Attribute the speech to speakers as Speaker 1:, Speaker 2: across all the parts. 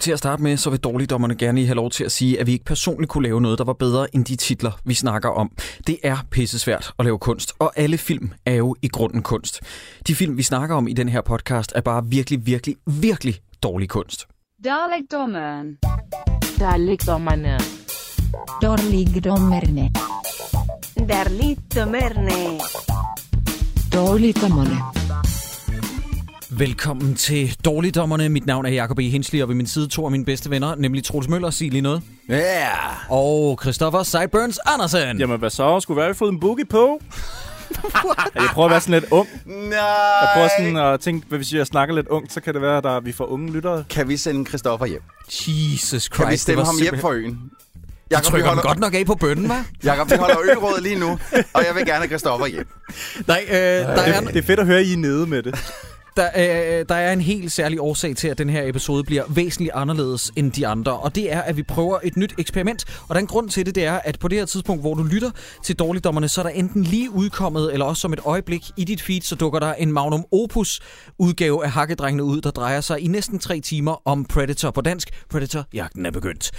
Speaker 1: Til at starte med, så vil dårligdommerne gerne lige have lov til at sige, at vi ikke personligt kunne lave noget, der var bedre end de titler, vi snakker om. Det er pissesvært at lave kunst, og alle film er jo i grunden kunst. De film, vi snakker om i den her podcast, er bare virkelig, virkelig, virkelig dårlig kunst.
Speaker 2: Dalekdommeren.
Speaker 3: Dalekdommerne.
Speaker 4: Dårligdommerne.
Speaker 5: Darligdommerne.
Speaker 4: Dårligdommerne.
Speaker 1: Velkommen til Dårligdommerne. Mit navn er Jacob E. Hensley, og ved min side to af mine bedste venner, nemlig Troels Møller, sig lige noget,
Speaker 6: Ja! Yeah.
Speaker 1: og Christoffer Sideburns Andersen.
Speaker 7: Jamen, hvad så? Skulle være, vi fået en boogie på? jeg prøver at være sådan lidt ung.
Speaker 6: Nej!
Speaker 7: Jeg prøver sådan at tænke, hvad hvis jeg snakker lidt ungt, så kan det være, at der, vi får unge lyttere.
Speaker 6: Kan vi sende Christoffer hjem? Kan
Speaker 1: Jesus Christ.
Speaker 6: vi stemme
Speaker 1: det var
Speaker 6: ham hjem
Speaker 1: simpelthen-
Speaker 6: fra øen?
Speaker 1: Jeg trykker ham godt nok af på bønnen, hva'?
Speaker 6: Jacob, vi holder øråd lige nu, og jeg vil gerne have Christoffer hjem.
Speaker 1: Nej, øh, der, er,
Speaker 7: Det er fedt at høre, at I er nede med det.
Speaker 1: Der, øh, der er en helt særlig årsag til, at den her episode bliver væsentligt anderledes end de andre, og det er, at vi prøver et nyt eksperiment. Og den grund til det, det er, at på det her tidspunkt, hvor du lytter til Dårligdommerne, så er der enten lige udkommet, eller også som et øjeblik i dit feed, så dukker der en Magnum Opus-udgave af Hakkedrengene ud, der drejer sig i næsten tre timer om Predator på dansk. Predator-jagten er begyndt.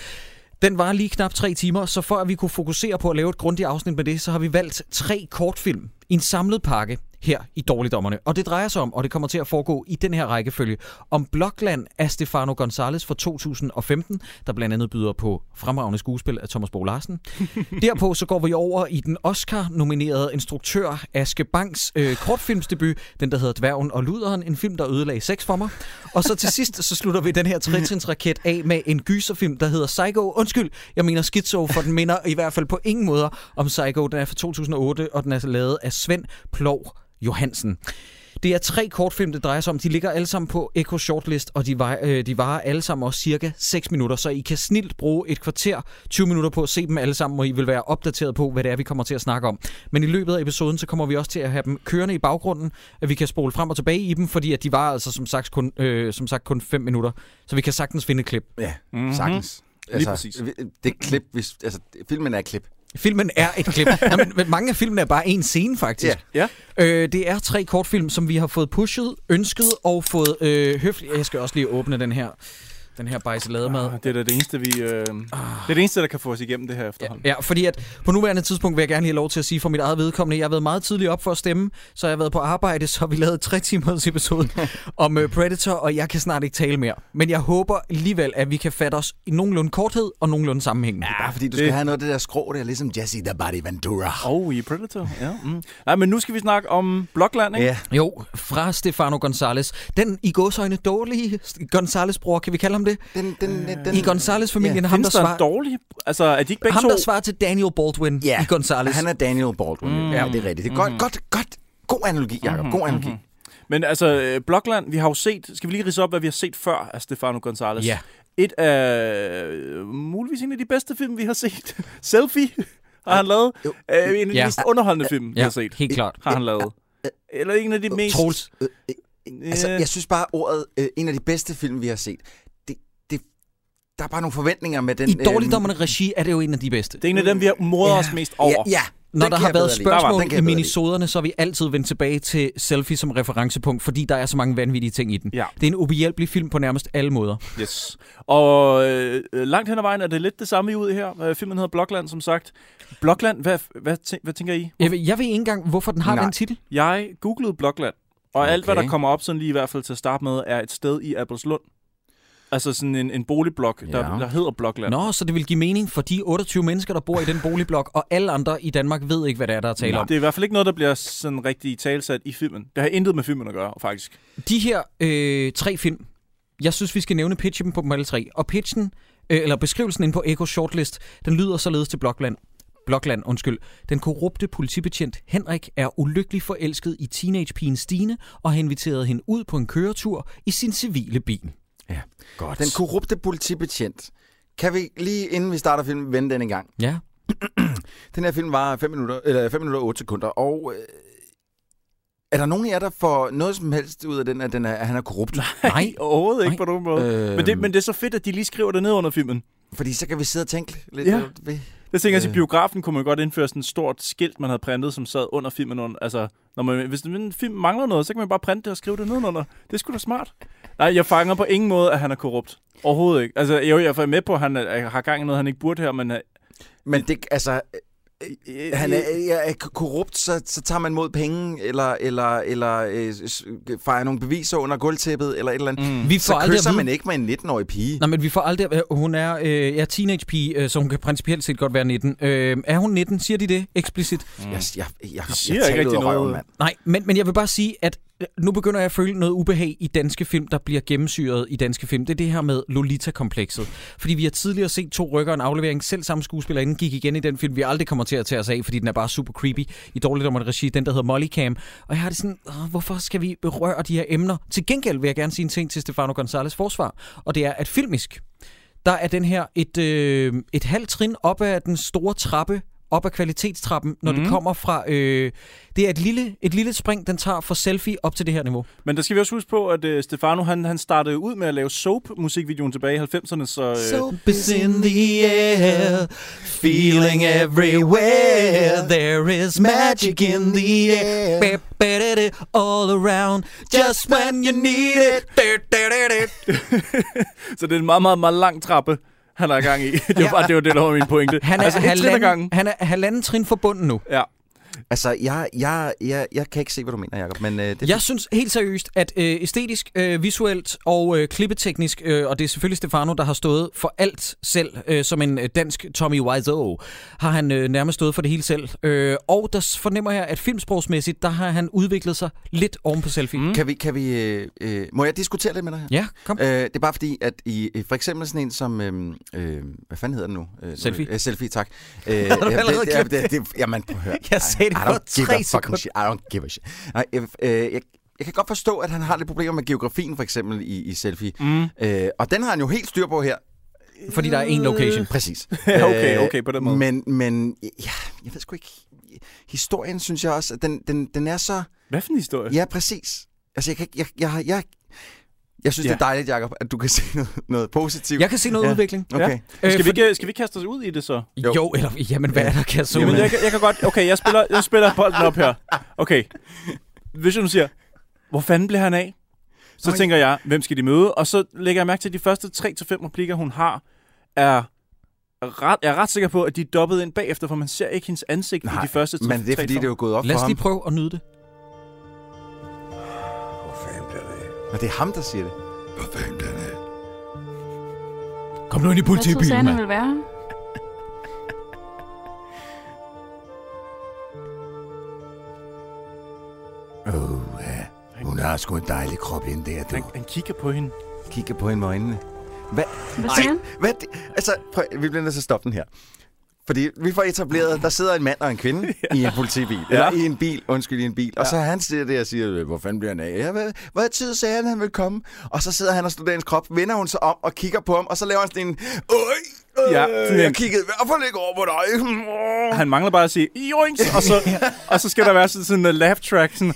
Speaker 1: Den var lige knap tre timer, så for at vi kunne fokusere på at lave et grundigt afsnit med det, så har vi valgt tre kortfilm i en samlet pakke her i Dårligdommerne. Og det drejer sig om, og det kommer til at foregå i den her rækkefølge, om Blokland af Stefano Gonzalez fra 2015, der blandt andet byder på fremragende skuespil af Thomas Bo Larsen. Derpå så går vi over i den Oscar-nominerede instruktør Aske Bangs øh, kortfilmsdebut, den der hedder Dværgen og Luderen, en film, der ødelagde sex for mig. Og så til sidst, så slutter vi den her trætrinsraket af med en gyserfilm, der hedder Psycho. Undskyld, jeg mener Schizo, for den minder i hvert fald på ingen måder om Psycho. Den er fra 2008, og den er lavet af Svend Plov Johansen. Det er tre kortfilm, det drejer sig om. De ligger alle sammen på Echo Shortlist, og de, var, øh, de varer alle sammen også cirka 6 minutter. Så I kan snilt bruge et kvarter, 20 minutter på at se dem alle sammen, og I vil være opdateret på, hvad det er, vi kommer til at snakke om. Men i løbet af episoden, så kommer vi også til at have dem kørende i baggrunden, at vi kan spole frem og tilbage i dem, fordi at de var altså som sagt kun, øh, som sagt kun 5 minutter. Så vi kan sagtens finde et klip.
Speaker 6: Ja, mm-hmm. sagtens. Lige
Speaker 7: præcis.
Speaker 6: vi- Det er klip, hvis, altså, filmen er et klip.
Speaker 1: Filmen er et klip. Nå, men, men mange af filmene er bare en scene, faktisk.
Speaker 7: Ja.
Speaker 1: Øh, det er tre kortfilm, som vi har fået pushet, ønsket og fået øh, høfligt. Jeg skal også lige åbne den her, den her bajselademad.
Speaker 7: Ah, Det er da det eneste, vi... Øh, det er det eneste, der kan få os igennem det her efterhånden.
Speaker 1: Ja, fordi at på nuværende tidspunkt vil jeg gerne lige have lov til at sige for mit eget vedkommende, jeg har været meget tidligt op for at stemme, så jeg har været på arbejde, så har vi lavet tre timers episode om øh, Predator, og jeg kan snart ikke tale mere. Men jeg håber alligevel, at vi kan fatte os i nogenlunde korthed og nogenlunde sammenhængende.
Speaker 6: Ja, fordi du
Speaker 7: Det-
Speaker 6: skal have noget af det der skrå der, ligesom Jesse the Body Ventura.
Speaker 7: Og oh, i Predator, ja. Mm. Nej, men nu skal vi snakke om Blokland, ikke?
Speaker 6: Ja,
Speaker 1: Jo, fra Stefano Gonzalez. Den i gåsøjne dårlige Gonzalez-bror, kan vi kalde ham det?
Speaker 6: den, den, den, den
Speaker 1: I Gonzalez-familien, ja, ham, der
Speaker 7: Findes der
Speaker 1: svarer,
Speaker 7: en dårlig... Altså, er de ikke begge
Speaker 1: ham,
Speaker 7: to...
Speaker 1: der svarer til Daniel Baldwin
Speaker 6: Ja,
Speaker 1: i Gonzalez.
Speaker 6: han er Daniel Baldwin. Mm. Ja, det er rigtigt. Det er godt, mm. godt, godt. God analogi, Jacob. God analogi. Mm-hmm.
Speaker 7: Men altså, øh, Blokland, vi har jo set... Skal vi lige rise op, hvad vi har set før af Stefano Gonzalez?
Speaker 1: Ja.
Speaker 7: Et af... øh, Muligvis en af de bedste film, vi har set. Selfie har han lavet.
Speaker 6: Jo.
Speaker 7: Øh, en af de
Speaker 1: Ja.
Speaker 7: mest underholdende film, vi
Speaker 1: ja,
Speaker 7: har set.
Speaker 1: helt klart.
Speaker 7: Har han lavet. Eller en af de mest...
Speaker 1: Troels,
Speaker 6: Altså,
Speaker 7: Øh.
Speaker 6: jeg synes bare, ordet øh, en af de bedste film, vi har set, det, det, der er bare nogle forventninger med den...
Speaker 1: i dårligdommerne regi er det jo en af de bedste.
Speaker 7: Det er en af dem, vi har mordet os mest
Speaker 6: Øh, ja,
Speaker 7: over.
Speaker 6: ja,
Speaker 1: Når
Speaker 6: den
Speaker 1: der
Speaker 6: kan
Speaker 1: har været
Speaker 6: jeg bedre lide. Der var-
Speaker 1: spørgsmål
Speaker 6: den kan
Speaker 1: i
Speaker 6: jeg bedre lide.
Speaker 1: minisoderne, så har vi altid vendt tilbage til selfie som referencepunkt, fordi der er så mange vanvittige ting i den.
Speaker 7: Ja.
Speaker 1: Det er en ubehjælpelig film på nærmest alle måder.
Speaker 7: Yes. Og øh, øh, langt hen ad vejen er det lidt det samme, I er ude i her. Øh, Filmen hedder Blokland, som sagt. Blokland, hvad, hvad, tæ- hvad tænker I?
Speaker 1: Jeg ved, jeg ved ikke engang, hvorfor den har
Speaker 6: Nej.
Speaker 1: den titel.
Speaker 7: Jeg googlede Blokland, og okay. alt, hvad
Speaker 6: Okay.
Speaker 7: der kommer op, sådan lige i hvert fald til at starte med, er et sted i Abelslund. Altså sådan en, en boligblok, der,
Speaker 6: Ja.
Speaker 7: der hedder Blokland.
Speaker 1: Nå, så det vil give mening for de 28 mennesker, der bor i den boligblok, og alle andre i Danmark ved ikke, hvad det er, der er tale om.
Speaker 7: Det er i hvert fald ikke noget, der bliver sådan rigtig talsat i filmen. Det har intet med filmen at gøre, faktisk.
Speaker 1: De her øh, tre film, jeg synes, vi skal nævne pitchen på dem alle tre. Og pitchen, øh, eller beskrivelsen inde på Echo Shortlist, den lyder således til Blokland. Blokland, undskyld. Den korrupte politibetjent Henrik er ulykkelig forelsket i teenagepigen Stine og har inviteret hende ud på en køretur i sin civile bil.
Speaker 6: Ja.
Speaker 1: Godt.
Speaker 6: Den korrupte politibetjent. Kan vi lige inden vi starter filmen vende den en gang?
Speaker 1: ja.
Speaker 6: Den her film var 5 minutter, eller 5 minutter og 8 sekunder, og øh, er der nogen af jer, der får noget som helst ud af den, at, den er, at han er korrupt?
Speaker 1: Nej.
Speaker 7: Overhovedet
Speaker 1: Nej.
Speaker 7: ikke på nogen måde.
Speaker 1: Øh,
Speaker 6: Øhm.
Speaker 7: Men, det, men det er så fedt, at de lige skriver det ned under filmen.
Speaker 6: Fordi så kan vi sidde og tænke lidt.
Speaker 7: Ja.
Speaker 6: Ved,
Speaker 7: Jeg tænker, at i
Speaker 1: Øh.
Speaker 7: biografen kunne man godt indføre sådan et stort skilt, man havde printet, som sad under filmen. under- Altså, når man, hvis en film mangler noget, så kan man bare printe det og skrive det nedenunder. Det skulle da smart. Nej, jeg fanger på ingen måde, at han er korrupt. Overhovedet ikke. Altså, jo, jeg er med på, at han er, har gang i noget, han ikke burde her, men... øh,
Speaker 6: Men det, altså, øh, han er, ja, er korrupt, så, så tager man mod penge, eller, eller, eller øh, s- fejrer nogle beviser under gulvtæppet, eller et eller andet.
Speaker 7: Mm.
Speaker 1: Vi får
Speaker 6: Så
Speaker 1: aldrig at
Speaker 6: kysser
Speaker 1: vide,
Speaker 6: man ikke med en 19-årig pige.
Speaker 1: Nej, men vi får aldrig... øh, Hun er øh, ja, teenage-pige, øh, så hun kan principielt set godt være 19. Øh, er hun 19? Siger de det eksplicit?
Speaker 6: Jeg, jeg, jeg,
Speaker 7: Det siger
Speaker 6: jeg,
Speaker 7: ikke
Speaker 6: jeg, jeg
Speaker 7: rigtig noget.
Speaker 6: mand.
Speaker 1: Nej, men, men jeg vil bare sige, at øh, nu begynder jeg at føle noget ubehag i danske film, der bliver gennemsyret i danske film. Det er det her med Lolita-komplekset. Fordi vi har tidligere set to rykker og en aflevering. Selv samme skuespillerinde gik igen i den film, vi aldrig kommer til at tage os af, fordi den er bare super creepy i dårligt om regi, den der hedder Mollycam. Og jeg har det sådan, Åh, hvorfor skal vi berøre de her emner? Til gengæld vil jeg gerne sige en ting til Stefano Gonzales forsvar, og det er, at filmisk, der er den her et, øh, et halvt trin op ad den store trappe, op ad kvalitetstrappen, når mm.
Speaker 7: Mhm.
Speaker 1: det kommer fra... Øh, det er et lille, et lille spring, den tager fra selfie op til det her niveau.
Speaker 7: Men der skal vi også huske på, at øh, Stefano, han, han startede ud med at lave soap-musikvideoen tilbage i 90'erne, så... Øh,
Speaker 1: is in the air, feeling everywhere, there is magic in the air, ba-ba-da-da, all around, just when you need it. Da-da-da-da.
Speaker 7: Så det er en meget, meget, meget lang trappe, han er i gang i. det var bare det, var det der var min pointe.
Speaker 1: Han er,
Speaker 7: altså,
Speaker 1: altså,
Speaker 7: et trin ad
Speaker 1: halvanden,
Speaker 7: gangen.
Speaker 1: han er halvanden trin fra bunden nu.
Speaker 7: Ja.
Speaker 6: Altså, jeg, jeg, jeg, jeg kan ikke se, hvad du mener, Jacob, men øh, det er
Speaker 1: Jeg synes helt seriøst, at øh, æstetisk, øh, visuelt og øh, klippeteknisk, øh, og det er selvfølgelig Stefano, der har stået for alt selv, øh, som en øh, dansk Tommy Wiseau, har han øh, nærmest stået for det hele selv. Øh, og der s- fornemmer jeg, at filmsprogsmæssigt, der har han udviklet sig lidt oven på selfie. Mm.
Speaker 7: Mm.
Speaker 6: Kan vi, kan vi, øh, øh, må jeg diskutere lidt med dig her?
Speaker 1: Ja, kom.
Speaker 6: Øh, det er bare fordi, at i øh, for eksempel sådan en som, øh, øh, hvad fanden hedder den nu? Øh, nu-
Speaker 1: Selfie.
Speaker 6: Øh, selfie, tak. Øh,
Speaker 1: Har du
Speaker 6: ja,
Speaker 1: allerede
Speaker 6: det- ja,
Speaker 1: glemt det?
Speaker 6: det- det- Jamen, prøv at høre.
Speaker 1: Jeg sagde det
Speaker 6: I
Speaker 1: for
Speaker 6: don't give
Speaker 1: tre
Speaker 6: a fucking
Speaker 1: sekunder.
Speaker 6: shit. I don't give a shit. Nej, jeg, øh, jeg, jeg kan godt forstå, at han har lidt problemer med geografien, for eksempel, i, i selfie.
Speaker 7: Mm.
Speaker 6: Øh, og den har han jo helt styr på her.
Speaker 1: Fordi der er én location.
Speaker 6: Præcis.
Speaker 7: Ja, okay,
Speaker 6: Øh,
Speaker 7: okay, på den måde.
Speaker 6: Men, men ja, jeg ved sgu ikke. Historien, synes jeg også, at den, den, den er så...
Speaker 7: Hvad for en historie?
Speaker 6: Ja, præcis. Altså, jeg kan ikke... Jeg, jeg, jeg, jeg synes, ja.
Speaker 7: Ja.
Speaker 6: det er dejligt, Jacob, at du kan se noget, noget positivt.
Speaker 1: Jeg kan se noget ja.
Speaker 6: Mm. Ja.
Speaker 1: udvikling.
Speaker 6: Okay.
Speaker 7: Ja.
Speaker 6: Ja.
Speaker 1: Øh,
Speaker 7: Skal,
Speaker 1: for-
Speaker 7: vi ikke, skal vi ikke kaste os ud i det så?
Speaker 1: Jo. jo, eller jamen, hvad er der, kan jeg så
Speaker 7: Jamen,
Speaker 1: ud?
Speaker 7: jeg, kan- jeg kan godt... Okay, jeg spiller, jeg spiller bolden op her. Okay. Hvis du siger, hvor fanden blev han af? Så
Speaker 6: Nå,
Speaker 7: tænker jeg, hvem skal de møde? Og så lægger jeg mærke til, at de første 3-5 replikker, hun har, er ret, jeg er ret sikker på, at de er dobbet ind bagefter, for man ser ikke hendes ansigt i
Speaker 6: Nej,
Speaker 7: de første 3-5.
Speaker 6: Men det er, fordi det er jo gået op
Speaker 1: Lad
Speaker 6: for
Speaker 1: os
Speaker 6: ham.
Speaker 1: lige prøve at nyde det.
Speaker 4: Hvor fanden den af?
Speaker 6: Men det er ham, der siger det.
Speaker 4: Hvor fanden den af?
Speaker 1: Kom nu ind i
Speaker 2: Hvad troede han
Speaker 1: politibilen,
Speaker 2: han
Speaker 1: mand.
Speaker 2: ville være?
Speaker 4: Åh, ja. Hun har sgu en dejlig krop ind der, du.
Speaker 7: Han, han kigger på hende.
Speaker 6: Kigger på hende med øjnene. Hvad?
Speaker 2: Hvad siger han?
Speaker 6: Hvad er det? Altså, prøv, vi bliver nødt til at stoppe den her. Fordi vi får etableret, der sidder en mand og en kvinde ja. i en politibil. Ja. Eller i en bil, undskyld, i en bil. Ja. Og så han siger det og siger, hvor fanden bliver han af? Ja, hvad, hvad tid sagde han, han ville komme? Og så sidder han og studerer hendes krop, vender hun sig om og kigger på ham, og så laver han sådan en... Øj, øh,
Speaker 7: Ja,
Speaker 6: ja,
Speaker 7: sådan en-
Speaker 6: jeg kiggede i hvert fald ikke over på dig. Mm.
Speaker 7: Han mangler bare at sige, joinks, og så, og så skal der være sådan sådan en laugh track. Sådan.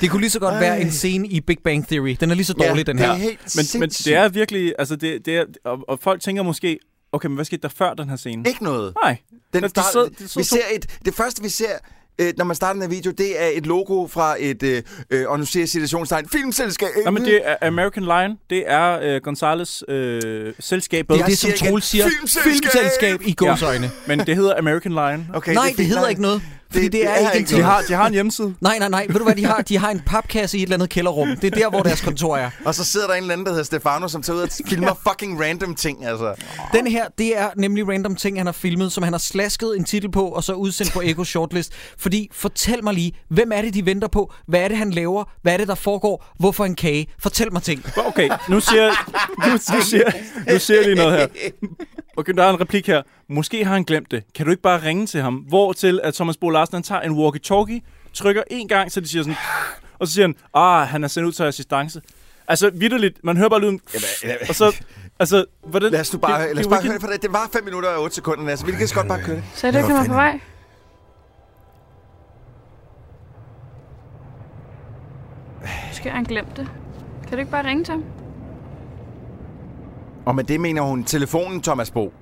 Speaker 1: Det kunne lige så godt være en scene i Big Bang Theory. Den er lige så dårlig, den her.
Speaker 6: Det er helt
Speaker 7: Men, men
Speaker 6: sindssygt.
Speaker 7: det er virkelig, altså det, det er, og, og folk tænker måske, okay, men hvad skete der før den her scene?
Speaker 6: Ikke noget.
Speaker 7: Nej.
Speaker 6: Den
Speaker 7: Men de
Speaker 6: start,
Speaker 7: sidder- de sidder
Speaker 6: vi
Speaker 7: to-
Speaker 6: ser et, det første, vi ser, øh, når man starter den her video, det er et logo fra et, øh, øh, og nu siger jeg situationstegn, filmselskab.
Speaker 7: Nej, men det er American Lion, det er øh, Gonzales øh, selskab,
Speaker 1: Det er det, som
Speaker 6: siger igen,
Speaker 1: Troels siger.
Speaker 6: "Filmselskab!"
Speaker 1: Filmselskab i gåsøjne. Ja.
Speaker 7: men det hedder American Lion.
Speaker 6: Okay,
Speaker 1: Nej,
Speaker 6: er
Speaker 1: det,
Speaker 6: fint
Speaker 1: hedder
Speaker 6: nok.
Speaker 1: ikke noget. Fordi det,
Speaker 6: det
Speaker 1: er,
Speaker 6: er
Speaker 1: ikke en
Speaker 6: ikke
Speaker 1: ting.
Speaker 7: De har, de har en hjemmeside.
Speaker 1: Nej, nej, nej. Ved du hvad de har? De har en papkasse i et eller andet kælderrum. Det er der, hvor deres kontor er.
Speaker 6: Og så sidder der en eller anden, der hedder Stefano, som tager ud og filmer fucking random ting, altså.
Speaker 1: Den her, det er nemlig random ting, han har filmet, som han har slasket en titel på, og så udsendt på Eko Shortlist. Fordi, fortæl mig lige, hvem er det, de venter på? Hvad er det, han laver? Hvad er det, der foregår? Hvorfor en kage? Fortæl mig ting.
Speaker 7: Okay, nu siger, nu, nu, siger, nu siger jeg lige noget her. Okay, der er en replik her. Måske har han glemt det. Kan du ikke bare ringe til ham? Hvor til, at Thomas Bo Larsen han tager en walkie-talkie, trykker en gang, så de siger sådan... Og så siger han, ah, han er sendt ud til assistance. Altså, vidderligt, man hører bare lyden... Og så... Altså, hvordan...
Speaker 6: Lad os nu bare,
Speaker 7: det
Speaker 6: lad os
Speaker 7: er
Speaker 6: bare
Speaker 7: jo
Speaker 6: høre, for det, det var 5 minutter og 8 sekunder, altså. Vi kan så godt bare køre det.
Speaker 2: Så er det ikke, han var på vej? Måske har han glemt det. Kan du ikke bare ringe til ham?
Speaker 6: Og med det mener hun telefonen, Thomas Bo.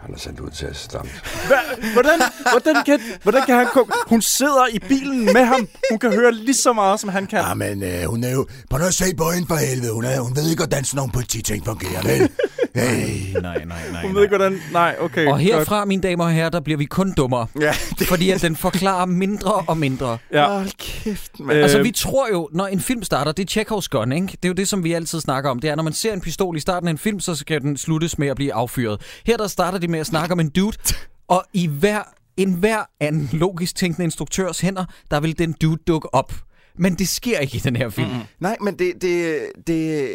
Speaker 4: Han er sendt ud til assistent.
Speaker 7: Hva- Hvordan, hvordan, kan, hvordan kan han komme? Hun sidder i bilen med ham. Hun kan høre lige så meget, som han
Speaker 6: Ah,
Speaker 7: kan.
Speaker 4: Jamen, øh, hun er jo... Prøv nu at se på hende for helvede. Hun, er, hun ved ikke, hvordan sådan nogle polititing fungerer, vel? Hey.
Speaker 1: Nej, nej, nej.
Speaker 7: Hun ved ikke, hvordan... Nej, okay.
Speaker 1: Og
Speaker 7: godt.
Speaker 1: herfra, mine damer og herrer, der bliver vi kun dummere.
Speaker 6: Ja, det
Speaker 1: Fordi at den forklarer mindre og mindre.
Speaker 7: Ja.
Speaker 6: Hold kæft, mand.
Speaker 1: Altså,
Speaker 7: Øh,
Speaker 1: vi tror jo, når en film starter, det er Chekhovs gun, ikke? Det er jo det, som vi altid snakker om. Det er, når man ser en pistol i starten af en film, så skal den sluttes med at blive affyret. Her der starter det med at snakke om en dude, og i hver, en hver anden logisk tænkende instruktørs hænder, der vil den dude dukke op. Men det sker ikke i den her film. Mm-hmm.
Speaker 6: Nej, men det... det, det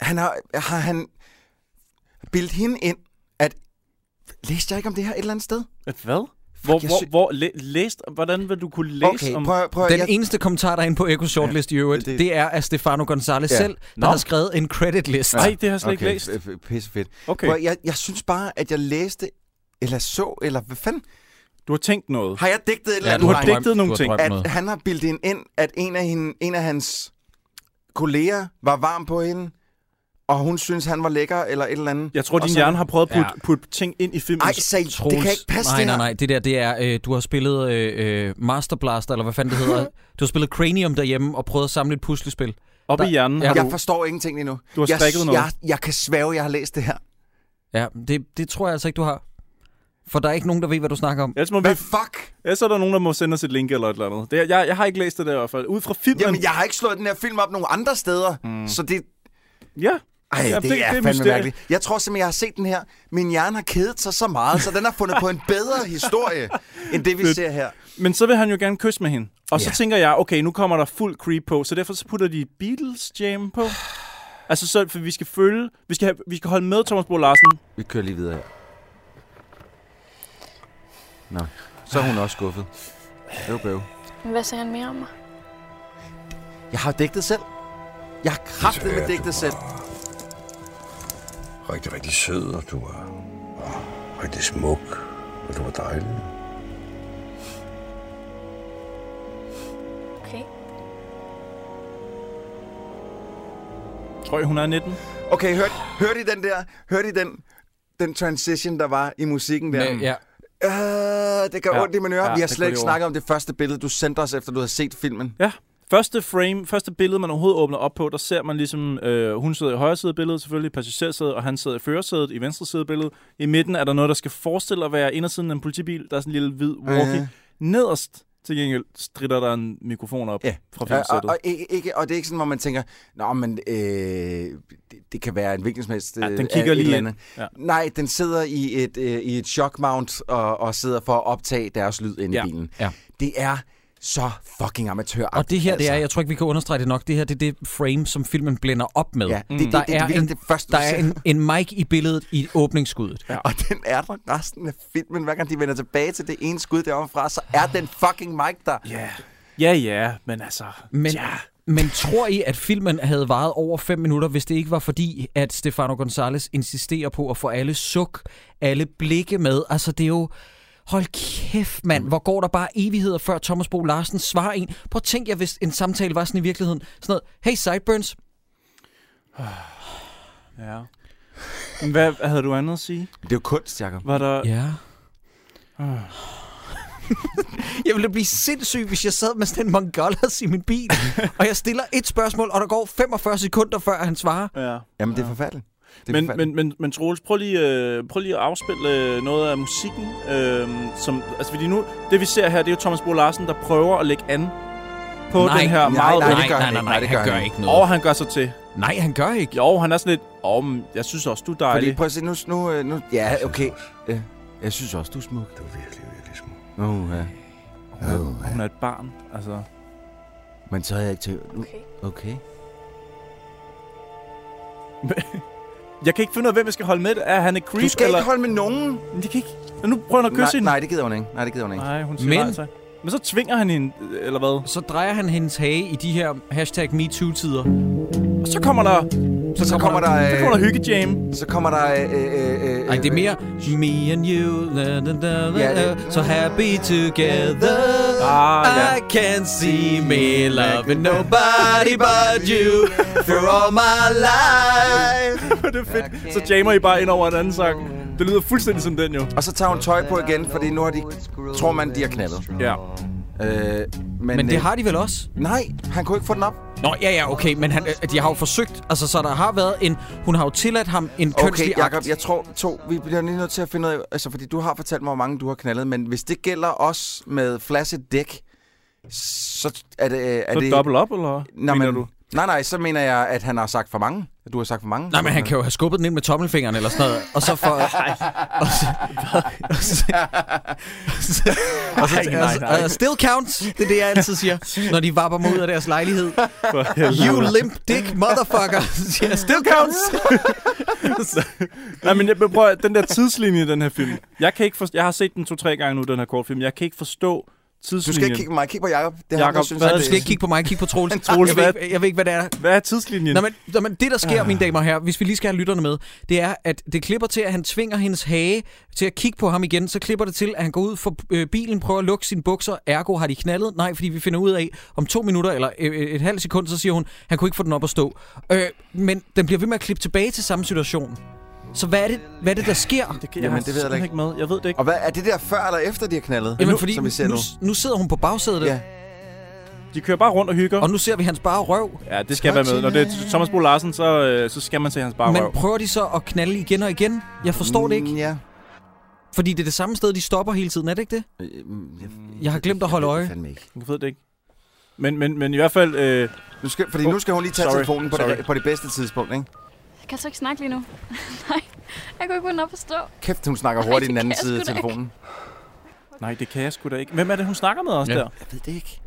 Speaker 6: han har, har han bildt hende ind, at... Læste jeg ikke om det her et eller andet sted?
Speaker 7: At hvad? Hvor,
Speaker 6: jeg
Speaker 7: hvor,
Speaker 6: sy-
Speaker 7: hvor læ- læst, hvordan vil du kunne læse om...
Speaker 6: prøv, prøv,
Speaker 1: Den
Speaker 6: jeg,
Speaker 1: eneste kommentar, der er inde på Echo Shortlist i øvrigt, det,
Speaker 6: det-
Speaker 1: det er af Stefano Gonzalez
Speaker 6: Ja.
Speaker 1: selv, der
Speaker 7: Nå.
Speaker 1: har skrevet en credit list.
Speaker 7: Nej, det har jeg slet ikke
Speaker 6: okay,
Speaker 7: læst.
Speaker 6: f- f- Pissefedt.
Speaker 7: Okay,
Speaker 6: Prøv, jeg, jeg synes bare, at jeg læste, eller så, eller hvad fanden?
Speaker 7: du har tænkt noget.
Speaker 6: Har jeg digtet et eller
Speaker 1: Ja,
Speaker 6: andet?
Speaker 7: du har
Speaker 6: Nej.
Speaker 7: digtet nogle ting.
Speaker 1: drømt noget.
Speaker 6: at han har bildt hende ind, at en af, hende, en af hans kolleger var varm på hende, og hun synes, han var lækker, eller et eller andet.
Speaker 7: Jeg tror,
Speaker 6: Og
Speaker 7: din
Speaker 6: så-
Speaker 7: hjerne har prøvet at putte,
Speaker 1: Ja.
Speaker 7: putte ting ind i filmen.
Speaker 6: Ej, sag, det
Speaker 1: Troels.
Speaker 6: kan ikke passe,
Speaker 1: nej,
Speaker 6: det
Speaker 1: nej,
Speaker 6: her.
Speaker 1: nej. Det der, det er, øh, du har spillet øh, øh, Master Blaster, eller hvad fanden det
Speaker 6: Mhm.
Speaker 1: hedder. du har spillet Cranium derhjemme og prøvet at samle et puslespil.
Speaker 7: Op i
Speaker 1: der-
Speaker 7: hjernen.
Speaker 1: Ja.
Speaker 7: Ja.
Speaker 1: Har
Speaker 6: Jeg
Speaker 1: du-
Speaker 6: forstår ingenting lige nu.
Speaker 7: Du har strikket
Speaker 6: jeg,
Speaker 7: noget.
Speaker 6: Jeg, jeg kan svæve, jeg har læst det her.
Speaker 1: Ja, det, det tror jeg altså ikke, du har. For der er ikke nogen, der ved, hvad du snakker om.
Speaker 7: Ellers, må vi,
Speaker 6: Hvad fuck?
Speaker 7: ellers er der nogen, der må sende os et link eller et eller andet. Det, er- jeg, jeg har ikke læst det der i hvert fald. Ud fra filmen...
Speaker 6: Jamen, jeg har ikke slået den her film op nogen andre steder, mm. så det...
Speaker 7: Ja.
Speaker 6: Ej,
Speaker 7: Jamen,
Speaker 6: det, det, er, fandme
Speaker 7: mysterie.
Speaker 6: mærkeligt. Jeg tror simpelthen, jeg har set den her. Min hjerne har kedet sig så meget, så den har fundet på en bedre historie, end det, vi
Speaker 7: Fedt.
Speaker 6: ser her.
Speaker 7: Men så vil han jo gerne kysse med hende. Og så
Speaker 6: Ja.
Speaker 7: tænker jeg, okay, nu kommer der fuld creep på, så derfor så putter de Beatles jam på. Altså, så, for vi skal følge, vi skal, have, vi skal holde med Thomas Bo Larsen.
Speaker 6: Vi kører lige videre her. Nå, så er hun også skuffet. Øv, bøv.
Speaker 2: Men hvad sagde han mere om mig?
Speaker 6: Jeg har digtet selv. Jeg har kraftet med digtet selv.
Speaker 4: Rigtig, rigtig sød, og du er og rigtig smuk, og du var dejlig.
Speaker 2: Okay.
Speaker 8: Mm.
Speaker 7: Tror jeg, hun er 19?
Speaker 6: Okay, hørte, hørte I den der? Hørte I den, den transition, der var i musikken der?
Speaker 1: Men, ja.
Speaker 6: Øh, det gør
Speaker 7: Ja.
Speaker 6: ja. ondt i mine ører.
Speaker 7: Ja,
Speaker 6: Ja, vi har
Speaker 7: det gør
Speaker 6: slet ikke
Speaker 7: det
Speaker 6: snakket om det første billede, du sendte os, efter du havde set filmen.
Speaker 7: Ja. Første frame, første billede, man overhovedet åbner op på, der ser man ligesom, øh, hun sidder i højre side af billedet selvfølgelig, i passagersædet, og han sidder i førersædet, i venstre side af billedet. I midten er der noget, der skal forestille at være indersiden af en politibil. Der er sådan en lille hvid walkie.
Speaker 6: Ja.
Speaker 7: Nederst til gengæld stritter der en mikrofon op
Speaker 6: Mhm. Ja.
Speaker 7: fra
Speaker 6: Ja, og,
Speaker 7: filmsættet.
Speaker 6: og, ikke, ikke, og det er ikke sådan, hvor man tænker, Nå, men øh, det, det kan være en hvilken som helst...
Speaker 7: Ja,
Speaker 6: øh,
Speaker 7: den
Speaker 6: af
Speaker 7: kigger
Speaker 6: et
Speaker 7: lige
Speaker 6: eller
Speaker 7: ind.
Speaker 6: andet."
Speaker 7: Ja.
Speaker 6: Nej, den sidder i et, øh, i et shock mount og, og sidder for at optage deres lyd inde
Speaker 7: Ja.
Speaker 6: i bilen.
Speaker 1: Ja.
Speaker 6: Det er så fucking altså. amatør.
Speaker 1: Og det her, det er, jeg tror ikke, vi kan understrege det nok, det her det er det frame, som filmen blænder op med.
Speaker 6: Ja,
Speaker 1: Ja.
Speaker 6: det, det, det,
Speaker 1: Der
Speaker 6: det, det,
Speaker 1: er
Speaker 6: er
Speaker 1: en-
Speaker 6: det, det første,
Speaker 1: Der
Speaker 6: du
Speaker 1: er
Speaker 6: ser.
Speaker 1: en, en mic i billedet i åbningsskuddet.
Speaker 6: Ja. Og den er der resten af filmen. Hver gang de vender tilbage til det ene skud deromme fra, så er den fucking mic der.
Speaker 7: Ja. Ja, ja, men altså...
Speaker 1: Men,
Speaker 7: ja.
Speaker 1: men tror I, at filmen havde varet over 5 minutter, hvis det ikke var fordi, at Stefano Gonzalez insisterer på at få alle suk, alle blikke med? Altså, det er jo... Hold kæft, mand. Hvor går der bare evigheder, før Thomas Bo Larsen svarer en? Prøv at tænk jer, hvis en samtale var sådan i virkeligheden. Sådan noget, hey Sideburns,
Speaker 7: Ja. Men Hvad, hvad havde du andet at sige?
Speaker 6: Det er jo kunst, Jacob.
Speaker 7: Var der... Ja.
Speaker 1: Ja. Jeg ville blive sindssyg, hvis jeg sad med sådan en mongolas i min bil, og jeg stiller et spørgsmål, og der går 45 sekunder, før han svarer.
Speaker 7: ja.
Speaker 6: Jamen, det er forfærdeligt. Det er
Speaker 7: Men,
Speaker 6: forfærdeligt.
Speaker 7: men, men, men Troels, prøv lige, øh, prøv lige at afspille øh, noget af musikken. Øh, som, altså, fordi nu, det vi ser her, det er jo Thomas Bo Larsen, der prøver at lægge an på den her meget...
Speaker 6: nej, det gør han ikke.
Speaker 1: nej, det gør han ikke
Speaker 7: Og han gør sig til.
Speaker 1: Nej, han gør ikke.
Speaker 7: Jo, han er sådan lidt... Åh, oh, jeg synes også, du er
Speaker 6: Fordi,
Speaker 7: dejlig.
Speaker 6: prøv at se, nu... nu, øh, nu ja, okay. Øh, Jeg synes også, du er smuk.
Speaker 4: Du er virkelig, virkelig smuk.
Speaker 6: Oh, ja.
Speaker 4: Oh, ja.
Speaker 7: Hun er et barn. Altså,
Speaker 6: Men så er jeg ikke til... nu-
Speaker 2: Okay.
Speaker 6: Okay.
Speaker 7: jeg kan ikke finde ud af, hvem jeg skal holde med. Er han et creep?
Speaker 6: Du skal
Speaker 7: eller...
Speaker 6: ikke holde med nogen.
Speaker 7: Men Det kan ikke... Nu prøver han at kysse
Speaker 6: Nej,
Speaker 7: hende.
Speaker 6: nej, det gider hun ikke. Nej, det gider hun ikke.
Speaker 7: nej, hun siger
Speaker 1: Men-
Speaker 7: nej, tak. Men så tvinger han hende, øh, eller hvad?
Speaker 1: Så drejer han hendes hage i de her hashtag MeToo-tider.
Speaker 7: Og så kommer der...
Speaker 6: Så kommer der...
Speaker 7: Så kommer der
Speaker 6: øh,
Speaker 7: hyggejam.
Speaker 6: Så kommer der... øh, øh, øh,
Speaker 1: Nej, det er
Speaker 6: øh,
Speaker 1: mere Me and you da, da, da, da,
Speaker 6: Ja,
Speaker 1: da,
Speaker 6: det-
Speaker 1: So happy together
Speaker 7: Ah, ja.
Speaker 1: I can see me loving nobody but you For all my life
Speaker 7: det er fedt. Så jammer I bare ind over en anden sang. Det lyder fuldstændig som den jo.
Speaker 6: Og så tager hun tøj på igen, fordi nu har de, tror man, de har knaldet.
Speaker 7: Ja.
Speaker 6: Øh, men,
Speaker 1: Men det
Speaker 6: øh,
Speaker 1: har de vel også?
Speaker 6: Nej, han kunne ikke få den op.
Speaker 1: Nå, ja, ja, okay, men han, øh, de har jo forsøgt. Altså, så der har været en... Hun har jo tilladt ham en
Speaker 6: Okay,
Speaker 1: kønslig
Speaker 6: Jacob,
Speaker 1: akt.
Speaker 6: jeg tror, to, vi bliver lige nødt til at finde ud af, altså, fordi du har fortalt mig, hvor mange du har knaldet, men hvis det gælder os med flasset dæk, så er det... Er
Speaker 7: Så
Speaker 6: det
Speaker 7: dobbelt op, eller
Speaker 6: Nå,
Speaker 7: Nå, mener
Speaker 6: men-
Speaker 7: du?
Speaker 6: Nej, nej, så mener jeg, at han har sagt for mange. At du har sagt for mange.
Speaker 1: Nej, men han kan jo have skubbet den ind med tommelfingeren eller sådan noget. Og så for... og så, og så, og så, og så,
Speaker 7: Ej, nej, nej.
Speaker 1: uh, still counts, det er det, jeg altid siger, når de vapper mig ud af deres lejlighed. You limp dick motherfucker, siger jeg, still counts.
Speaker 7: Nej, men jeg, men prøv, at- den der tidslinje i den her film. Jeg, kan ikke for, jeg har set den to-tre gange nu, den her kortfilm. Jeg kan ikke forstå tidslinjen.
Speaker 6: Du skal ikke kigge på mig, kig på Jacob. Det er
Speaker 7: Jacob,
Speaker 6: jeg synes,
Speaker 7: hvad
Speaker 6: at
Speaker 1: Du
Speaker 6: det
Speaker 1: skal ikke kigge på mig, kig på Troels.
Speaker 7: Troels,
Speaker 1: jeg, ved
Speaker 7: hvad-
Speaker 1: ikke, jeg ved ikke, hvad det er,
Speaker 7: Hvad er tidslinjen?
Speaker 1: Nå, men, nå, men det, der sker,
Speaker 6: Ah.
Speaker 1: mine damer og herrer, hvis vi lige skal have lytterne med, det er, at det klipper til, at han tvinger hendes hage til at kigge på ham igen. Så klipper det til, at han går ud for øh, bilen, prøver at lukke sine bukser. Ergo har de knaldet. Nej, fordi vi finder ud af, om to minutter eller øh, øh, et halvt sekund, så siger hun, han kunne ikke få den op at stå. Øh, men den bliver ved med at klippe tilbage til samme situation. Så hvad er det, hvad er det der sker?
Speaker 7: det, kan,
Speaker 6: Jamen,
Speaker 7: har
Speaker 6: det ved jeg da
Speaker 7: simpelthen
Speaker 6: ikke.
Speaker 7: med. Jeg ved det ikke.
Speaker 6: Og hvad, er det der før eller efter, de har knaldet?
Speaker 1: Jamen,
Speaker 6: nu,
Speaker 1: fordi
Speaker 6: som vi ser
Speaker 1: nu,
Speaker 6: nu.
Speaker 1: nu, sidder hun på bagsædet,
Speaker 6: Ja.
Speaker 1: ja.
Speaker 7: De kører bare rundt og hygger.
Speaker 1: og nu ser vi hans bare røv.
Speaker 7: Ja, det skal være med. Når det er Thomas Bo Larsen, så, øh, så skal man se hans bare
Speaker 1: Men
Speaker 7: røv.
Speaker 1: prøver de så at knalde igen og igen? Jeg forstår det ikke.
Speaker 6: Mm, Ja.
Speaker 1: Fordi det er det samme sted, de stopper hele tiden, er det ikke det?
Speaker 6: Øh, mm, Jeg,
Speaker 1: Jeg har glemt at holde
Speaker 6: jeg ved
Speaker 1: øje.
Speaker 6: det fandme ikke.
Speaker 7: Jeg ved det ikke. Men, men, men i hvert fald... Øh,
Speaker 6: Nu skal, fordi nu skal hun lige tage
Speaker 7: Sorry,
Speaker 6: telefonen på det,
Speaker 7: sorry.
Speaker 6: på det bedste tidspunkt, ikke?
Speaker 2: Jeg kan så ikke snakke lige nu. Nej, jeg kunne ikke få den op at stå.
Speaker 6: Kæft, hun snakker
Speaker 2: Nej,
Speaker 6: hurtigt i
Speaker 2: det
Speaker 6: den anden
Speaker 2: kan jeg
Speaker 6: side af
Speaker 2: sgu da ikke.
Speaker 6: telefonen.
Speaker 7: nej, det kan jeg sgu da ikke. Hvem er det, hun snakker med os
Speaker 1: Ja.
Speaker 7: ja. der?
Speaker 6: Jeg ved det ikke.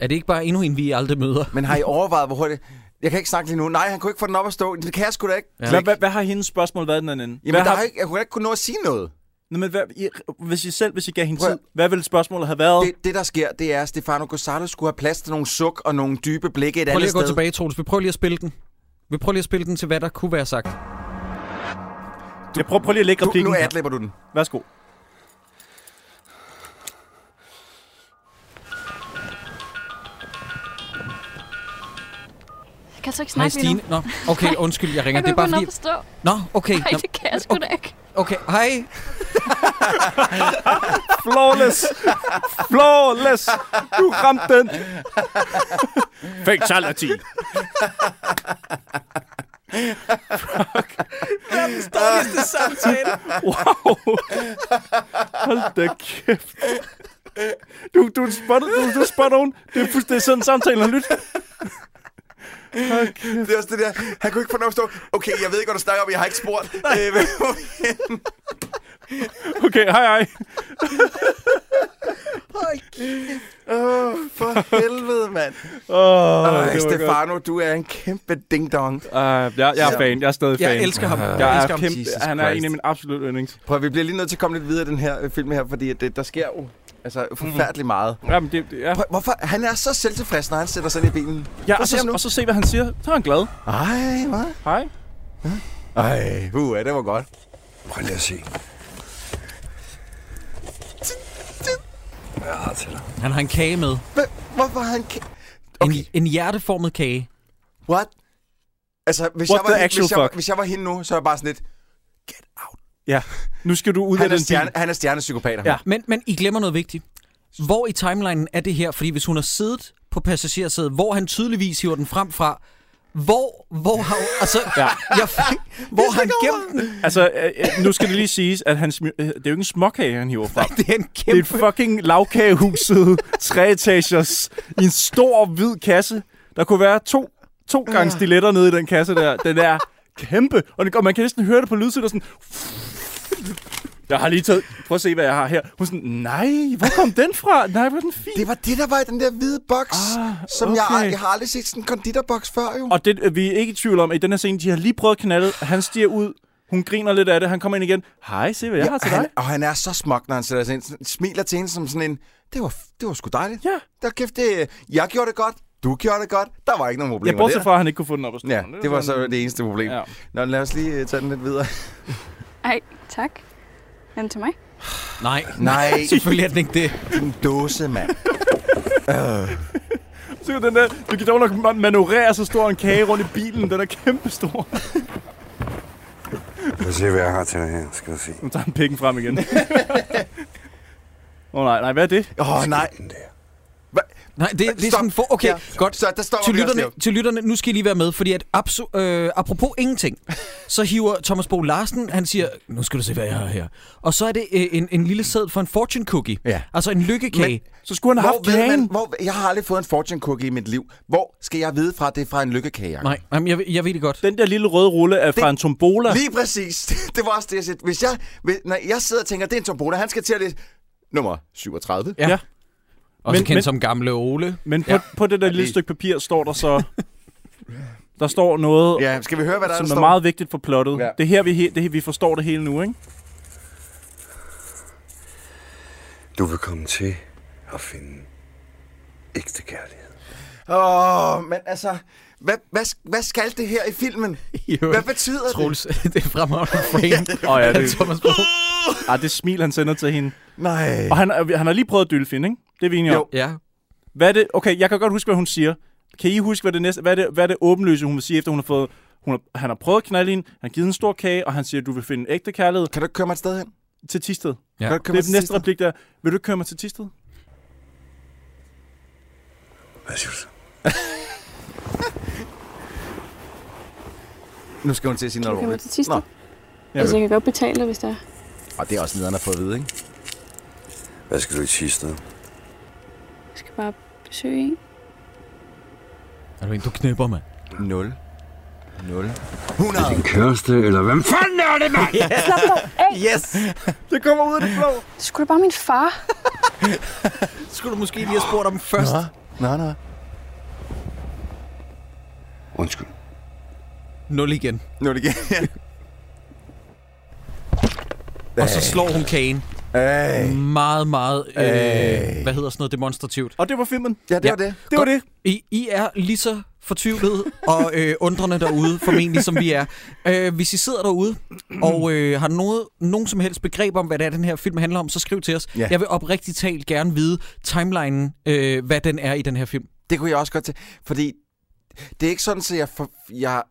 Speaker 1: Er det ikke bare endnu en, vi aldrig møder?
Speaker 6: Men har I overvejet, hvor hurtigt... Jeg kan ikke snakke lige nu. Nej, han kunne ikke få den op at stå. Det kan jeg sgu da ikke.
Speaker 1: Ja.
Speaker 7: Hvad, hvad, hvad har hendes spørgsmål været i den anden ende?
Speaker 6: Jamen,
Speaker 7: hvad
Speaker 6: der
Speaker 7: har,
Speaker 6: har... ikke, jeg kunne ikke kunne nå at sige noget.
Speaker 7: Nå, men hvad, I, hvis I selv hvis I gav hende
Speaker 6: Prøv
Speaker 7: Prøv.
Speaker 6: at-
Speaker 7: tid, hvad ville spørgsmålet have været? Det,
Speaker 6: Det, det, der sker, det er, at Stefano Gonzalo skulle have plads til nogle suk og nogle dybe blikke et
Speaker 1: Prøv lige
Speaker 6: andet
Speaker 1: at gå
Speaker 6: sted.
Speaker 1: tilbage, Troels. Vi prøver lige at spille den. Vi prøver lige at spille den til, hvad der kunne være sagt.
Speaker 7: du, jeg prøver, prøv lige at lægge
Speaker 6: Du,
Speaker 7: replikken
Speaker 6: nu
Speaker 7: her.
Speaker 6: adlipper du den.
Speaker 7: Værsgo.
Speaker 2: Jeg kan så ikke
Speaker 1: Hej,
Speaker 2: snakke lige
Speaker 1: Stine.
Speaker 2: nu.
Speaker 1: Nå, okay, undskyld, jeg ringer.
Speaker 2: Jeg
Speaker 1: Det
Speaker 2: kunne
Speaker 1: er
Speaker 2: ikke få
Speaker 1: bare fordi...
Speaker 2: den op at stå.
Speaker 1: Nå, okay.
Speaker 2: Nej,
Speaker 1: Nå,
Speaker 2: det kan jeg sgu da ikke.
Speaker 1: okay, hej.
Speaker 7: Flawless! Flawless! Du ramte den! Fatality!
Speaker 1: Verdens dårligste samtale.
Speaker 7: Wow! Hold da kæft. Du, du, er spot, du, du er spot on. Det er fuldstændig sådan, samtalen har lyttet.
Speaker 6: Det er også det der, han kunne ikke få den op at stå. Okay, jeg ved ikke, hvad du snakker om, jeg har ikke spurgt. Øh, men-
Speaker 7: Okay, hej hej.
Speaker 6: Åh, for helvede, mand.
Speaker 7: Oh,
Speaker 6: Ej, Stefano, du er en kæmpe ding-dong.
Speaker 7: Uh, jeg, jeg er fan. Jeg er stadig
Speaker 1: Jeg
Speaker 7: fan.
Speaker 1: elsker ham. Jeg
Speaker 7: Jeg er
Speaker 1: elsker ham.
Speaker 7: kæmpe,
Speaker 6: Jesus
Speaker 7: han er en
Speaker 6: Christ.
Speaker 7: af mine absolutte yndlings.
Speaker 6: Prøv at, vi bliver lige nødt til at komme lidt videre i den her øh, film her, fordi at det, der sker jo altså, forfærdeligt meget.
Speaker 7: Jamen, det, det er,
Speaker 6: Prøv, hvorfor? Han er så selvtilfreds, når han sætter sig ind i bilen. Prøv
Speaker 7: ja, og,
Speaker 6: at se ham
Speaker 7: så,
Speaker 6: nu.
Speaker 7: og så se, hvad han siger. Så er han glad.
Speaker 6: Ej, hvad?
Speaker 7: Hej.
Speaker 6: Ej, uh, det var godt.
Speaker 4: Prøv lige at se. Hvad jeg har til dig?
Speaker 1: Han har en kage med.
Speaker 6: Hvem, hvorfor har han... Ka-
Speaker 1: En,
Speaker 6: okay,
Speaker 1: en hjerteformet kage.
Speaker 6: what? Altså, hvis,
Speaker 7: What
Speaker 6: jeg var,
Speaker 7: the
Speaker 6: hende-
Speaker 7: actual
Speaker 6: hvis, jeg, var-
Speaker 7: fuck?
Speaker 6: hvis jeg var hende nu, så er jeg bare sådan lidt... Get out.
Speaker 7: Ja. Nu skal du ud af
Speaker 6: Han er,
Speaker 7: den
Speaker 6: stjerne,
Speaker 7: bil.
Speaker 6: han er stjernepsykopater.
Speaker 7: Ja.
Speaker 1: Men, men I glemmer noget vigtigt. Hvor i timelinen er det her? Fordi hvis hun har siddet på passagersædet, hvor han tydeligvis hiver den frem fra, hvor, hvor har hun, altså, ja.
Speaker 7: Ja.
Speaker 1: jeg, hvor har han gemt den?
Speaker 7: Altså, øh, øh, nu skal det lige siges, at han smi- øh, det er jo ikke en småkage, han hiver frem.
Speaker 1: Det er en
Speaker 7: Det er et
Speaker 1: kæmpe...
Speaker 7: fucking lavkagehuset, treetagers, i en stor hvid kasse. Der kunne være to, to gange stiletter nede i den kasse der. Den er kæmpe, og, den, og man kan næsten høre det på lydsiden, og sådan... Jeg har lige taget... Prøv at se, hvad jeg har her. Hun er sådan, nej, hvor kom den fra? Nej, hvor er den fin.
Speaker 6: Det var det, der var i den der hvide boks, ah,
Speaker 7: Ah,
Speaker 6: som jeg,
Speaker 7: okay.
Speaker 6: jeg har aldrig set sådan en konditorboks før, jo.
Speaker 7: Og det, øh, vi er ikke i tvivl om, at i den her scene, de har lige prøvet knaldet. Han stiger ud. Hun griner lidt af det. Han kommer ind igen. Hej, se hvad jeg ja, har til
Speaker 6: han,
Speaker 7: altså
Speaker 6: Og
Speaker 7: dig.
Speaker 6: han er så smuk, når han sætter sig ind. Sådan- Smiler til hende som sådan en, det var, det var sgu dejligt.
Speaker 7: Ja.
Speaker 6: Der kæft, det, jeg gjorde det godt, du gjorde det godt. Der var ikke nogen
Speaker 7: Jeg
Speaker 6: problemer
Speaker 7: bortset
Speaker 6: der.
Speaker 7: fra, at han ikke kunne få den op at stå.
Speaker 6: Ja, det var så
Speaker 7: sådan-
Speaker 6: det eneste problem. Ja.
Speaker 7: Ja.
Speaker 6: Nå, lad os lige øh, tage den lidt videre.
Speaker 2: Ej, tak. Men til mig?
Speaker 1: Nej,
Speaker 6: Nej,
Speaker 1: selvfølgelig er den ikke det.
Speaker 6: din dåse, mand.
Speaker 7: Så den der, du kan dog nok man- manøvrere så stor en kage rundt i bilen. Den er kæmpestor.
Speaker 5: Jeg vil se, hvad jeg har til dig her, skal du se.
Speaker 7: Nu tager han pikken frem igen. Åh oh, nej, nej, hvad er det?
Speaker 6: Åh, oh, nej.
Speaker 5: Den der.
Speaker 1: Nej, det, det er
Speaker 6: Stop.
Speaker 1: sådan for... Okay,
Speaker 6: Ja.
Speaker 1: godt.
Speaker 6: Så der står
Speaker 1: Til
Speaker 6: vi også
Speaker 1: lytterne,
Speaker 6: lige-
Speaker 1: til lytterne, nu skal I lige være med, fordi at abso- øh, apropos ingenting, så hiver Thomas Bo Larsen, han siger, nu skal du se, hvad jeg har her. Og så er det øh, en, en lille sæd for en fortune cookie.
Speaker 6: Ja.
Speaker 1: Altså en lykkekage.
Speaker 7: Så skulle han have haft
Speaker 6: Hvor ved man,
Speaker 7: kagen.
Speaker 6: hvor, jeg har aldrig fået en fortune cookie i mit liv. Hvor skal jeg vide fra, at det er fra en lykkekage? Jacob?
Speaker 1: Nej, jamen, jeg, ved- jeg ved det godt.
Speaker 7: Den der lille røde rulle er fra
Speaker 6: Det-
Speaker 7: en tombola.
Speaker 6: Lige præcis. Det var også det, jeg sagde. Hvis jeg, hvis- når jeg sidder og tænker, det er en tombola, han skal til at læse nummer 37.
Speaker 1: Ja.
Speaker 7: Ja.
Speaker 1: Også
Speaker 7: Men-
Speaker 1: kendt
Speaker 7: men-
Speaker 1: som gamle Ole.
Speaker 7: Men på, ja. på det der lille
Speaker 6: det-
Speaker 7: stykke papir står der så... Der står noget, ja,
Speaker 6: Ja, skal vi høre, hvad der,
Speaker 7: som
Speaker 6: der
Speaker 7: er
Speaker 6: står?
Speaker 7: meget vigtigt for plottet.
Speaker 6: Ja.
Speaker 7: Ja. Det er her, vi, he, det, er- vi forstår det hele nu, ikke?
Speaker 5: Du vil komme til at finde ægte kærlighed.
Speaker 6: Åh, oh, men altså, hvad, hvad, hvad skal det her i filmen? Hvad betyder det?
Speaker 1: Troels, det er fremragende frame.
Speaker 7: Åh, ja,
Speaker 1: af
Speaker 7: det,
Speaker 1: Thomas Bo.
Speaker 7: ah, det smil, han sender til hende.
Speaker 6: Nej.
Speaker 7: Og han, er- han har lige prøvet at dylfin, ikke? Det er vi enige om.
Speaker 6: Jo.
Speaker 1: Ja.
Speaker 7: Hvad er det? Okay, jeg kan godt huske, hvad hun siger. Kan I huske, hvad det næste... Hvad er det, hvad er det åbenløse, hun vil sige, efter hun har fået... Hun har, han har prøvet at knalde hende, han har givet en stor kage, og han siger, du vil finde ægte kærlighed
Speaker 6: Kan du ikke køre mig et sted hen?
Speaker 7: til Tisted.
Speaker 1: Ja.
Speaker 6: Kan du ikke køre
Speaker 7: det
Speaker 6: mig
Speaker 7: er
Speaker 6: til
Speaker 7: den næste
Speaker 6: Thisted?
Speaker 7: replik, der er, vil du ikke køre mig til Tisted?
Speaker 5: Hvad siger du så?
Speaker 6: Nu skal hun til at sige
Speaker 8: Kan
Speaker 6: noget
Speaker 8: du køre mig
Speaker 6: roligt.
Speaker 8: til Thisted?
Speaker 7: Ja,
Speaker 8: Altså, jeg kan godt betale dig, hvis det er.
Speaker 6: Og det er også nederen at få at vide, ikke?
Speaker 5: Hvad skal du i Tisted?
Speaker 8: Jeg skal bare besøge en.
Speaker 1: Er du en, du knipper, mand?
Speaker 6: 0. 0.
Speaker 5: Din kæreste, eller hvem fanden er det, mand?
Speaker 6: Yes! Det kommer ud af det blå.
Speaker 8: Det skulle da bare min far.
Speaker 1: Skulle du måske lige have spurgt om først?
Speaker 6: Nej, nej.
Speaker 5: Undskyld.
Speaker 1: Nul igen.
Speaker 6: Nu er det igen.
Speaker 1: Og så slår hun kagen.
Speaker 6: hey.
Speaker 1: Meget, meget... Øh,
Speaker 6: Ey.
Speaker 1: Hvad hedder sådan noget demonstrativt?
Speaker 7: Og det var filmen.
Speaker 6: Ja, det
Speaker 1: Ja.
Speaker 6: var det.
Speaker 7: Det var det.
Speaker 1: I, I er lige så fortvivlede og øh, undrende derude, formentlig som vi er. Øh, hvis I sidder derude og øh, har noget, nogen som helst begreb om, hvad det er, den her film handler om, så skriv til os.
Speaker 6: Ja.
Speaker 1: Jeg vil oprigtigt talt gerne vide timelinen, øh, hvad den er i den her film.
Speaker 6: Det kunne jeg også godt til. Fordi det er ikke sådan, at jeg, for, jeg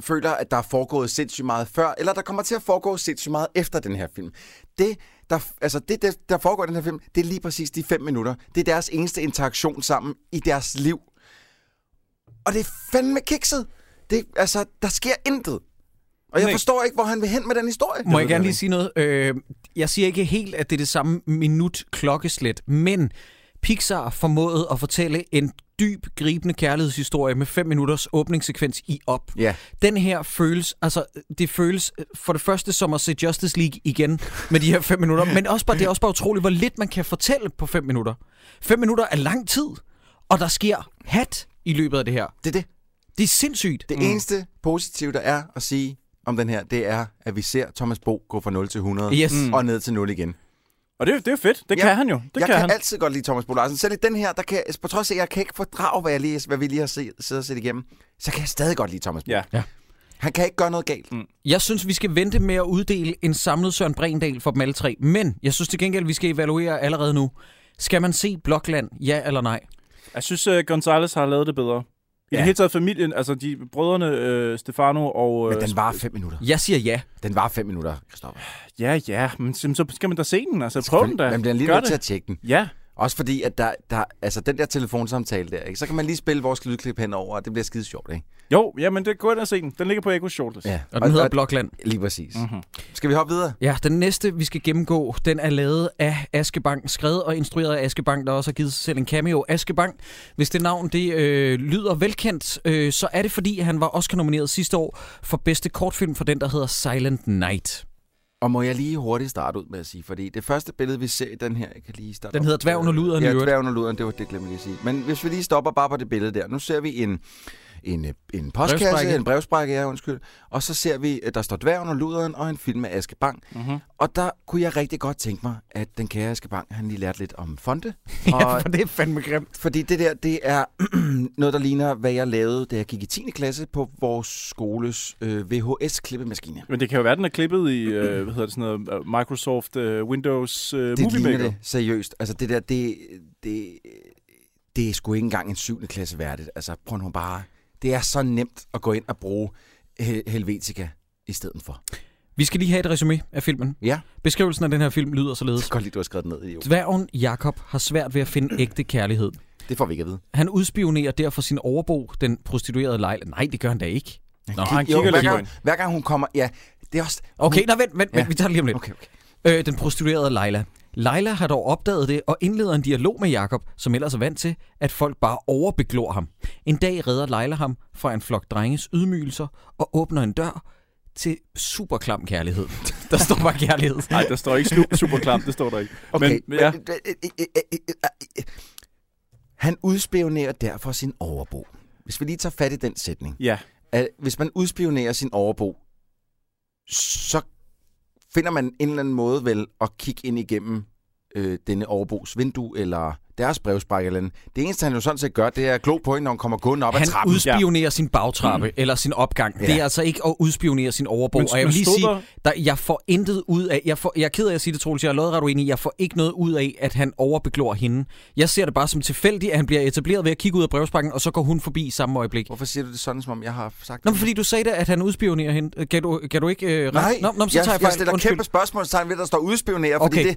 Speaker 6: føler, at der er foregået sindssygt meget før, eller der kommer til at foregå sindssygt meget efter den her film. Det, der, altså det, der, der foregår i den her film, det er lige præcis de fem minutter. Det er deres eneste interaktion sammen i deres liv. Og det er fandme kikset. Det, altså, der sker intet. Og jeg
Speaker 7: Nej.
Speaker 6: forstår ikke, hvor han vil hen med den historie.
Speaker 1: Må jeg gerne lige sige noget? Øh, jeg siger ikke helt, at det er det samme minut klokkeslet, men Pixar formåede at fortælle en dyb, gribende kærlighedshistorie med 5 minutters åbningssekvens i op.
Speaker 6: Ja.
Speaker 1: Den her føles, altså det føles øh, for det første som at se Justice League igen med de her 5 minutter, men også bare, det er også bare utroligt, hvor lidt man kan fortælle på 5 minutter. 5 minutter er lang tid, og der sker hat i løbet af det her.
Speaker 6: Det er det.
Speaker 1: Det er sindssygt.
Speaker 6: Det mm. eneste positive, der er at sige om den her, det er, at vi ser Thomas Bo gå fra 0 til 100
Speaker 1: Yes.
Speaker 6: mm. og ned til 0 igen.
Speaker 7: Og det, er- det er jo fedt. Det
Speaker 6: Ja.
Speaker 7: ja. kan han jo. Det
Speaker 6: jeg
Speaker 7: kan,
Speaker 6: kan
Speaker 7: han.
Speaker 6: altid godt lide Thomas Bo Larsen. Selv i den her, der kan, på trods af, at jeg kan ikke fordrage, hvad, jeg lige, hvad vi lige har set, siddet og set igennem, så kan jeg stadig godt lide Thomas Bo.
Speaker 7: Ja.
Speaker 6: Han kan ikke gøre noget galt. Mm.
Speaker 1: Jeg synes, vi skal vente med at uddele en samlet Søren Brindal for dem alle tre. Men jeg synes til gengæld, vi skal evaluere allerede nu. Skal man se Blokland, ja eller nej?
Speaker 7: Jeg synes, uh, Gonzales har lavet det bedre. I
Speaker 6: Ja.
Speaker 7: det hele taget familien, altså de brødrene uh, Stefano og...
Speaker 6: Men
Speaker 7: Uh,
Speaker 6: den var fem minutter.
Speaker 1: Jeg siger ja.
Speaker 6: Den var fem minutter, Christoffer.
Speaker 7: Ja, ja, men så så skal man da se den. Altså, prøv den da.
Speaker 6: Man bliver lige
Speaker 7: Gør
Speaker 6: nødt
Speaker 7: det.
Speaker 6: til at tjekke den.
Speaker 7: Ja,
Speaker 6: Også fordi, at der, der, altså, den der telefonsamtale der, ikke? så kan man lige spille vores lydklip henover, og det bliver skide sjovt, ikke?
Speaker 7: jo, ja, men det går ind og se den. Den ligger på Echo Shortlist.
Speaker 1: Og den hedder Blokland.
Speaker 6: Lige præcis.
Speaker 7: Mhm.
Speaker 6: Mm-hmm. Skal vi hoppe videre?
Speaker 1: Ja, den næste, vi skal gennemgå, den er lavet af Aske Bang, skrevet og instrueret af Aske Bang, der også har givet sig selv en cameo. Aske Bang, hvis det navn det øh, lyder velkendt, øh, så er det fordi, han var også nomineret sidste år for bedste kortfilm for den, der hedder Silent Night.
Speaker 6: Og må jeg lige hurtigt starte ud med at sige, fordi det første billede, vi ser i den her, jeg kan lige starte
Speaker 1: Den hedder Dværgen og Luderen i
Speaker 6: Ja,
Speaker 1: øvrigt.
Speaker 6: Dværgen og Luderen, det var det, glemte jeg lige at sige. Men hvis vi lige stopper bare på det billede der. Nu ser vi en, en, øh, en postkasse,
Speaker 1: Brevsprække.
Speaker 6: brevsprække. en brevsprække, ja, undskyld. Og så ser vi, at der står Dværgen og Luderen og en film af Aske Bang.
Speaker 1: Mhm.
Speaker 6: Mm-hmm. Og der kunne jeg rigtig godt tænke mig, at den kære Aske Bang, han lige lærte lidt om fonde. og,
Speaker 1: det er fandme grimt.
Speaker 6: fordi det der, det er noget, der ligner, hvad jeg lavede, da jeg gik i 10. klasse på vores skoles øh, VHS-klippemaskine.
Speaker 7: Men det kan jo være, den er klippet i, øh, hvad hedder det, sådan noget, øh, Microsoft øh, Windows øh,
Speaker 6: Det
Speaker 7: Movie
Speaker 6: ligner
Speaker 7: Maker.
Speaker 6: det, seriøst. Altså det der, det, det, det er sgu ikke engang en 7. klasse værdigt. Altså prøv nu bare. Det er så nemt at gå ind og bruge Hel- Helvetica i stedet for.
Speaker 1: Vi skal lige have et resume af filmen.
Speaker 6: Ja.
Speaker 1: Beskrivelsen af den her film lyder
Speaker 6: Jeg
Speaker 1: således.
Speaker 6: kan godt lide, du har skrevet den ned. Jo.
Speaker 1: Dværgen Jakob har svært ved at finde ægte kærlighed.
Speaker 6: Det får vi ikke at vide.
Speaker 1: Han udspionerer derfor sin overbo, den prostituerede Leila. Nej, det gør han da ikke. Nå,
Speaker 7: han
Speaker 6: Jo,
Speaker 7: kigger
Speaker 6: hver,
Speaker 7: lidt på
Speaker 6: gang,
Speaker 7: hende.
Speaker 6: hver gang hun kommer... Ja, det er også...
Speaker 1: Okay, nå vent, vent, vent,
Speaker 6: Ja.
Speaker 1: vi tager det lige om lidt.
Speaker 6: Okay, okay.
Speaker 1: Øh, den prostituerede Leila. Leila har dog opdaget det og indleder en dialog med Jakob, som ellers er vant til, at folk bare overbeglor ham. En dag redder Leila ham fra en flok drenges ydmygelser og åbner en dør til superklam kærlighed. Der står bare kærlighed.
Speaker 7: Nej, der står ikke snu- super klam, det står der ikke.
Speaker 6: Okay, Øh,
Speaker 7: Men, ja,
Speaker 6: Han udspionerer derfor sin overbo. Hvis vi lige tager fat i den sætning.
Speaker 7: ja,
Speaker 6: At hvis man udspionerer sin overbo, så finder man en eller anden måde vel at kigge ind igennem øh, denne overbos vindue, eller deres brevsprække eller andet. Det eneste, han jo sådan set gør, det er at glo på hende, når hun kommer gående op ad
Speaker 1: Han
Speaker 6: trappen. Mm.
Speaker 1: udspionerer sin bagtrappe eller sin opgang.
Speaker 6: Ja.
Speaker 1: Det er altså ikke at udspionere sin overbo.
Speaker 7: Men-
Speaker 1: og jeg
Speaker 7: men
Speaker 1: vil lige
Speaker 7: stod
Speaker 1: sige,
Speaker 7: der-
Speaker 1: der, jeg får intet ud af... Jeg, får, jeg er ked af at sige det, Troels. Jeg er lodret uenig. Jeg får ikke noget ud af, at han overbeglor hende. Jeg ser det bare som tilfældigt, at han bliver etableret ved at kigge ud af brevspakken, og så går hun forbi i samme øjeblik.
Speaker 6: Hvorfor siger du det sådan, som om jeg har sagt
Speaker 1: Nå,
Speaker 6: det?
Speaker 1: men fordi du sagde da, at han udspionerer hende. Øh, Kan du, kan du ikke... Øh, ret-
Speaker 6: Nej,
Speaker 1: Nå, nå, men så
Speaker 6: jeg,
Speaker 1: tager jeg,
Speaker 6: jeg
Speaker 1: fejl.
Speaker 6: stiller
Speaker 1: Undskyld.
Speaker 6: kæmpe spørgsmålstegn ved, at der står udspionerer, okay.
Speaker 1: Okay.
Speaker 6: fordi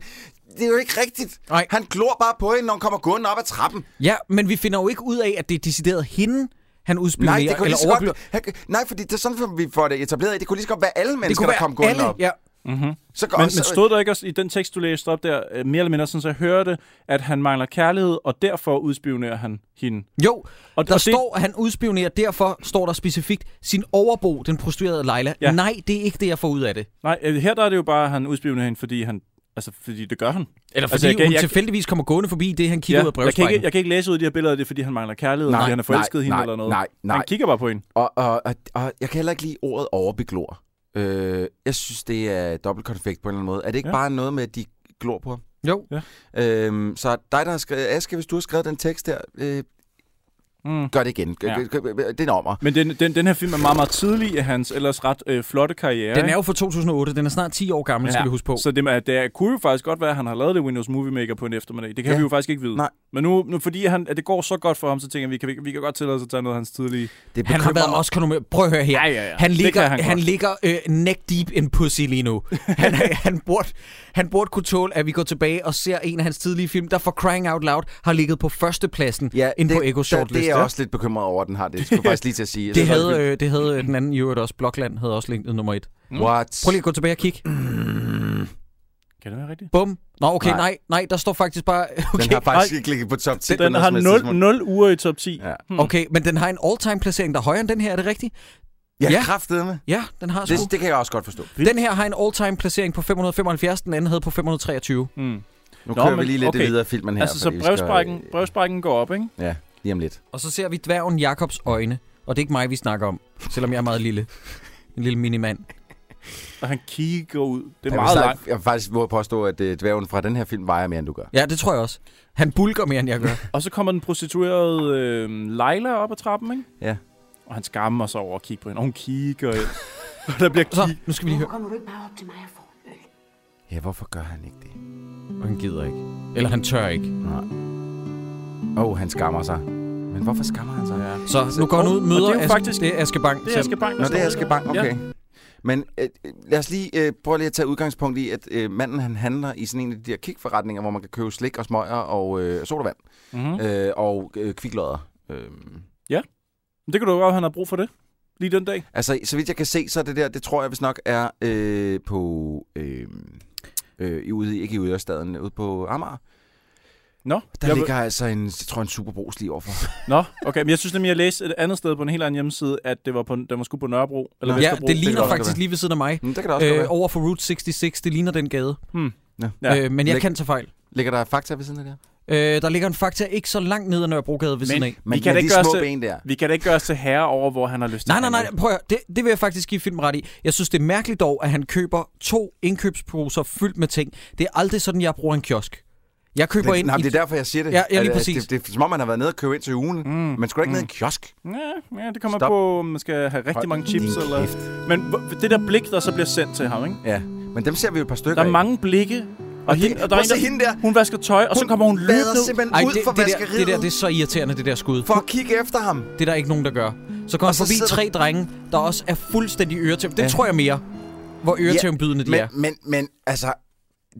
Speaker 6: det, det er jo ikke rigtigt.
Speaker 1: Nej.
Speaker 6: Han glor bare på hende, når hun kommer gående op ad trappen.
Speaker 1: Ja, men vi finder jo ikke ud af, at det er decideret hende, han udspionerer
Speaker 6: Nej, det kunne
Speaker 1: eller
Speaker 6: lige så
Speaker 1: overbeglor.
Speaker 6: godt, han, nej, fordi det er sådan, som vi får det etableret i. Det kunne lige så godt være alle
Speaker 1: Det
Speaker 6: mennesker,
Speaker 1: kunne
Speaker 6: der kom
Speaker 1: være
Speaker 6: gående
Speaker 1: alle.
Speaker 6: op.
Speaker 1: Ja,
Speaker 6: Så, går-
Speaker 7: Mhm. Men,
Speaker 6: så,
Speaker 7: men stod der ikke også i den tekst, du læste op der, øh, mere eller mindre sådan, så jeg hørte, at han mangler kærlighed, og derfor udspionerer han hende.
Speaker 1: Jo, og
Speaker 7: Og-
Speaker 1: der og
Speaker 7: og det-
Speaker 1: står, at han udspionerer, derfor står der specifikt sin overbo, den prostituerede Leila. Ja.
Speaker 7: Ja.
Speaker 1: Nej, det er ikke det, jeg får ud af det.
Speaker 7: Nej, øh, her der er det jo bare, at han udspionerer hende, fordi han... Altså, fordi det gør han.
Speaker 1: Eller fordi
Speaker 7: Altså, jeg
Speaker 1: altså,
Speaker 7: kan-
Speaker 1: hun
Speaker 7: jeg-
Speaker 1: tilfældigvis kommer gående forbi det, han kigger ud af
Speaker 7: jeg, kan
Speaker 1: brevsprækken.
Speaker 7: ikke, jeg kan ikke læse ud af de her billeder, at det er, fordi han mangler kærlighed,
Speaker 6: Nej,
Speaker 7: nej, fordi han er forelsket
Speaker 6: nej,
Speaker 7: hende
Speaker 6: nej,
Speaker 7: eller noget.
Speaker 6: nej, nej.
Speaker 7: Han kigger bare på hende.
Speaker 6: og, og, og, og jeg kan heller ikke lide ordet overbeglor. Øh, jeg synes, det er dobbelt konfekt på en eller anden måde. Er det ikke ja.
Speaker 7: Ja.
Speaker 6: bare noget med, at de glor på ham?
Speaker 1: Jo.
Speaker 7: Ja.
Speaker 6: Øhm, så dig, der har skrevet... Aske, hvis du har skrevet den tekst der, øh,
Speaker 7: Mm.
Speaker 6: gør det igen. Gør,
Speaker 7: Ja.
Speaker 6: gør, det er en ommer.
Speaker 7: Men den, den, den her film er meget, meget tidlig i hans ellers ret øh, flotte karriere.
Speaker 1: Den er
Speaker 7: ikke?
Speaker 1: jo fra 2008, den er snart 10 år gammel, ja. skal vi huske på.
Speaker 7: Så det, med- det er, kunne jo faktisk godt være, at han har lavet det Windows Movie Maker på en eftermiddag. Det kan
Speaker 6: Ja.
Speaker 7: ja. vi jo faktisk ikke vide.
Speaker 6: Nej.
Speaker 7: Men nu, nu fordi han, at det går så godt for ham, så tænker jeg, vi kan, vi, vi kan godt tillade os at tage noget af hans tidlige...
Speaker 6: Det
Speaker 1: Han har
Speaker 6: bekymrer
Speaker 1: været
Speaker 6: mig.
Speaker 1: også konomør. Prøv at høre her.
Speaker 7: Ja, ja, ja.
Speaker 1: Han
Speaker 7: Det
Speaker 1: ligger,
Speaker 7: kan
Speaker 1: han
Speaker 7: han
Speaker 1: han
Speaker 7: godt.
Speaker 1: ligger øh, neck deep in pussy lige nu. Han, han, burde, han burde kunne tåle, at vi går tilbage og ser en af hans tidlige film, der for crying out loud har ligget på førstepladsen ja, inde på Ego
Speaker 6: der-
Speaker 1: Shortlist.
Speaker 6: Det er jeg også lidt bekymret over, at den har det. Det skulle jeg faktisk lige til at sige. Jeg
Speaker 1: Det
Speaker 6: synes,
Speaker 1: havde,
Speaker 6: er
Speaker 1: øh, det havde øh, den anden i øvrigt også, Blokland havde også ligget nummer et.
Speaker 6: vildt. What?
Speaker 1: Mm. Prøv lige at gå tilbage og kigge.
Speaker 7: Kan det være rigtigt?
Speaker 1: Bum. Nå, okay, nej.
Speaker 6: Nej.
Speaker 1: nej, nej, der står faktisk bare... Okay,
Speaker 6: Den har faktisk
Speaker 7: Ej.
Speaker 6: ikke ligget på top 10.
Speaker 7: Den, den
Speaker 6: på noget
Speaker 7: har
Speaker 6: som helst
Speaker 7: 0,
Speaker 6: tidspunkt.
Speaker 7: 0 uger i top Hmm. 10.
Speaker 6: Ja.
Speaker 1: okay, men den har en all-time placering, der er højere end den her, er det rigtigt?
Speaker 6: Ja,
Speaker 1: Ja.
Speaker 6: ja. kraftedeme.
Speaker 1: Ja, den har sgu.
Speaker 6: Det, det kan jeg også godt forstå.
Speaker 1: Den her har en all-time placering på 575, den anden havde på 523.
Speaker 7: Mm.
Speaker 6: Nu
Speaker 7: Nå,
Speaker 6: kører vi
Speaker 7: men
Speaker 6: lige lidt okay.
Speaker 7: okay.
Speaker 6: videre af filmen her.
Speaker 7: Altså, så
Speaker 6: fordi vi skal,
Speaker 7: brevsprækken, brevsprækken går op, ikke?
Speaker 6: øh, Ja, lige om lidt.
Speaker 1: Og så ser vi dværgen Jakobs øjne, og det er ikke mig, vi snakker om, selvom jeg er meget lille. En lille minimand.
Speaker 7: Og han kigger ud. Det er
Speaker 6: Jeg vil
Speaker 7: meget
Speaker 6: snart-
Speaker 7: langt.
Speaker 6: Jeg vil faktisk våge at påstå, at øh, dværgen fra den her film vejer mere, end du gør.
Speaker 1: Ja, det tror jeg også. Han bulker mere, end jeg gør.
Speaker 7: Og så kommer den prostituerede øh, Leila op ad trappen, ikke?
Speaker 6: Ja.
Speaker 7: Og han skammer sig over at kigge på hende. Og hun kigger ind. og der bliver
Speaker 1: Så,
Speaker 7: kig...
Speaker 1: nu skal vi lige høre.
Speaker 3: Kommer du ikke bare op til mig og får en øl?
Speaker 6: Ja, hvorfor gør han ikke det?
Speaker 1: Og han gider ikke. Eller han tør ikke.
Speaker 6: Åh, oh, han skammer sig. Men hvorfor skammer han sig? Ja.
Speaker 1: Så nu går han ud,
Speaker 7: Og
Speaker 1: møder
Speaker 7: det er jo
Speaker 1: Aske,
Speaker 7: faktisk-
Speaker 1: det er Aske Bang.
Speaker 7: Det er
Speaker 1: selv.
Speaker 7: Aske Bang. der
Speaker 6: Nå,
Speaker 7: står
Speaker 6: det er
Speaker 7: der.
Speaker 6: Aske Bang, okay. Ja. Men øh, øh, lad os lige øh, prøve lige at tage udgangspunkt i, at øh, manden han handler i sådan en af de der kikforretninger, hvor man kan købe slik og smøger og øh, sodavand
Speaker 7: Mm-hmm.
Speaker 6: øh, og øh, kviklodder. Øh,
Speaker 7: Det kan du jo godt, han har brug for det. Lige den dag.
Speaker 6: altså, så vidt jeg kan se, så er det der, det tror jeg vist nok er øh, på... Øh, øh, i ude, i- ikke i Udørstaden, ude på Amager.
Speaker 7: Nå,
Speaker 6: Der
Speaker 7: jeg,
Speaker 6: jeg ligger altså en, jeg tror, en superbrugs lige overfor.
Speaker 7: Nå, okay, men jeg synes nemlig, jeg læste et andet sted på en helt anden hjemmeside, at det var på, den var sgu på Nørrebro. Eller
Speaker 1: Ja,
Speaker 7: Vesterbro.
Speaker 1: det
Speaker 6: kan
Speaker 1: ligner
Speaker 6: godt
Speaker 1: faktisk
Speaker 6: være.
Speaker 1: lige ved siden af mig.
Speaker 6: Men der kan det også øh,
Speaker 1: Øh,
Speaker 6: være.
Speaker 1: over for Route 66, det ligner den gade. Ja.
Speaker 7: Ja.
Speaker 1: Øh, men jeg
Speaker 6: Læg-
Speaker 1: kan tage fejl.
Speaker 6: Ligger der fakta ved siden af det her?
Speaker 1: Øh, der ligger en fakta ikke så langt ned ad Nørrebrogade ved siden af.
Speaker 6: Men,
Speaker 7: Vi kan da
Speaker 6: men
Speaker 7: ikke
Speaker 6: de
Speaker 7: gøre
Speaker 6: små
Speaker 7: os- øh,
Speaker 6: ben der.
Speaker 7: Vi kan da ikke gøre os til herre over, hvor han har lyst til
Speaker 1: Nej,
Speaker 7: at
Speaker 1: nej, nej,
Speaker 7: handle.
Speaker 1: prøv at, høre. det, det vil jeg faktisk give filmen ret i. Jeg synes, det er mærkeligt dog, at han køber to indkøbsposer fyldt med ting. Det er aldrig sådan, jeg bruger en kiosk. Jeg køber
Speaker 6: Det,
Speaker 1: ind
Speaker 6: nej, men
Speaker 1: i...
Speaker 6: det er derfor, jeg siger det.
Speaker 1: Ja, ja, lige
Speaker 6: At, at
Speaker 1: præcis.
Speaker 6: Det, det, er som om, man har været nede og købe ind til ugen. Mm. Man skulle da ikke mm. ned i en kiosk.
Speaker 7: Ja, ja, det kommer
Speaker 6: Stop.
Speaker 7: Stop. på, om man skal have rigtig
Speaker 6: Hold
Speaker 7: mange chips.
Speaker 6: din
Speaker 7: Eller... Men hvor- det der blik, der så bliver sendt til ham, ikke?
Speaker 6: Ja, men dem ser vi jo et par stykker
Speaker 7: Der er
Speaker 6: af.
Speaker 7: mange blikke, og,
Speaker 6: det-
Speaker 7: hende, og
Speaker 6: prøv
Speaker 7: der er
Speaker 6: at
Speaker 7: en,
Speaker 6: se
Speaker 7: der,
Speaker 6: hende der.
Speaker 7: Hun vasker tøj, og så kommer hun løbende
Speaker 6: vader
Speaker 7: ud.
Speaker 6: simpelthen
Speaker 1: Ej,
Speaker 6: ud
Speaker 1: det,
Speaker 6: fra
Speaker 1: det, der,
Speaker 6: vaskeriet
Speaker 1: det der, det er så irriterende, det der skud.
Speaker 6: for at kigge efter ham.
Speaker 1: Det er der ikke nogen, der gør. Så går han
Speaker 6: så
Speaker 1: forbi
Speaker 6: sidder-
Speaker 1: tre drenge, der også er fuldstændig øretæv. Det ja. tror jeg mere. hvor øretævnbydende de er.
Speaker 6: Men, men, men altså,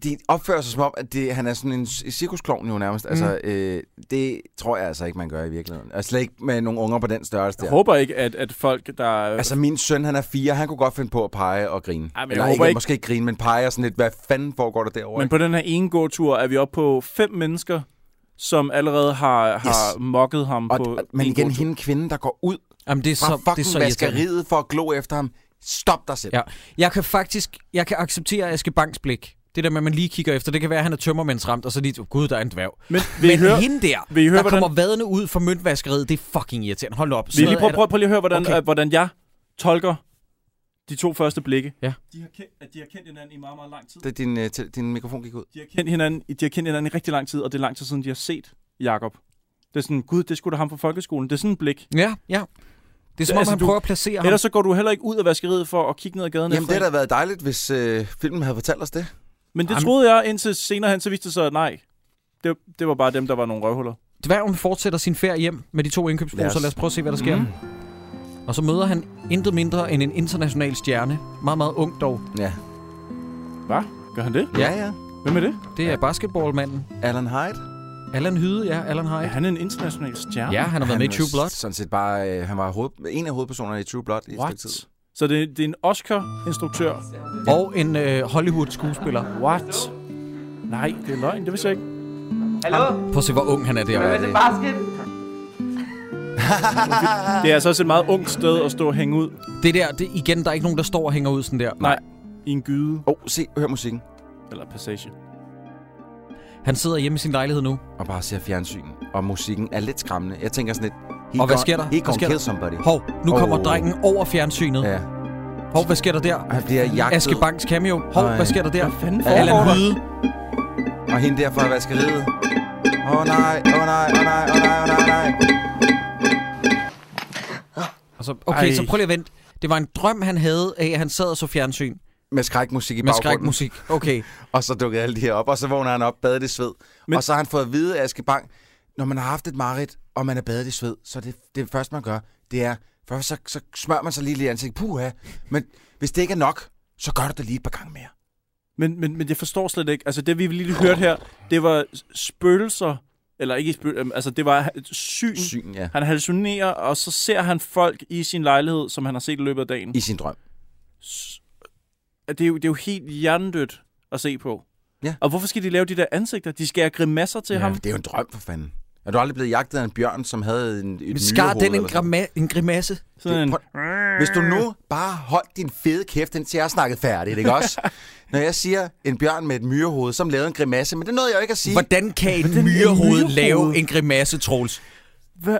Speaker 6: de opfører sig som om, at det, han er sådan en c- cirkusklovn jo nærmest. Mm. Altså, øh, det tror jeg altså ikke, man gør i virkeligheden. Og slet ikke med nogle unger på den størrelse
Speaker 7: Jeg
Speaker 6: der.
Speaker 7: håber ikke, at, at folk, der... Altså,
Speaker 6: Altså, min søn, han er fire, han kunne godt finde på at pege og grine.
Speaker 7: Ej, men jeg
Speaker 6: Eller
Speaker 7: håber
Speaker 6: ikke,
Speaker 7: ikke-
Speaker 6: måske ikke grine, men pege og sådan lidt, hvad fanden foregår der derovre?
Speaker 7: men på den her ene gåtur er vi oppe på fem mennesker, som allerede har, har yes. mokket ham
Speaker 6: og,
Speaker 7: på
Speaker 6: og, men
Speaker 7: en
Speaker 6: igen,
Speaker 7: gåtur.
Speaker 6: hende kvinde, der går ud
Speaker 1: Jamen, det er
Speaker 6: fra
Speaker 1: så, det er
Speaker 6: fucking
Speaker 1: så irriterende.
Speaker 6: vaskeriet for at glo efter ham. Stop dig selv.
Speaker 1: Ja. Jeg kan faktisk jeg kan acceptere Aske Banks blik. Det der med, at man lige kigger efter. Det kan være, at han er tømmermændsramt, og så lige, oh, gud, der er en dværg.
Speaker 7: Men vil I
Speaker 1: Men
Speaker 7: høre,
Speaker 1: hende der,
Speaker 7: vil I høre,
Speaker 1: der
Speaker 7: hvordan-
Speaker 1: kommer vadende ud fra møntvaskeriet, det er fucking irriterende. Hold op.
Speaker 7: Vi
Speaker 1: Sådan
Speaker 7: lige
Speaker 1: noget
Speaker 7: prøve,
Speaker 1: er
Speaker 7: prøve, prøve lige at høre, hvordan,
Speaker 1: Okay.
Speaker 7: okay. øh, hvordan jeg tolker de to første blikke.
Speaker 1: Ja.
Speaker 7: De har, kendt, at de har kendt hinanden i meget, meget lang tid.
Speaker 6: Da din, øh, te- din mikrofon gik ud.
Speaker 7: De har kendt hinanden, de har kendt hinanden i rigtig lang tid, og det er lang tid siden, de har set Jakob. Det er sådan, gud, det skulle da ham fra folkeskolen. Det er sådan et blik.
Speaker 1: der- Ja, ja. Det er som om,
Speaker 7: Altså,
Speaker 1: han
Speaker 7: du-
Speaker 1: prøver at placere ham.
Speaker 7: Ellers så går du heller ikke ud af vaskeriet for at kigge ned ad gaden.
Speaker 6: Jamen,
Speaker 7: efter
Speaker 6: det
Speaker 7: en.
Speaker 6: havde da været dejligt, hvis øh, filmen havde fortalt os det.
Speaker 7: Men det
Speaker 1: Jamen-
Speaker 7: troede jeg, indtil senere hen, så viste det sig, at nej. Det, det var bare dem, der var nogle røvhuller.
Speaker 1: Dværgen fortsætter sin ferie hjem med de to indkøbsposer.
Speaker 6: Lad os-
Speaker 1: Lad os prøve at se, hvad der sker. Mm. Og så møder han intet mindre end en international stjerne. Meget, meget ung dog.
Speaker 6: Ja.
Speaker 7: Hvad? Gør han det?
Speaker 6: Ja, ja.
Speaker 7: Hvem er det?
Speaker 1: Det er basketballmanden.
Speaker 6: Alan Hyde.
Speaker 1: Allan Hyde, ja. Allan
Speaker 7: Er
Speaker 1: Hyde.
Speaker 7: han en international stjerne?
Speaker 1: Ja, han har været med i
Speaker 6: var
Speaker 1: True Blood.
Speaker 6: Sådan set bare, øh, han var hoved, en af hovedpersonerne i True Blood i et stykke
Speaker 7: What?
Speaker 6: tid.
Speaker 7: Så det, det er en Oscar-instruktør.
Speaker 1: Og en øh, Hollywood-skuespiller.
Speaker 7: What? Nej, det er løgn. Det vidste jeg ikke.
Speaker 1: Prøv at se, hvor ung han er derovre.
Speaker 6: Ah.
Speaker 7: Det er altså også et meget ungt sted at stå og hænge ud
Speaker 1: Det der, det, igen, der er ikke nogen, der står og hænger ud sådan der.
Speaker 7: Nej. i en gyde.
Speaker 6: Åh, oh, se, hør musikken.
Speaker 7: Eller passage.
Speaker 1: Han sidder hjemme i sin lejlighed nu.
Speaker 6: Og bare ser fjernsyn. Og musikken er lidt skræmmende. Jeg tænker sådan lidt...
Speaker 1: Og hvad sker der?
Speaker 6: He
Speaker 1: Hvad
Speaker 6: gonna
Speaker 1: sker der?
Speaker 6: kill somebody.
Speaker 1: Hov, nu
Speaker 6: Åh.
Speaker 1: kommer drengen over fjernsynet.
Speaker 6: Ja.
Speaker 1: Hov, hvad sker der der?
Speaker 6: Og han bliver jagtet.
Speaker 1: Aske Banks cameo. Hov,
Speaker 6: Nej.
Speaker 1: hvad sker der der?
Speaker 7: Hvad fanden
Speaker 1: Allan
Speaker 7: foregår der?
Speaker 1: Hyde.
Speaker 6: Og hende der fra vaskeriet. Åh oh, nej, åh oh, nej, åh oh, nej, åh oh, nej, åh oh, nej, nej.
Speaker 1: Og så, okay,
Speaker 7: Ej.
Speaker 1: så prøv lige at vente. Det var en drøm, han havde af, at han sad og så fjernsyn
Speaker 6: Med skrækmusik i
Speaker 1: med
Speaker 6: baggrunden.
Speaker 1: skrækmusik. Okay.
Speaker 6: Og så dukkede alle de her op, og så vågner han op, badet i sved. Men...
Speaker 7: Men-
Speaker 6: Og så har han fået at vide af Aske Bang, når man har haft et mareridt, og man er badet i sved, så det, det første, man gør, det er, først så, så smører man sig lige lidt i ansigtet, puha, men hvis det ikke er nok, så gør du det lige et par gange mere.
Speaker 7: Mm. Men, men, men jeg forstår slet ikke. Altså, det vi lige hørte her, det var spøgelser. Eller ikke spøgelser. Altså, det var et syn.
Speaker 6: Syn, ja.
Speaker 7: Han hallucinerer, og så ser han folk i sin lejlighed, som han har set i løbet af dagen.
Speaker 6: I sin drøm.
Speaker 7: S- Det er jo, det er jo helt hjernedødt at se på.
Speaker 6: Ja.
Speaker 7: Og hvorfor skal de lave de der ansigter? De skærer grimasser til ja. ham.
Speaker 6: Det er jo en drøm, for fanden. Er du aldrig blevet jagtet af en bjørn, som havde en, et
Speaker 1: Skar
Speaker 6: nyrehoved
Speaker 1: den en,
Speaker 6: eller sådan
Speaker 1: grama- en grimasse?
Speaker 7: Sådan en,
Speaker 6: noget? Prøv- Hvis du nu bare holdt din fede kæft, indtil jeg har snakket færdigt, ikke også? Når jeg siger en bjørn med et myrehoved, som lavede en grimasse, men det nåede jeg jo ikke at sige.
Speaker 1: Hvordan kan
Speaker 7: Hvordan
Speaker 1: en
Speaker 7: en
Speaker 1: myrehoved
Speaker 7: myrehoved?
Speaker 1: lave en grimasse, Troels?
Speaker 7: Hvad?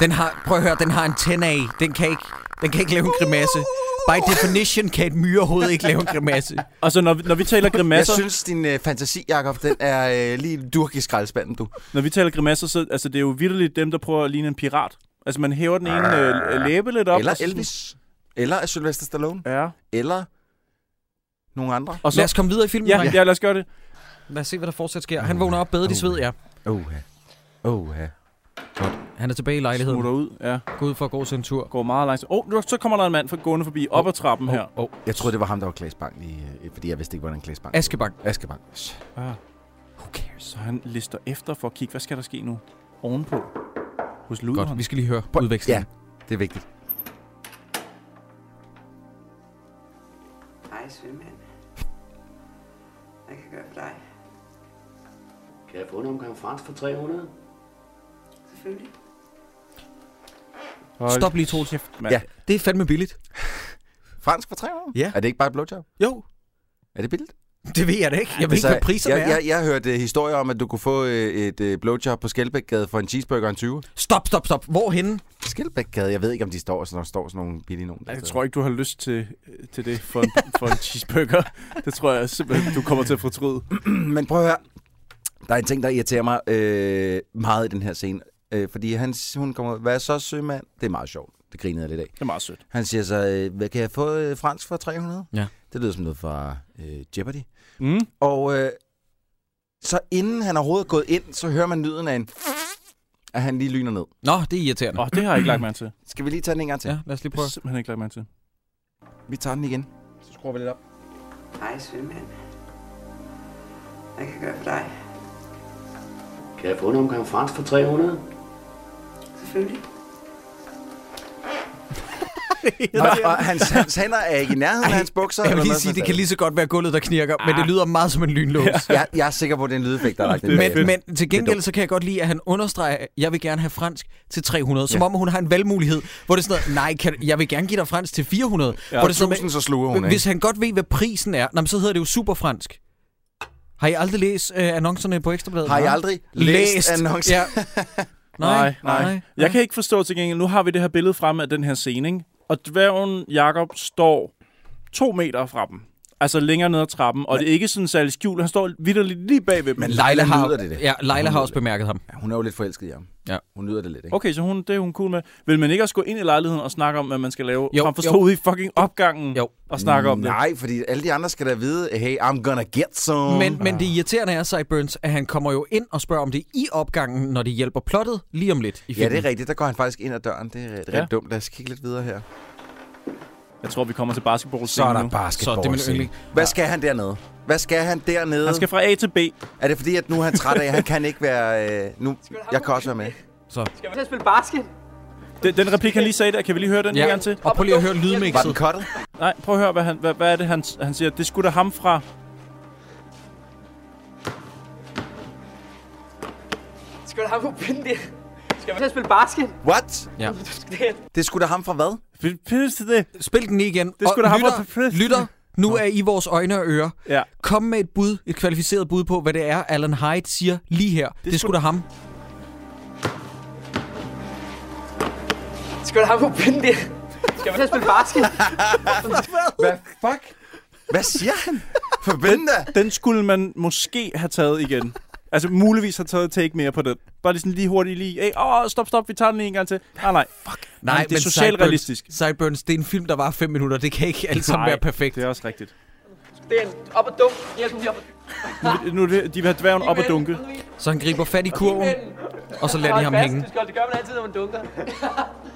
Speaker 1: Den har, prøv at høre, den har en tænd af. Den kan ikke, den kan ikke lave en grimasse. By definition kan et myrehoved ikke lave en grimasse.
Speaker 7: Og så når, vi- når vi taler
Speaker 6: Jeg
Speaker 7: grimasser,
Speaker 6: synes, din øh, fantasi, Jacob, den er øh, lige durk i skraldespanden, du.
Speaker 7: når vi taler grimasser, så altså, det er jo vitterligt dem, der prøver at ligne en pirat. Altså, man hæver den ene øh, læbe lidt op.
Speaker 6: Eller
Speaker 7: og så-
Speaker 6: Elvis. Eller Sylvester Stallone.
Speaker 7: Ja.
Speaker 6: Eller nogle andre.
Speaker 7: Og så,
Speaker 1: Lad os komme videre i filmen,
Speaker 7: ja,
Speaker 1: drenge.
Speaker 7: ja, lad os gøre det.
Speaker 1: Lad os se, hvad der fortsat sker. Han vågner op bedre, de sved, ja.
Speaker 6: Oha. Oha.
Speaker 1: Han er tilbage i lejligheden.
Speaker 7: Smutter ud, ja.
Speaker 1: Gå ud for at gå til en tur.
Speaker 7: Går meget langsomt. Åh, oh, så kommer der en mand for gående forbi op ad trappen her.
Speaker 1: Oh,
Speaker 6: Jeg troede, det var ham, der var Klaas Bang, lige, øh, fordi jeg vidste ikke, hvordan Klaas Bang
Speaker 1: Askebank.
Speaker 6: Aske Bang.
Speaker 7: Who cares? Så han lister efter for at kigge, hvad skal der ske nu ovenpå hos
Speaker 1: Godt,
Speaker 7: Ludvig.
Speaker 1: vi skal lige høre
Speaker 6: Ja,
Speaker 1: udvekslingen.
Speaker 6: det er vigtigt.
Speaker 9: Hej, sømand. Hvad kan jeg gøre for dig?
Speaker 10: Kan jeg få en omgang fransk for 300?
Speaker 9: Selvfølgelig.
Speaker 1: Stop lige, Troels.
Speaker 7: mand.
Speaker 6: Ja.
Speaker 1: Det er fandme billigt.
Speaker 6: Fransk for 300?
Speaker 1: Ja.
Speaker 6: Er det ikke bare et blowjob?
Speaker 1: Jo,
Speaker 6: Er det billigt?
Speaker 1: det ved jeg da ikke. Altså, Jeg ved ikke, hvad priserne
Speaker 6: Altså, jeg,
Speaker 1: er.
Speaker 6: jeg, jeg hørte øh, historier om, at du kunne få øh, et øh, blowjob på Skelbækgade for en cheeseburger og en 20.
Speaker 1: Stop, stop, stop. Hvorhenne?
Speaker 6: Skelbækgade, jeg ved ikke, om de står, så der står sådan nogle billige nogen. der
Speaker 7: Ej, Jeg
Speaker 6: steder.
Speaker 7: tror ikke, du har lyst til, øh, til det for en, for en cheeseburger. Det tror jeg simpelthen, du kommer til at fortryde.
Speaker 6: Men prøv at høre. Der er en ting, der irriterer mig øh, meget i den her scene. Øh, fordi han, hun kommer ud, hvad så sømand? Det er meget sjovt. Det grinede jeg lidt af.
Speaker 7: Det er meget sødt.
Speaker 6: Han siger så, øh, hvad kan jeg få øh, fransk for 300?
Speaker 1: Ja.
Speaker 6: Det lyder som noget fra øh, Jeopardy.
Speaker 7: Mm.
Speaker 6: Og øh, så inden han overhovedet er gået ind, så hører man lyden af en... At han lige lyner ned.
Speaker 1: Nå, det er irriterende.
Speaker 7: Åh, oh, det har jeg ikke lagt mærke til. Det
Speaker 6: Skal vi lige tage den en gang til?
Speaker 1: Ja,
Speaker 6: Ja.
Speaker 1: lad os lige
Speaker 7: har
Speaker 1: prøve.
Speaker 7: jeg simpelthen ikke lagt mærke til.
Speaker 6: Vi tager den igen.
Speaker 7: Så skruer vi lidt op.
Speaker 9: Hej, svømmand. Hvad kan jeg gøre for dig?
Speaker 10: Kan jeg få en omgang fransk for 300?
Speaker 9: Selvfølgelig.
Speaker 6: Nå, og hans, hans hænder er ikke i nærheden af hans bukser.
Speaker 1: Jeg
Speaker 6: eller
Speaker 1: vil lige
Speaker 6: noget
Speaker 1: sige,
Speaker 6: sådan
Speaker 1: det kan
Speaker 6: noget.
Speaker 1: lige så godt være gulvet, der knirker, men det lyder meget som en lynlås.
Speaker 6: Jeg, jeg er sikker på, at det er en lydeffekt, der er lagt ind bagefter.
Speaker 1: Men, men til gengæld så kan jeg godt lide, at han understreger, at jeg vil gerne have fransk til 300. Som om hun har en valgmulighed, hvor det er sådan noget, nej, kan, jeg vil gerne give dig fransk til 400. Ja, hvor det er sådan noget med-
Speaker 6: Tusind, så sluger hun,
Speaker 1: Hvis
Speaker 6: ikke?
Speaker 1: han godt ved, hvad prisen er, nå, men så hedder det jo superfransk. Har I aldrig læst øh, annoncerne på Ekstrabladet?
Speaker 6: Har I
Speaker 1: Nej.
Speaker 6: aldrig læst, annoncen?
Speaker 1: Ja. nej, nej, nej.
Speaker 7: Jeg kan ikke forstå til gengæld, nu har vi det her billede fremme af den her scene, ikke? og dværgen Jakob står to meter fra dem. Altså længere ned ad trappen, og det er ikke sådan særlig skjult. Han står vidderligt lige bag ved dem.
Speaker 6: Men-
Speaker 1: Leila
Speaker 6: Hvordan
Speaker 1: har,
Speaker 6: lyder det det?
Speaker 1: ja, Leila har også bemærket ham.
Speaker 6: Ja, hun er jo lidt forelsket i ham.
Speaker 1: Ja.
Speaker 6: Hun nyder det lidt, ikke?
Speaker 7: Okay, så hun, det er hun cool med. Vil man ikke også gå ind i lejligheden og snakke om, hvad man skal lave?
Speaker 1: Jo,
Speaker 7: Jo, frem for at
Speaker 1: jo.
Speaker 7: stå ude i fucking opgangen
Speaker 1: Jo.
Speaker 7: og snakke om det.
Speaker 6: Nej, fordi alle de andre skal da vide, hey, I'm gonna get some.
Speaker 1: Men, men det irriterende er, Sideburns, at han kommer jo ind og spørger om det i opgangen, når det hjælper plottet lige om lidt. I
Speaker 6: Ja,
Speaker 1: filmen.
Speaker 6: det er rigtigt. Der går han faktisk ind ad døren. Det er rigtig
Speaker 7: Ja.
Speaker 6: ja. dumt. Lad os kigge lidt videre her.
Speaker 7: Jeg tror, vi kommer til basketball
Speaker 6: Så er der
Speaker 7: nu.
Speaker 6: basketball.
Speaker 1: Så er det min
Speaker 6: scene.
Speaker 1: yndling.
Speaker 6: Hvad skal han dernede? Hvad skal han dernede?
Speaker 7: Han skal fra A til B.
Speaker 6: Er det fordi, at nu er han træt af, han kan ikke være... Øh, nu... Jeg kan også være med.
Speaker 11: Skal vi til at spille basket?
Speaker 7: Den, den replik, han lige sagde der, kan vi lige høre den ja. en gang til?
Speaker 1: Og prøv lige at høre
Speaker 6: Var den
Speaker 1: lydmixet.
Speaker 6: kottet?
Speaker 7: Nej, prøv at høre, hvad, han, hvad, hvad er det, han, han siger. Det skulle da ham fra...
Speaker 11: Skal du have på pinden der? Skal vi til at spille basket?
Speaker 6: What?
Speaker 1: Ja.
Speaker 6: Det skulle da ham fra hvad?
Speaker 7: Pisse til det.
Speaker 1: Spil den lige igen.
Speaker 7: Det skulle da
Speaker 1: og
Speaker 7: ham,
Speaker 1: lytter,
Speaker 7: der-
Speaker 1: lytter, nu er I vores øjne og ører.
Speaker 7: Ja.
Speaker 1: Kom med et bud, et kvalificeret bud på, hvad det er, Alan Hyde siger lige her. Det, det
Speaker 7: skulle-
Speaker 1: skulle da ham.
Speaker 11: Skal du have på pinden der? Skal vi til at spille basket?
Speaker 6: Hvad fuck? Hvad siger han? Forbinda!
Speaker 7: Den skulle man måske have taget igen. Altså, muligvis har taget et take mere på den. Bare lige sådan lige hurtigt lige. Hey, åh, stop, stop, vi tager den lige en gang til. Ah, Nej, nej. Fuck. Nej, det er socialrealistisk.
Speaker 1: Sideburns, Sideburns, det er en film, der var 5 minutter. Det kan ikke alt sammen
Speaker 7: Nej,
Speaker 1: være perfekt.
Speaker 7: Det er også rigtigt.
Speaker 11: Det er en op og dum. Jeg skal lige op og
Speaker 7: Nu, nu er det, de vil have dværgen op og dunke.
Speaker 1: Så han griber fat i kurven, og så lader de ham
Speaker 11: Fast,
Speaker 1: hænge.
Speaker 11: Du skal, det gør man altid, når man dunker. det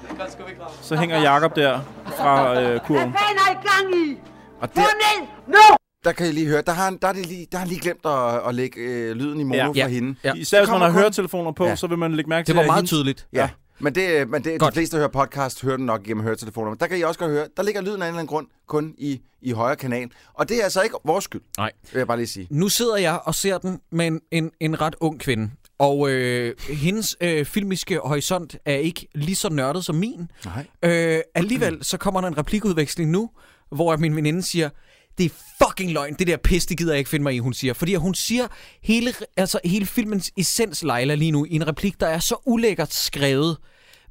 Speaker 11: er godt skub i kraven.
Speaker 7: Så hænger Jakob der fra øh, kurven.
Speaker 3: Hvad er I gang i?
Speaker 6: Og der,
Speaker 3: Ned! Nu!
Speaker 6: der kan I lige høre, der har, han- der er det lige, der har han lige glemt at, at lægge øh, lyden i mono
Speaker 7: Ja.
Speaker 6: ja. for
Speaker 1: Ja.
Speaker 6: hende.
Speaker 1: Ja.
Speaker 7: Især hvis man
Speaker 6: kommer
Speaker 7: har
Speaker 6: kun-
Speaker 7: høretelefoner på,
Speaker 6: Ja.
Speaker 7: så vil man lægge mærke til,
Speaker 1: Det var
Speaker 7: at
Speaker 1: meget
Speaker 7: hendes-
Speaker 1: tydeligt.
Speaker 6: Ja. Men det, øh, men det, de
Speaker 1: Godt.
Speaker 6: fleste, der hører podcast, hører den nok gennem høretelefoner. Men der kan I også godt høre, der ligger lyden af en eller anden grund kun i, i højre kanal. Og det er altså ikke vores skyld,
Speaker 1: Nej.
Speaker 6: vil jeg bare lige sige.
Speaker 1: Nu sidder jeg og ser den med en, en, en ret ung kvinde. Og øh, hendes øh, filmiske horisont er ikke lige så nørdet som min.
Speaker 6: Nej.
Speaker 1: Øh, alligevel så kommer der en replikudveksling nu, hvor min veninde siger, det er fucking løgn, det der pis, det gider jeg ikke finde mig i, hun siger. Fordi hun siger hele, altså, hele filmens essens, Leila, lige nu, i en replik, der er så ulækkert skrevet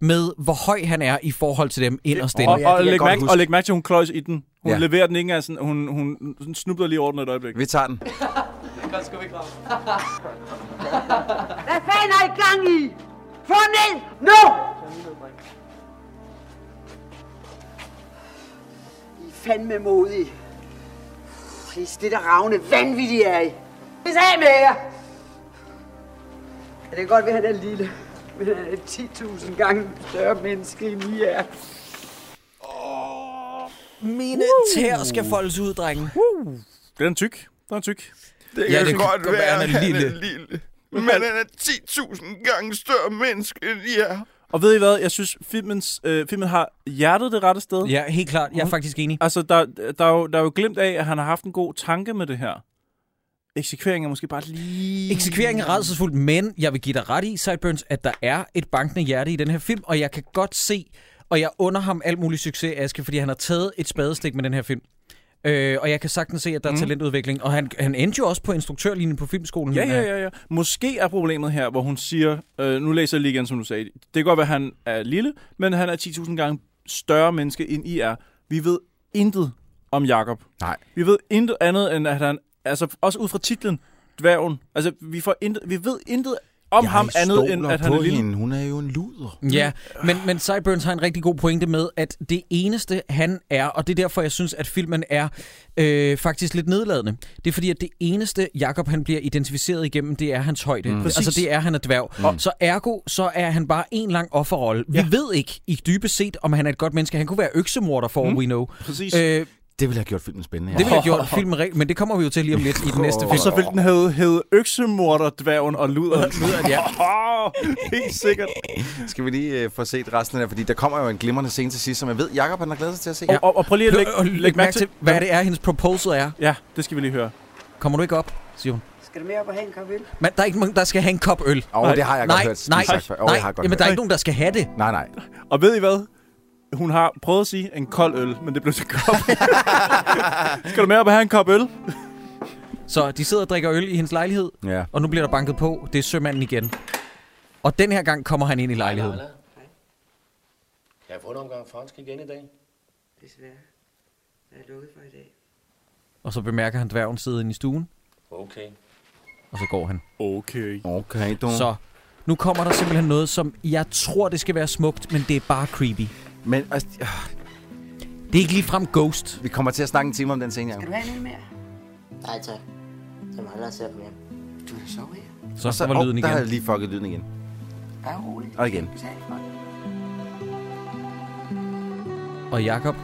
Speaker 1: med, hvor høj han er i forhold til dem inderst inde.
Speaker 7: Og,
Speaker 6: kan
Speaker 7: og,
Speaker 6: jeg
Speaker 7: læg
Speaker 6: godt
Speaker 7: mærke,
Speaker 6: huske.
Speaker 7: og læg mærke til, at hun kløjs i den. Hun ja.
Speaker 6: Ja.
Speaker 7: leverer den ikke engang sådan, hun, hun, hun snubler lige over den et øjeblik.
Speaker 6: Vi tager den.
Speaker 11: Det er godt skub i kraven.
Speaker 3: Hvad fanden er I gang i? Få ned! Nu!
Speaker 9: I er fandme modige. Pris, det der ravne vanvittige er I. Hvis af med jer! Ja, det kan godt være, at han er lille. Men han er 10.000 gange større menneske, end I er.
Speaker 1: Mine tæer skal foldes ud, drengen.
Speaker 7: Den er tyk. Den er tyk.
Speaker 6: Det
Speaker 1: Ja, kan det godt kan være, være, han er han er lille.
Speaker 6: lille. Men han er 10.000 gange større menneske end jer.
Speaker 7: Og ved I hvad? Jeg synes, filmens, øh, filmen har hjertet det rette sted.
Speaker 1: Ja, helt klart. Jeg er faktisk enig.
Speaker 7: Altså, der, der, er jo, der er jo glemt af, at han har haft en god tanke med det her. Eksekveringen er måske bare lige...
Speaker 1: Eksekveringen er redselsfuld, men jeg vil give dig ret i, Sideburns, at der er et bankende hjerte i den her film, og jeg kan godt se, og jeg under ham alt mulig succes, Aske, fordi han har taget et spadestik med den her film. Øh, og jeg kan sagtens se, at der
Speaker 7: Mhm.
Speaker 1: er talentudvikling. Og han, han endte jo også på instruktørlinjen på filmskolen. øh,
Speaker 7: Ja, ja, ja, ja. Måske er problemet her, hvor hun siger... Øh, nu læser jeg lige igen, som du sagde. Det kan godt være, at han er lille, men han er 10.000 gange større menneske, end I er. Vi ved intet om Jakob.
Speaker 6: Nej.
Speaker 7: Vi ved intet andet, end at han... Altså, også ud fra titlen, dværgen. Altså, vi, får intet, vi ved intet om ham andet, end at han er lille.
Speaker 6: Hende. Hun er jo en luder.
Speaker 1: Ja, men, men Cyburns har en rigtig god pointe med, at det eneste han er, og det er derfor, jeg synes, at filmen er øh, faktisk lidt nedladende, det er fordi, at det eneste Jakob han bliver identificeret igennem, det er hans højde. Mm. Altså
Speaker 7: Præcis.
Speaker 1: det er, han er dværg. Mm. Så ergo, så er han bare en lang offerrolle. Vi
Speaker 7: Ja.
Speaker 1: ved ikke i dybest set, om han er et godt menneske. Han kunne være øksemorder for all we know.
Speaker 7: Mm. Præcis.
Speaker 1: Øh,
Speaker 6: Det ville have gjort filmen spændende.
Speaker 1: Det ville have gjort filmen rigtig, men det kommer vi jo til lige om lidt i den næste film.
Speaker 7: Og så ville den hedde, hedde Øksemorder, Dværgen og Luderen.
Speaker 1: Luderen, ja.
Speaker 7: Helt sikkert.
Speaker 6: Skal vi lige øh, få set resten af det? Fordi der kommer jo en glimrende scene til sidst, som jeg ved, Jakob han har glædet sig til at se.
Speaker 7: Og, og, og prøv lige at lægge,
Speaker 1: Og læg mærke til, hvad det er, hendes proposal er.
Speaker 7: Ja, det skal vi lige høre.
Speaker 1: Kommer du ikke op, siger hun.
Speaker 9: Skal du med op og have en kop øl?
Speaker 1: Men der er ikke nogen, der skal have en kop øl.
Speaker 6: Åh, oh, det har jeg
Speaker 1: nej,
Speaker 6: godt hørt.
Speaker 1: nej,
Speaker 6: Sagt før. Åh,
Speaker 1: nej,
Speaker 6: jeg har godt
Speaker 1: jamen
Speaker 6: hørt.
Speaker 1: der er ikke nogen, der skal have det.
Speaker 6: Nej, nej.
Speaker 7: Og ved I hvad? Hun har prøvet at sige en kold øl, men det blev til kop. skal du med op og have en kop øl?
Speaker 1: Så de sidder og drikker øl i hendes lejlighed,
Speaker 6: Ja.
Speaker 1: og nu bliver der banket på. Det er sømanden igen. Og den her gang kommer han ind i lejligheden.
Speaker 10: Kan jeg få en omgang fransk igen i dag?
Speaker 9: Desværre. Jeg er lukket for i dag.
Speaker 1: Og så bemærker han dværgen sidde inde i stuen,
Speaker 10: Okay.
Speaker 1: og så går han.
Speaker 7: Okay.
Speaker 6: Okay, du.
Speaker 1: Så nu kommer der simpelthen noget, som jeg tror, det skal være smukt, men det er bare creepy.
Speaker 6: Men altså, øh,
Speaker 1: Det er ikke ligefrem ghost.
Speaker 6: vi kommer til at snakke en time om den scene, Jacob.
Speaker 9: Skal du have en øl mere?
Speaker 12: Nej tak. Jeg mangler at se at komme hjem.
Speaker 9: Du kan sove her.
Speaker 1: Så,
Speaker 6: Og
Speaker 1: så var
Speaker 6: åh,
Speaker 1: lyden
Speaker 6: Der har jeg
Speaker 1: igen.
Speaker 6: lige fucket lyden igen.
Speaker 9: Bare rolig.
Speaker 6: Og igen.
Speaker 9: Du kan tage det godt.
Speaker 1: Og Jakob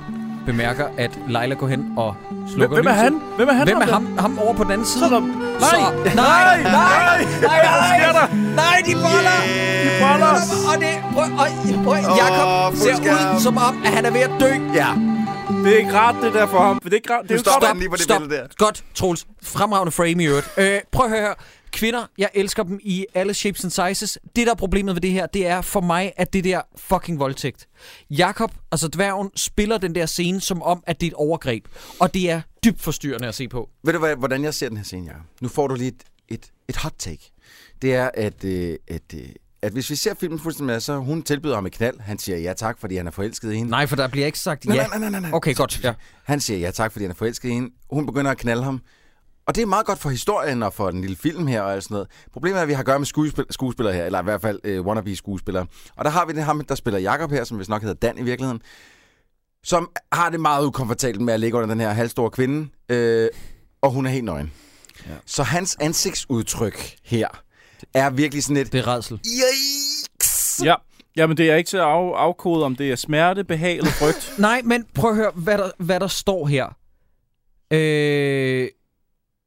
Speaker 1: bemærker, at Leila går hen og
Speaker 7: Hvem,
Speaker 1: slukker
Speaker 7: hvem er
Speaker 1: lyset.
Speaker 7: han? Hvem er han?
Speaker 1: Hvem er
Speaker 7: ham der?
Speaker 1: ham, ham over på den anden side?
Speaker 7: Sådan.
Speaker 1: Så,
Speaker 7: Nej!
Speaker 1: nej, nej, nej, nej,
Speaker 7: Hvad sker der?
Speaker 1: nej, de boller!
Speaker 7: De boller os.
Speaker 1: Og det, prøv, og, prøv, Jakob
Speaker 6: Åh, fuld
Speaker 1: ser ud
Speaker 6: skærm.
Speaker 1: som om, at han er ved at dø.
Speaker 6: Ja,
Speaker 7: Det er ikke rart, det der for ham. Det er ikke rart. Det er jo
Speaker 6: stopper
Speaker 7: ikke
Speaker 6: han lige på det
Speaker 1: stop.
Speaker 6: billede der.
Speaker 1: Godt, Troels. Fremragende frame i øvrigt. Øh, prøv at høre her. Kvinder, jeg elsker dem i alle shapes and sizes. Det, der er problemet ved det her, det er for mig, at det der fucking voldtægt. Jakob, altså dværgen, spiller den der scene som om, at det er et overgreb. Og det er dybt forstyrrende at se på.
Speaker 6: Ved du, hvad, hvordan jeg ser den her scene, Jacob? Nu får du lige et, et, et hot take. Det er, at, øh, at, øh, at hvis vi ser filmen fuldstændig med, så hun tilbyder ham et knald. Han siger ja tak, fordi han er forelsket i hende.
Speaker 1: Nej, for der bliver ikke sagt ja.
Speaker 6: Nej, nej, nej, nej, nej.
Speaker 1: Okay, godt. Ja.
Speaker 6: Han siger ja tak, fordi han er forelsket i hende. Hun begynder at knalde ham. Og det er meget godt for historien og for den lille film her og alt sådan noget. Problemet er, at vi har at gøre med skuespil- skuespillere her, eller i hvert fald øh, wannabe-skuespillere. Og der har vi den ham, der spiller Jakob her, som vist nok hedder Dan i virkeligheden, som har det meget ukomfortabelt med at ligge under den her halvstore kvinde, øh, og hun er helt nøgen. Ja. Så hans ansigtsudtryk her er virkelig sådan et...
Speaker 1: Det er redsel.
Speaker 6: Yikes!
Speaker 7: Ja. Jamen, det er ikke til at af, afkode, om det er smerte, behag eller frygt.
Speaker 1: Nej, men prøv at høre, hvad der, hvad der står her. Øh,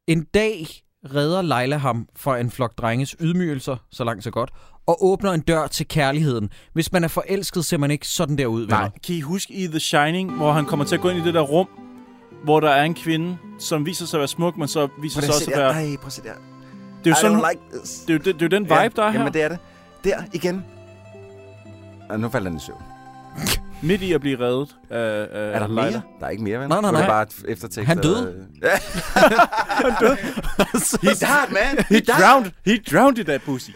Speaker 1: en dag redder Leila ham fra en flok drenges ydmygelser, så langt så godt, og åbner en dør til kærligheden. Hvis man er forelsket, ser man ikke sådan der ud, venner.
Speaker 6: Nej.
Speaker 7: kan I huske i The Shining, hvor han kommer til at gå ind i det der rum, hvor der er en kvinde, som viser sig at være smuk, men så
Speaker 6: Prøv
Speaker 7: viser sig
Speaker 6: lige at
Speaker 7: også
Speaker 6: se
Speaker 7: at
Speaker 6: der.
Speaker 7: være...
Speaker 6: Ej, prøv at se der.
Speaker 7: Det er jo
Speaker 6: I
Speaker 7: sådan,
Speaker 6: don't like this.
Speaker 7: det, er jo, det, det er jo den vibe,
Speaker 6: ja,
Speaker 7: der er her.
Speaker 6: Jamen, det er det. Der, igen. Og nu falder den i søvn.
Speaker 7: Midt i at blive reddet af, af
Speaker 6: Er der
Speaker 7: Leila.
Speaker 6: mere? Der er ikke mere, vel?
Speaker 1: Nej, nej,
Speaker 6: Det er
Speaker 1: nej.
Speaker 6: bare et øh, eftertekst.
Speaker 1: Han døde.
Speaker 6: Han døde. He died, man. He
Speaker 7: He drowned. He drowned i that pussy.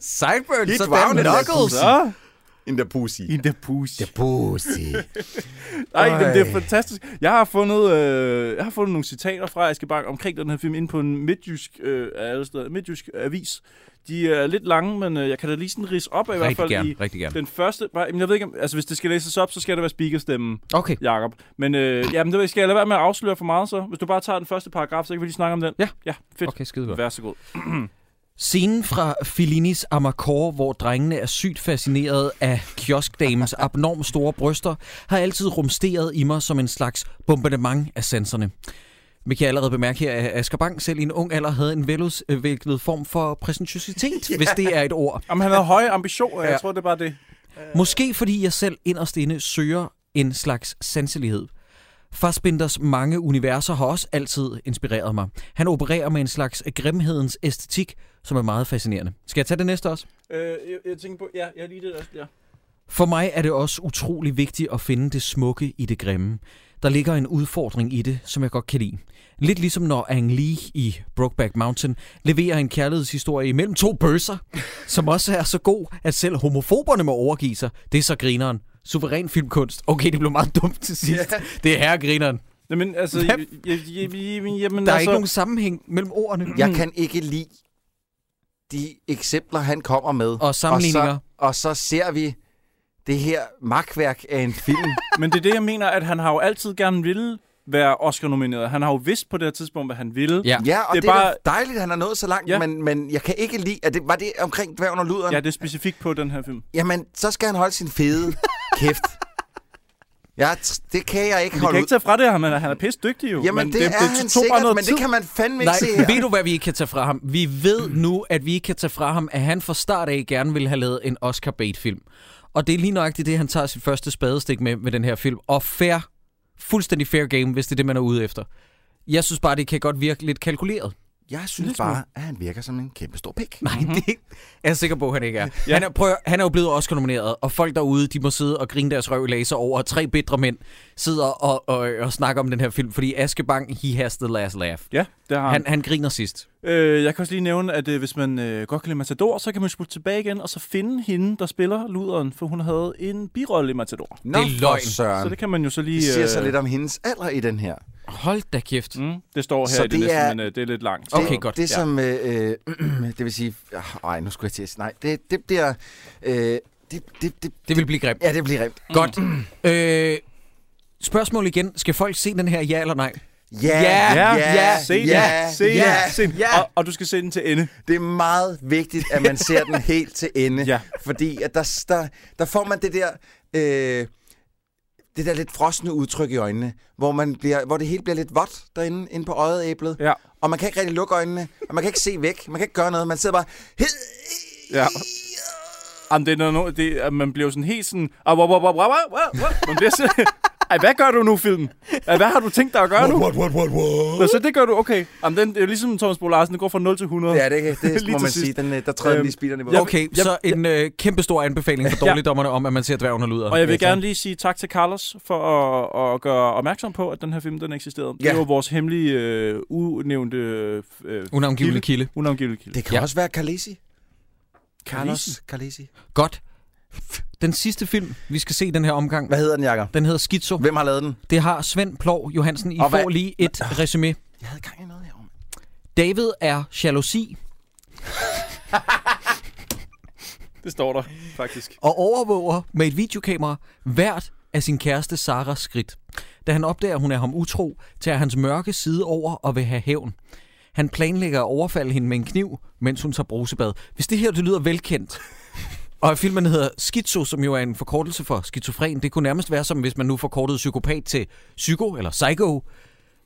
Speaker 1: Sideburns
Speaker 6: He drowned in that pussy.
Speaker 7: Så
Speaker 6: In the pussy.
Speaker 7: i the pussy.
Speaker 6: Pussy.
Speaker 7: Ej,
Speaker 6: Ej.
Speaker 7: jamen, det er fantastisk. Jeg har fundet, øh, jeg har fundet nogle citater fra Aske Bank omkring den her film inde på en midtjysk, øh, af alle steder, midtjysk avis. De er lidt lange, men øh, jeg kan da lige sådan rise op af i hvert
Speaker 1: Rigtig
Speaker 7: fald.
Speaker 1: gerne,
Speaker 7: i
Speaker 1: rigtig gerne.
Speaker 7: Den første, nej, jamen, jeg ved ikke, om, altså hvis det skal læses op, så skal det være speakerstemmen,
Speaker 1: Okay,
Speaker 7: Jakob. Men øh, jamen, det ved jeg- skal jeg lade være med at afsløre for meget så. Hvis du bare tager den første paragraf, så kan vi lige snakke om den.
Speaker 1: Ja.
Speaker 7: Ja, fedt.
Speaker 1: okay, skide godt.
Speaker 7: Vær så god.
Speaker 1: Scenen fra Fellinis Amarcore, hvor drengene er sygt fascineret af kioskdamens abnorm store bryster, har altid rumsteret i mig som en slags bombardement af sanserne. Vi kan allerede bemærke her, at Asger Bang selv i en ung alder havde en veludviklet form for præsentøsitet, hvis det er et ord.
Speaker 7: Jamen, han havde høje ambitioner,
Speaker 1: Ja.
Speaker 7: jeg tror, det er bare det.
Speaker 1: Måske fordi jeg selv inderst inde søger en slags sanselighed. Fassbinders mange universer har også altid inspireret mig. Han opererer med en slags grimhedens æstetik, som er meget fascinerende. Skal jeg tage det næste også?
Speaker 7: Øh, jeg, jeg tænker på, ja, jeg lige det der. Ja.
Speaker 1: For mig er det også utrolig vigtigt at finde det smukke i det grimme. Der ligger en udfordring i det, som jeg godt kan lide. Lidt ligesom når Ang Lee i Brokeback Mountain leverer en kærlighedshistorie imellem to bøsser, som også er så god, at selv homofoberne må overgive sig. Det er så grineren. Suveræn filmkunst. Okay, det blev meget dumt til sidst. Yeah. Det er herregrineren.
Speaker 7: Jamen, altså...
Speaker 1: Hvad?
Speaker 7: Jeg, jeg, jeg, jeg, jamen,
Speaker 1: Der er
Speaker 7: altså,
Speaker 1: ikke nogen sammenhæng mellem ordene.
Speaker 6: Jeg kan ikke lide de eksempler, han kommer med.
Speaker 1: Og sammenligninger.
Speaker 6: Og så, og så ser vi det her magtværk af en film.
Speaker 7: Men det er det, jeg mener, at han har jo altid gerne ville være Oscar-nomineret. Han har jo vidst på det her tidspunkt, hvad han ville.
Speaker 1: Ja.
Speaker 6: ja, og
Speaker 7: Det
Speaker 6: det
Speaker 7: er
Speaker 6: er, det er
Speaker 7: bare-
Speaker 6: bare... dejligt, at han er nået så langt,
Speaker 7: Ja.
Speaker 6: ja. men, men jeg kan ikke lide... At det, var det omkring dværgen og luderen?
Speaker 7: ja det er specifikt på den her film.
Speaker 6: Jamen, så skal han holde sin fede kæft. Ja, det kan jeg ikke
Speaker 7: Vi
Speaker 6: holde
Speaker 7: kan
Speaker 6: ud.
Speaker 7: ikke tage fra det, ham, han er, han er pisse dygtig jo.
Speaker 6: Jamen, det er han
Speaker 7: tog bare
Speaker 6: sikkert,
Speaker 7: noget
Speaker 6: men det
Speaker 7: tid.
Speaker 6: kan man fandme ikke
Speaker 1: Nej,
Speaker 6: se her.
Speaker 1: ved du, hvad vi ikke kan tage fra ham? Vi ved nu, at vi ikke kan tage fra ham, at han fra start af gerne ville have lavet en Oscar-bait-film. Og det er lige nøjagtigt det, han tager sit første spadestik med med den her film. Og fair, fuldstændig fair game, hvis det er det, man er ude efter. Jeg synes bare, det kan godt virke lidt kalkuleret.
Speaker 6: Jeg synes bare, at han virker som en kæmpe stor pik.
Speaker 1: Nej, det er jeg sikker på, at han ikke er. Mhm. Ja. Han, er prøv, at- han er jo blevet Oscar-nomineret, og folk derude, de må sidde og grine deres røv i laser over, og tre bedre mænd sidder og, og, og snakker om den her film, fordi Aske Bang, he has the last laugh.
Speaker 7: Ja, det har han.
Speaker 1: Han, han griner sidst.
Speaker 7: Øh, jeg kan også lige nævne, at øh, hvis man øh, godt kan lide Matador, så kan man spole tilbage igen, og så finde hende, der spiller luderen, for hun havde en birolle i Matador.
Speaker 6: Nå, Det er løgn. for søren.
Speaker 7: Så det kan øh, man jo så lige...
Speaker 6: Det siger så lidt om hendes alder i den her.
Speaker 1: Hold da kæft.
Speaker 7: Mm, det står her
Speaker 6: Så
Speaker 7: så i det,
Speaker 6: det
Speaker 7: næste,
Speaker 6: er-
Speaker 7: men øh, det er lidt langt.
Speaker 6: det, Det som, øh, øh, det vil sige, nej, nu skulle jeg til at sige, nej, det, det bliver, øh, det, det, det, det,
Speaker 1: det vil blive grimt.
Speaker 6: Ja, det bliver grimt.
Speaker 1: Mm. Godt. Øh, spørgsmål igen. Skal folk se den her, ja eller nej?
Speaker 7: ja, ja, se den, se den, se den.
Speaker 6: ja.
Speaker 7: Og, og du skal se den til ende.
Speaker 6: Det er meget vigtigt, at man ser den helt til ende,
Speaker 7: ja.
Speaker 6: fordi at der, der, der får man det der, øh, det der lidt frosne udtryk i øjnene, hvor, man bliver, hvor det hele bliver lidt vådt derinde inde på øjet æblet,
Speaker 7: ja.
Speaker 6: og man kan ikke rigtig lukke øjnene, og man kan ikke se væk, man kan ikke gøre noget, man sidder bare, "Hed,
Speaker 7: Ja. Jamen, det er noget- noget, det, er- man bliver jo sådan helt sådan... "Ah, wow, wow, wow, wow, wow, wow." Man bliver sådan... Ej, hvad gør du nu, film? Ej, hvad har du tænkt dig at gøre nu?
Speaker 4: What, what, what, what?
Speaker 7: Nå, så det gør du, okay. Jamen, den, det er jo ligesom Thomas Bo Larsen, det går fra 0 til 100.
Speaker 6: Ja, det, det
Speaker 7: Lige
Speaker 6: må
Speaker 7: til
Speaker 6: man
Speaker 7: sidst.
Speaker 6: sige. Den, øh, der træder den lige speederen i
Speaker 1: Okay, okay så en øh, kæmpe stor anbefaling for
Speaker 7: Ja.
Speaker 1: dårligdommerne om, at man ser dværgen og luder.
Speaker 7: Og jeg vil gerne lige sige tak til Carlos for at, at gøre opmærksom på, at den her film, den eksisterede. Ja.
Speaker 1: Ja.
Speaker 7: Det var vores hemmelige, øh, unævnte... Øh, øh,
Speaker 1: Unavngivne kilde.
Speaker 7: Unavngivelig kilde.
Speaker 6: Det kan ja. også være Kalesi. Carlos
Speaker 1: Khaleesi?
Speaker 6: Kalesi.
Speaker 1: Godt. Den sidste film, vi skal se i den her omgang.
Speaker 6: Hvad hedder den, Jakker?
Speaker 1: Den hedder Schizo.
Speaker 6: Hvem har lavet den?
Speaker 1: Det har Svend Plov Johansen. I
Speaker 6: Og hvad-
Speaker 1: får lige et resume. Jeg havde gang i noget herovre. David er jalousi,
Speaker 7: Det står der, faktisk.
Speaker 1: og overvåger med et videokamera hvert af sin kæreste Saras skridt. Da han opdager, at hun er ham utro, tager hans mørke side over og vil have hævn. Han planlægger at overfalde hende med en kniv, mens hun tager brusebad. Hvis det her det lyder velkendt, og filmen hedder Schizo, som jo er en forkortelse for skizofren, det kunne nærmest være som, hvis man nu forkortede psykopat til psyko eller psycho,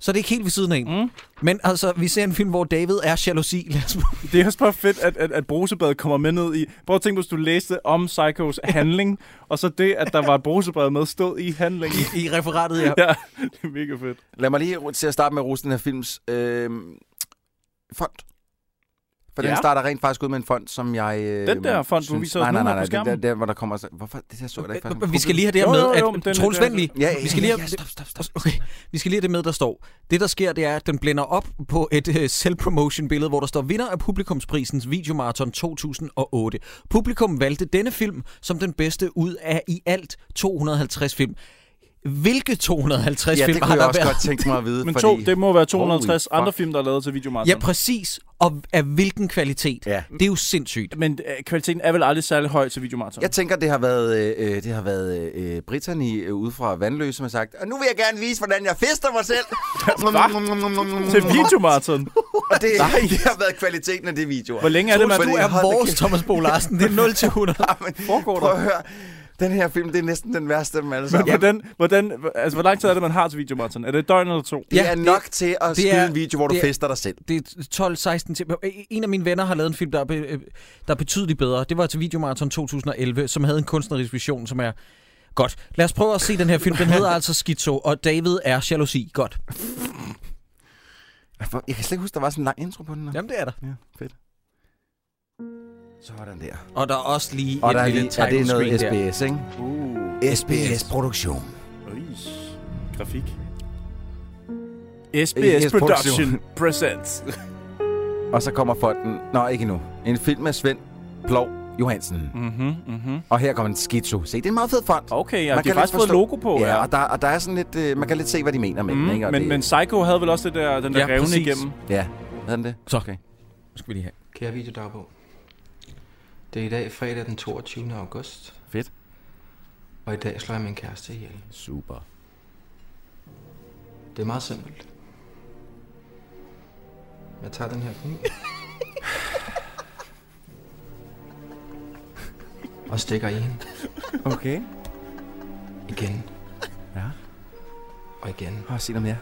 Speaker 1: så det er ikke helt ved siden af. Mm. Men altså, vi ser en film, hvor David er jalousi. Lad os
Speaker 7: Det er også bare fedt, at, at, at brusebad kommer med ned i. Prøv at tænke, hvis du læste om Psychos handling, og så det, at der var et brusebad med, stod i handlingen.
Speaker 1: I referatet,
Speaker 6: ja.
Speaker 7: ja. det er mega fedt.
Speaker 6: Lad mig lige ro- til at starte med at rose den her films øh, fond. For ja.
Speaker 7: Ja.
Speaker 6: den starter rent faktisk ud med en fond, som jeg... Øh,
Speaker 7: Den der font, du
Speaker 6: synes-
Speaker 7: viser os
Speaker 6: nej,
Speaker 7: nu
Speaker 6: nej,
Speaker 7: her
Speaker 6: nej,
Speaker 7: på
Speaker 6: nej, den der,
Speaker 7: skærmen.
Speaker 6: der, hvor der kommer... så- Hvorfor? Det der så jeg da ikke
Speaker 1: Vi skal lige have det her
Speaker 7: Jo,
Speaker 1: med,
Speaker 7: jo, jo, men den-
Speaker 1: at Troels
Speaker 7: den-
Speaker 1: Vand lige-
Speaker 6: Ja, ja,
Speaker 1: vi skal lige
Speaker 6: ja,
Speaker 1: have,
Speaker 6: stop, stop, stop.
Speaker 1: Okay, vi skal lige have det med, der står. Det, der sker, det er, at den blænder op på et øh, self-promotion-billede, hvor der står vinder af publikumsprisens videomarathon 2008. Publikum valgte denne film som den bedste ud af i alt 250 film. Hvilke 250
Speaker 6: Ja,
Speaker 1: film
Speaker 6: det
Speaker 1: har
Speaker 6: kunne
Speaker 1: der
Speaker 6: jeg også
Speaker 1: været?
Speaker 6: godt tænke mig at vide,
Speaker 7: Men
Speaker 6: fordi...
Speaker 7: to, det må være 250
Speaker 6: Holy
Speaker 7: andre
Speaker 6: fuck.
Speaker 7: film, der er lavet til videomarathon.
Speaker 1: Ja, præcis. Og af hvilken kvalitet?
Speaker 6: Ja.
Speaker 1: Det er jo sindssygt.
Speaker 7: Men øh, kvaliteten er vel aldrig særlig høj til videomarathon.
Speaker 6: Jeg tænker, det har været, øh, øh, det har været øh, Brittany øh, ude fra Vandløse, som har sagt, og nu vil jeg gerne vise, hvordan jeg fester mig selv.
Speaker 7: Til videomarathon?
Speaker 6: Og det,
Speaker 7: Nej.
Speaker 6: det har været kvaliteten af det video.
Speaker 7: Hvor længe er det, man-
Speaker 1: Du er vores Thomas Bo Larsen. Det er 0 til 100.
Speaker 7: Foregår
Speaker 6: Prøv
Speaker 7: der?
Speaker 6: at høre. Den her film, det er næsten den værste af dem alle sammen.
Speaker 7: Hvordan, hvordan, altså, hvor lang tid er det, man har til videomarathon? Er det et døgn eller to?
Speaker 6: Det er nok til at skyde en video, hvor du
Speaker 1: det er-
Speaker 6: fester dig selv.
Speaker 1: det er 12-16 timer. En af mine venner har lavet en film, der er, be, øh, der er betydeligt bedre. Det var til Videomarathon 2011, som havde en kunstnerisk vision, som er... Godt. Lad os prøve at se den her film. Den hedder altså Schizo, og David er jalousi. Godt.
Speaker 6: Hvor- Jeg kan slet ikke huske, der var sådan en lang intro på den. her.
Speaker 1: Jamen, det er der.
Speaker 6: Ja, fedt. Sådan der.
Speaker 1: Og der er også lige
Speaker 6: Og
Speaker 1: et
Speaker 6: der er
Speaker 1: lille
Speaker 6: lige, er det
Speaker 1: title
Speaker 6: noget
Speaker 1: screen der.
Speaker 6: SBS, ikke?
Speaker 7: Uh.
Speaker 6: SBS-produktion.
Speaker 7: Øj, grafik. SBS Production presents.
Speaker 6: Mhm, Og så kommer fonden... Nå, ikke endnu. En film af Svend Plov Johansen.
Speaker 7: Mhm, mhm.
Speaker 6: Og her kommer en skizo. Se, det er en meget fed fond.
Speaker 7: Okay, ja,
Speaker 6: Man
Speaker 7: de
Speaker 6: kan
Speaker 7: har faktisk
Speaker 6: lidt
Speaker 7: fået
Speaker 6: forstå-
Speaker 7: logo på.
Speaker 6: Ja, og der, og der er sådan lidt... Øh, man kan lidt se, hvad de mener med den,
Speaker 7: Mm,
Speaker 6: ikke? Og
Speaker 7: men,
Speaker 6: det,
Speaker 7: men Psycho havde vel også det der, den der
Speaker 6: Ja,
Speaker 7: ja, revne
Speaker 6: præcis.
Speaker 7: igennem.
Speaker 6: Ja, havde den det?
Speaker 1: Så.
Speaker 6: Okay.
Speaker 1: Nu skal vi lige have.
Speaker 13: Kære videodagbog. Det er i dag fredag den 22. august.
Speaker 6: Fedt.
Speaker 13: Og i dag slår jeg min kæreste ihjel.
Speaker 6: Super.
Speaker 13: Det er meget simpelt. Jeg tager den her kniv. og stikker i hende.
Speaker 6: Okay.
Speaker 13: Igen.
Speaker 6: Ja.
Speaker 13: Og igen.
Speaker 6: Og se noget mere.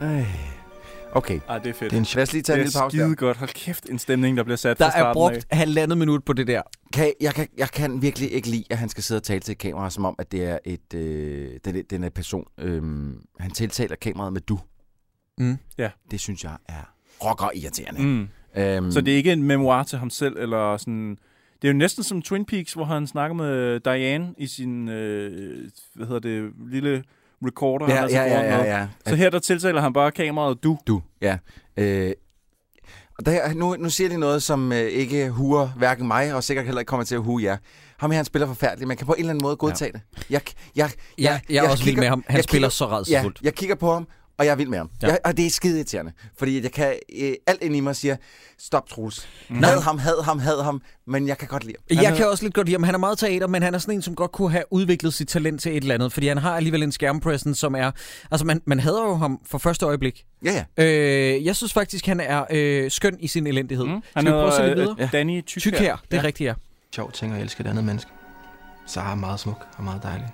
Speaker 6: Ej. Okay.
Speaker 7: Ej, det er fedt.
Speaker 6: Det er en, lad os lige tage en lille pause
Speaker 7: Det er skide godt. Hold kæft, en stemning, der bliver sat
Speaker 6: Der
Speaker 7: fra
Speaker 6: er
Speaker 7: starten
Speaker 6: brugt
Speaker 7: af.
Speaker 1: halvandet minut på det der.
Speaker 6: Kan, jeg, kan, jeg kan virkelig ikke lide, at han skal sidde og tale til et kamera, som om, at det er et, øh, den, er- den er person. Øh, han tiltaler kameraet med du.
Speaker 1: Mm.
Speaker 7: Ja.
Speaker 6: Det synes jeg er rocker irriterende.
Speaker 7: Mm.
Speaker 6: Øhm,
Speaker 7: Så det er ikke en memoir til ham selv, eller sådan... Det er jo næsten som Twin Peaks, hvor han snakker med Diane i sin, øh, hvad hedder det, lille recorder.
Speaker 6: Ja,
Speaker 7: han altså
Speaker 6: ja, ja,
Speaker 7: foran
Speaker 6: ja,
Speaker 7: med.
Speaker 6: ja. Mm.
Speaker 7: Så her der tiltaler han bare kameraet du.
Speaker 6: Du, ja. Øh, og der, nu, nu siger de noget, som øh, ikke huer hverken mig, og sikkert heller ikke kommer til at hue jer. Ham her, han spiller forfærdeligt. Man kan på en eller anden måde godtage ja. det. Jeg, jeg,
Speaker 1: Ja, jeg er også vild med ham. Han
Speaker 6: jeg
Speaker 1: spiller
Speaker 6: kigger-
Speaker 1: så rædselsfuldt.
Speaker 6: Ja, jeg kigger på ham, og jeg er vild med ham.
Speaker 1: Ja.
Speaker 6: Ja. Jeg, og det er skide irriterende, fordi jeg kan, øh, alt inde i mig siger, stop Troels.
Speaker 1: Nej.
Speaker 6: Had ham, had ham, had ham, men jeg kan godt lide ham.
Speaker 1: Jeg kan også lidt godt lide ham. Han er meget teater, men han er sådan en, som godt kunne have udviklet sit talent til et eller andet, fordi han har alligevel en skærmpresence, som er... Altså, man, man hader jo ham fra første øjeblik.
Speaker 6: Ja,
Speaker 1: ja. Øh, jeg synes faktisk, han er øh, skøn i sin elendighed. Mm.
Speaker 13: Han
Speaker 1: Skal vi prøve at se
Speaker 13: hedder,
Speaker 1: lidt
Speaker 13: øh,
Speaker 1: videre?
Speaker 7: Danny Tyk
Speaker 1: Tyk her, det er ja. rigtigt, ja.
Speaker 13: Sjov ting at elske et andet menneske. Sara er meget smuk og meget dejlig.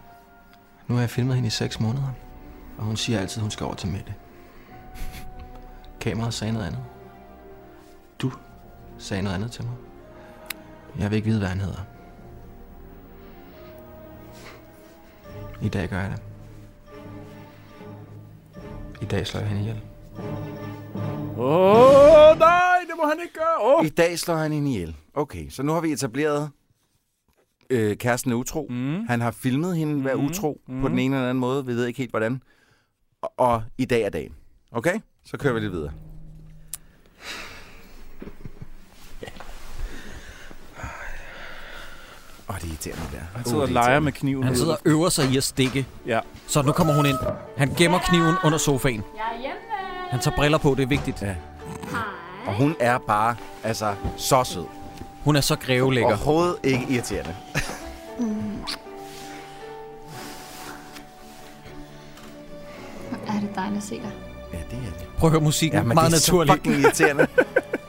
Speaker 13: Nu har jeg filmet hende i 6 måneder, og hun siger altid, hun skal over til Mette. Kameraet sagde noget andet. Du sagde noget andet til mig. Jeg vil ikke vide, hvad han hedder. I dag gør jeg det. I dag slår jeg hende ihjel.
Speaker 7: Åh, oh, nej, det må han ikke gøre. Oh.
Speaker 6: I dag slår han hende ihjel. Okay, så nu har vi etableret øh, kæresten er utro. Mm. Han har filmet hende være utro mm. på den ene eller anden måde. Vi ved ikke helt, hvordan. Og, og i dag er dagen. Okay? Så kører vi lidt videre. Åh, det er irriterende det der.
Speaker 7: Han sidder og leger med kniven.
Speaker 1: Han sidder og øver sig i at stikke.
Speaker 7: Ja.
Speaker 1: Så nu kommer hun ind. Han gemmer kniven under sofaen.
Speaker 14: Jeg er hjemme.
Speaker 1: Han tager briller på, det er vigtigt. Ja.
Speaker 6: Og hun er bare, altså, så sød.
Speaker 1: Hun er så grevelækker.
Speaker 6: Overhovedet ikke irriterende.
Speaker 14: Mm. Hvor er det dejligt at se dig.
Speaker 6: Ja, det er det.
Speaker 1: Prøv at høre musikken.
Speaker 6: Ja, men
Speaker 1: Meget
Speaker 6: det er så
Speaker 1: naturligt.
Speaker 6: fucking irriterende.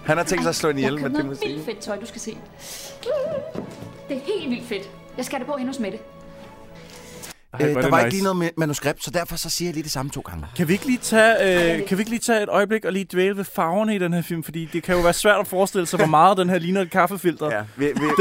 Speaker 6: Han har tænkt sig at slå hende
Speaker 14: Jeg
Speaker 6: ihjel med det
Speaker 14: noget
Speaker 6: musik.
Speaker 14: vildt fedt tøj, du skal se. Det er helt vildt fedt. Jeg skal have det på endnu hos Mette.
Speaker 7: Ej, hvor er
Speaker 6: Øh, der
Speaker 7: det
Speaker 6: var ikke
Speaker 7: nice.
Speaker 6: lige noget med- manuskript, så derfor så siger jeg lige det samme to gange.
Speaker 7: Kan vi, ikke lige tage, øh, kan vi ikke lige tage et øjeblik og lige dvæle ved farverne i den her film? Fordi det kan jo være svært at forestille sig, hvor meget den her ligner et kaffefilter. Ja,
Speaker 6: vi, vi,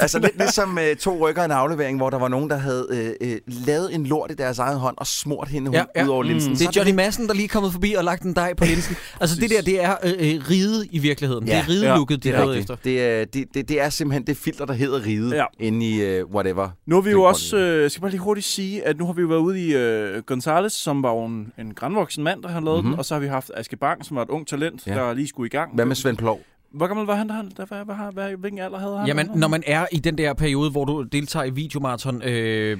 Speaker 6: Altså lidt ligesom øh, to rykker i en aflevering, hvor der var nogen, der havde øh, øh, lavet en lort i deres egen hånd og smurt hende ja, ja. ud over linsen.
Speaker 1: Det er Johnny Madsen, der lige er kommet forbi og lagt en dej på linsen. Altså det der, det er øh, øh, ride i virkeligheden. Ja. Det er ridelooket, ja, de
Speaker 6: det er
Speaker 1: er
Speaker 6: rigtigt.
Speaker 1: efter.
Speaker 6: Det, er- det, det, det er simpelthen det filter, der hedder ride ja. inde i øh, whatever.
Speaker 7: Nu har vi jo også, øh, skal bare lige hurtigt sige, at nu har vi jo været ude i øh, Gonzales, som var jo en, en grandvoksen mand, der har lavet mm-hmm.
Speaker 6: Mhm.
Speaker 7: den, og så har vi haft Aske Bang, som var et ung talent, ja.
Speaker 6: Ja.
Speaker 7: der lige skulle i gang.
Speaker 6: Hvad med Svend Plov?
Speaker 7: Hvor gammel var han, der, der, hvad, hvad, hvad, hvad, hvilken alder havde han?
Speaker 1: Jamen, når man er i den der periode, hvor du deltager i videomarathon... Øh,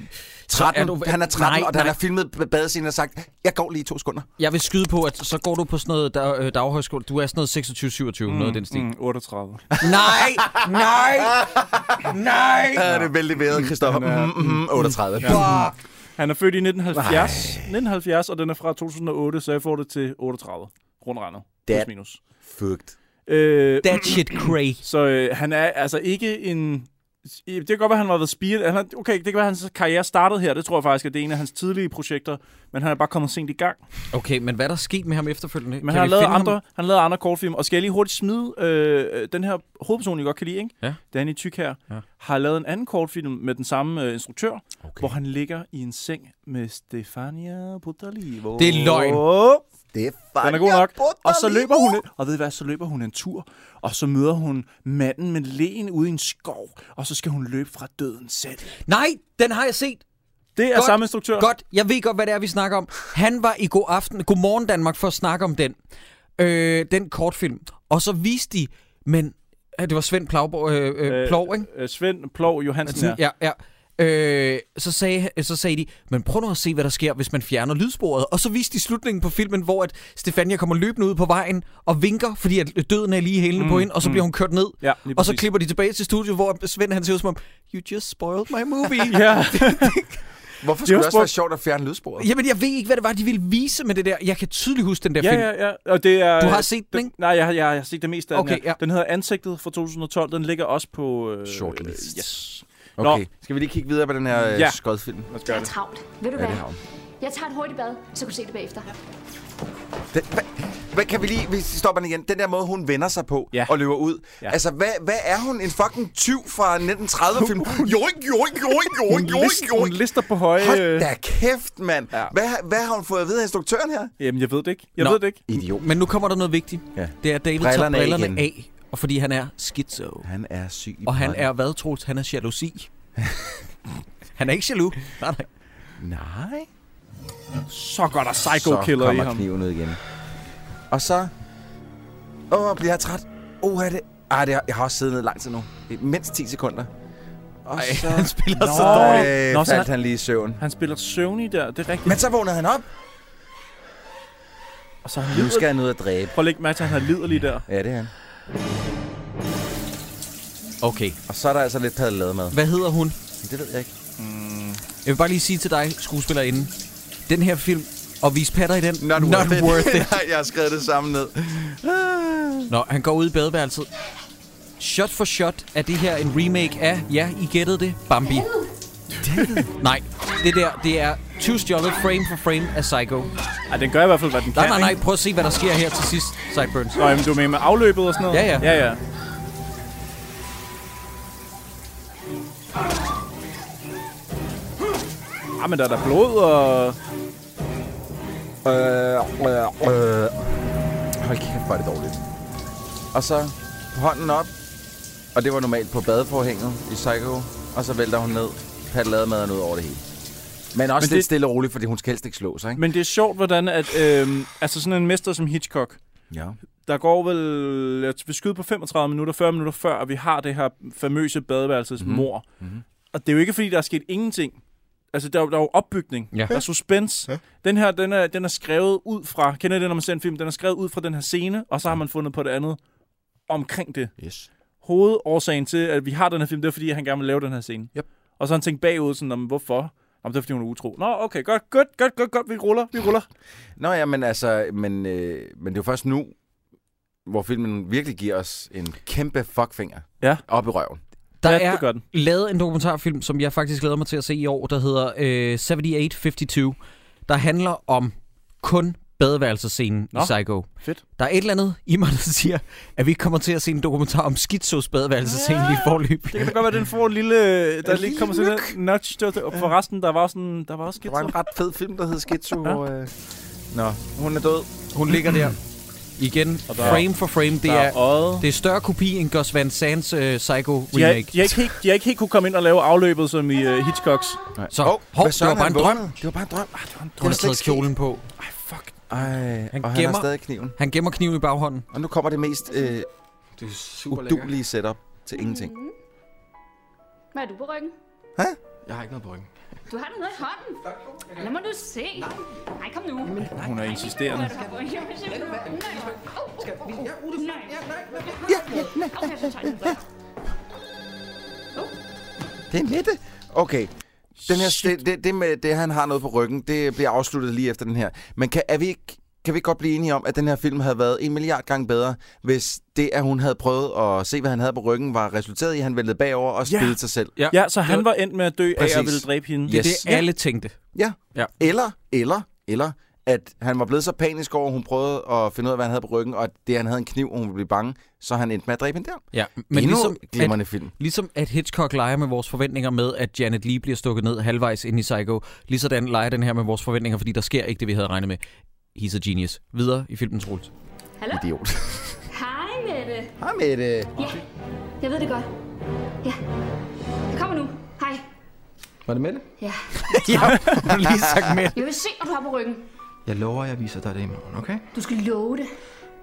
Speaker 1: så
Speaker 6: 13,
Speaker 1: du-
Speaker 6: han er 13,
Speaker 1: Nej,
Speaker 6: og da han
Speaker 1: nej.
Speaker 6: har filmet badescenen og sagt, jeg går lige i to sekunder.
Speaker 1: Jeg vil skyde på, at så går du på sådan noget dag, øh, daghøjskole. Du er sådan noget 26-27, mm, noget af den stil.
Speaker 7: Mm, 38.
Speaker 1: Nej! Nej! Nej!
Speaker 6: Ja, det er vældig været, Christoffer. Mm, mm, mm, 38.
Speaker 7: Ja. Han er født i 1970, 1970, og den er fra 2008, så jeg får det til 38. Rundregnet.
Speaker 6: Det
Speaker 7: Plus
Speaker 6: er
Speaker 7: minus.
Speaker 6: fucked.
Speaker 7: Øh,
Speaker 1: That shit cray.
Speaker 7: Så øh, han er altså ikke en... Det kan godt være, han har været spiret. Han er, okay, det kan være, at hans karriere startede her. Det tror jeg faktisk, at det er en af hans tidlige projekter. Men han er bare kommet sent i gang.
Speaker 1: Okay, men hvad er der sket med ham efterfølgende?
Speaker 7: Men han har, lavet andre, han har lavet andre kortfilm. Og skal jeg lige hurtigt smide øh, øh, den her hovedperson, jeg godt kan lide, ikke?
Speaker 1: Ja.
Speaker 7: Danny Tyk her,
Speaker 1: Ja.
Speaker 7: ja. har lavet en anden kortfilm med den samme øh, instruktør, okay. hvor han ligger i en seng med Stefania Potalivo.
Speaker 1: Det er løgn.
Speaker 6: Det er
Speaker 7: Den er god nok. Og så løber hun, og ved I hvad, så løber hun en tur, og så møder hun manden med len ude i en skov, og så skal hun løbe fra døden selv.
Speaker 1: Nej, den har jeg set.
Speaker 7: Det er samme instruktør.
Speaker 1: Godt, jeg ved godt, hvad det er, vi snakker om. Han var i god aften, godmorgen Danmark, for at snakke om den. Øh, den kortfilm. Og så viste de, men ja, det var Svend Plov, øh, øh, Plov ikke?
Speaker 7: Øh, Svend Plov Johansen her.
Speaker 1: Altså, Ja, ja. Øh, så, sagde, så sagde de, men prøv nu at se, hvad der sker, hvis man fjerner lydsporet. Og så viste de slutningen på filmen, hvor at Stefania kommer løbende ud på vejen og vinker, fordi at døden er lige i hælene mm,
Speaker 7: Mm,
Speaker 1: på hende, og så
Speaker 7: mm.
Speaker 1: bliver hun kørt ned.
Speaker 7: Ja, lige
Speaker 1: og så
Speaker 7: præcis.
Speaker 1: klipper de tilbage til studiet, hvor Svend han ser ud som om, you just spoiled my movie.
Speaker 7: Ja.
Speaker 6: Hvorfor skulle det også være sjovt at fjerne lydsporet?
Speaker 1: Jamen, jeg ved ikke, hvad det var, de ville vise med det der. Jeg kan tydeligt huske den der
Speaker 7: Ja,
Speaker 1: film.
Speaker 7: ja, ja. Og det er,
Speaker 1: Du har set den, ikke?
Speaker 7: Nej, jeg, har- jeg, har- jeg har set det meste af
Speaker 1: Okay,
Speaker 7: okay, den her. Ja. Den hedder Ansigtet fra 2012. Den ligger også på... Øh, Shortlist. Yes.
Speaker 6: Okay, skal vi lige kigge videre på den her øh,
Speaker 7: Ja.
Speaker 6: skodfilm? Lad os
Speaker 14: Jeg er travlt. Ved du
Speaker 6: Ja,
Speaker 14: hvad?
Speaker 6: det har hun.
Speaker 14: Jeg tager et hurtigt bad, så kan du se det bagefter.
Speaker 6: Den, hvad, hvad, kan vi lige, vi stopper den igen. Den der måde, hun vender sig på ja. og løber ud. Ja. Altså, hvad, hvad er hun? En fucking tyv fra 1930-film? Joink, joink, joink, joink,
Speaker 7: Hun list-
Speaker 6: joink, joink.
Speaker 7: hun lister på høje,
Speaker 6: Hold
Speaker 7: øh.
Speaker 6: da kæft, mand. Ja. Hvad, hvad har hun fået at vide af instruktøren her?
Speaker 7: Jamen, jeg ved det ikke. Jeg Nå. ved det ikke.
Speaker 6: Idiot.
Speaker 1: Men nu kommer der noget vigtigt.
Speaker 6: Ja.
Speaker 1: Det er, at David brillerne
Speaker 6: Brillerne
Speaker 1: tager
Speaker 6: af
Speaker 1: brillerne af,
Speaker 6: igen.
Speaker 1: af, og fordi han er schizo.
Speaker 6: Han er syg i
Speaker 1: Og han
Speaker 6: branden.
Speaker 1: er hvad, Troels? Han er jalousi. han er ikke jaloux. Nej, nej.
Speaker 6: Nej.
Speaker 7: Så går der psycho killer i
Speaker 6: kommer
Speaker 7: ham.
Speaker 6: kniven ud igen. Og så... Åh, oh, bliver jeg træt. Åh, oh, er det... Ej, det har, jeg har også siddet ned lang tid nu. Det er mindst 10 sekunder. Og Ej, så...
Speaker 1: han spiller
Speaker 6: Nå,
Speaker 7: så dårligt.
Speaker 6: Øh,
Speaker 7: Nå,
Speaker 6: Nå,
Speaker 7: så
Speaker 6: faldt
Speaker 7: han-
Speaker 6: han lige i søvn.
Speaker 7: Han spiller Sony der, det er rigtigt.
Speaker 6: Men så vågnede han op.
Speaker 7: Og så er
Speaker 6: Nu skal han ud og dræbe.
Speaker 7: Prøv at lægge mærke til, at han er liderlig der.
Speaker 6: Ja, det er han.
Speaker 1: Okay.
Speaker 6: Og så er der altså lidt paddelade med.
Speaker 1: Hvad hedder hun?
Speaker 6: Det ved jeg ikke.
Speaker 1: Mm. Jeg vil bare lige sige til dig, skuespillerinde. Den her film, og vise patter i den, not,
Speaker 6: worth it.
Speaker 1: worth it.
Speaker 6: Nej, jeg har skrevet det samme ned.
Speaker 1: Nå, han går ud i badeværelset. Shot for shot er det her en remake af, ja, I gættede det, Bambi. nej, det der, det er 20 stjålet frame for frame af Psycho.
Speaker 7: Ej, den gør i hvert fald, hvad den
Speaker 1: Nej,
Speaker 7: kan,
Speaker 1: nej, nej,
Speaker 7: ikke?
Speaker 1: prøv at se, hvad der sker her til sidst, Sideburns.
Speaker 7: Nå, jamen, du er med med afløbet og sådan noget?
Speaker 1: Ja, ja.
Speaker 7: ja, ja. Ah, men der er der blod og...
Speaker 6: Øh, øh, hold kæft, var det dårligt. Og så hånden op. Og det var normalt på badeforhænget i Psycho. Og så vælter hun ned. Paddelademaden ud over det hele. Men også
Speaker 7: Men
Speaker 6: men lidt
Speaker 7: det-
Speaker 6: det... stille og roligt, fordi hun skal helst ikke slå sig, altså, ikke?
Speaker 7: Men det er sjovt, hvordan at... Øhm, altså sådan en mester som Hitchcock,
Speaker 6: Ja.
Speaker 7: der går vel... Jeg vil skyde på 35 minutter, 40 minutter før, at vi har det her famøse badeværelses
Speaker 6: Mhm.
Speaker 7: mor.
Speaker 6: Mhm.
Speaker 7: Og det er jo ikke, fordi der er sket ingenting. Altså, der er jo, der er jo opbygning.
Speaker 1: Ja.
Speaker 7: Der er suspense. Den her, den er, den er skrevet ud fra... Kender I det, når man ser en film? Den er skrevet ud fra den her scene, og så har man fundet på det andet omkring det.
Speaker 6: Yes.
Speaker 7: Hovedårsagen til, at vi har den her film, det er, fordi han gerne vil lave den her scene. Yep. Og så har han tænkt bagud sådan, "Nå, men hvorfor? Jamen, det er, fordi hun er utro. Nå, okay, godt, godt, godt, godt, godt, vi ruller, vi ruller.
Speaker 6: Nå ja, men altså, men, øh, men det er jo først nu, hvor filmen virkelig giver os en kæmpe fuckfinger
Speaker 7: ja.
Speaker 6: op i røven.
Speaker 1: Der
Speaker 7: Ja,
Speaker 1: er
Speaker 7: det gør den.
Speaker 1: lavet en dokumentarfilm, som jeg faktisk glæder mig til at se i år, der hedder øh, 7852, der handler om kun badeværelsescenen i
Speaker 7: Nå,
Speaker 1: Psycho.
Speaker 7: fedt.
Speaker 1: Der er et eller andet i mig, der siger, at vi kommer til at se en dokumentar om Schizos badeværelsescene lige i forløb.
Speaker 7: Det kan da godt være, den får en lille... Der lige kommer sådan en nudge. Det var det. Og forresten, der var sådan... Der var også
Speaker 6: Det var en ret fed film, der hed Schizo.
Speaker 7: Ja.
Speaker 6: Ja. Øh. Nå, hun er død.
Speaker 1: Hun ligger der. Igen,
Speaker 7: Og der er-
Speaker 1: frame for frame, det
Speaker 7: der er
Speaker 1: er,
Speaker 7: øjet.
Speaker 1: det er større kopi end Gus Van Sands øh,
Speaker 7: De har,
Speaker 1: Psycho-remake.
Speaker 7: de, har ikke, helt- de har ikke helt kunne komme ind og lave afløbet som i uh, Hitchcocks.
Speaker 1: Så, hov, det var bare en drøm.
Speaker 6: Det var bare en drøm. Ah, det var en
Speaker 1: Hun har taget kjolen på.
Speaker 6: Ej, han og han
Speaker 1: gemmer-
Speaker 6: har stadig kniven.
Speaker 1: Han gemmer kniven i baghånden.
Speaker 6: Og nu kommer det mest øh, udulige setup til ingenting.
Speaker 14: Hvad er du på ryggen?
Speaker 13: Jeg har ikke noget på ryggen.
Speaker 14: Du har da noget i hånden. Lad mig nu se. Nej, kom nu.
Speaker 7: Hun er insisterende.
Speaker 6: Det er en lette. Okay. Den her, det, det, det med det, han har noget på ryggen, det bliver afsluttet lige efter den her. Men kan, er vi ikke, kan vi ikke godt blive enige om, at den her film havde været en milliard gange bedre, hvis det, at hun havde prøvet at se, hvad han havde på ryggen, var resulteret i, at han væltede bagover og spillede sig selv?
Speaker 1: Ja.
Speaker 7: Ja, så han var endt med at dø af at
Speaker 6: Præcis.
Speaker 7: ville dræbe hende.
Speaker 1: Det er
Speaker 6: Yes.
Speaker 1: det, alle tænkte.
Speaker 6: Ja.
Speaker 1: Ja.
Speaker 6: Eller, eller, eller, at han var blevet så panisk over, at hun prøvede at finde ud af, hvad han havde på ryggen, og at det, han havde en kniv, og hun ville blive bange, så han endte med at dræbe hende der.
Speaker 1: Ja,
Speaker 6: Men Endnu ligesom, glimrende
Speaker 1: at,
Speaker 6: film.
Speaker 1: Ligesom at Hitchcock leger med vores forventninger med, at Janet Lee bliver stukket ned halvvejs ind i Psycho, ligesådan leger den her med vores forventninger, fordi der sker ikke det, vi havde regnet med. He's a genius. Videre i filmens rulle.
Speaker 14: Hallo?
Speaker 6: Idiot.
Speaker 14: Hej, Mette.
Speaker 6: Hej med det.
Speaker 14: Ja, jeg ved det godt. Ja, jeg kommer nu. Hej.
Speaker 13: Var det med det?
Speaker 14: Ja.
Speaker 1: ja, har du lige sagt med.
Speaker 14: Jeg vil se, hvad du har på ryggen.
Speaker 13: Jeg lover, jeg viser dig det i morgen, okay?
Speaker 14: Du skal love det.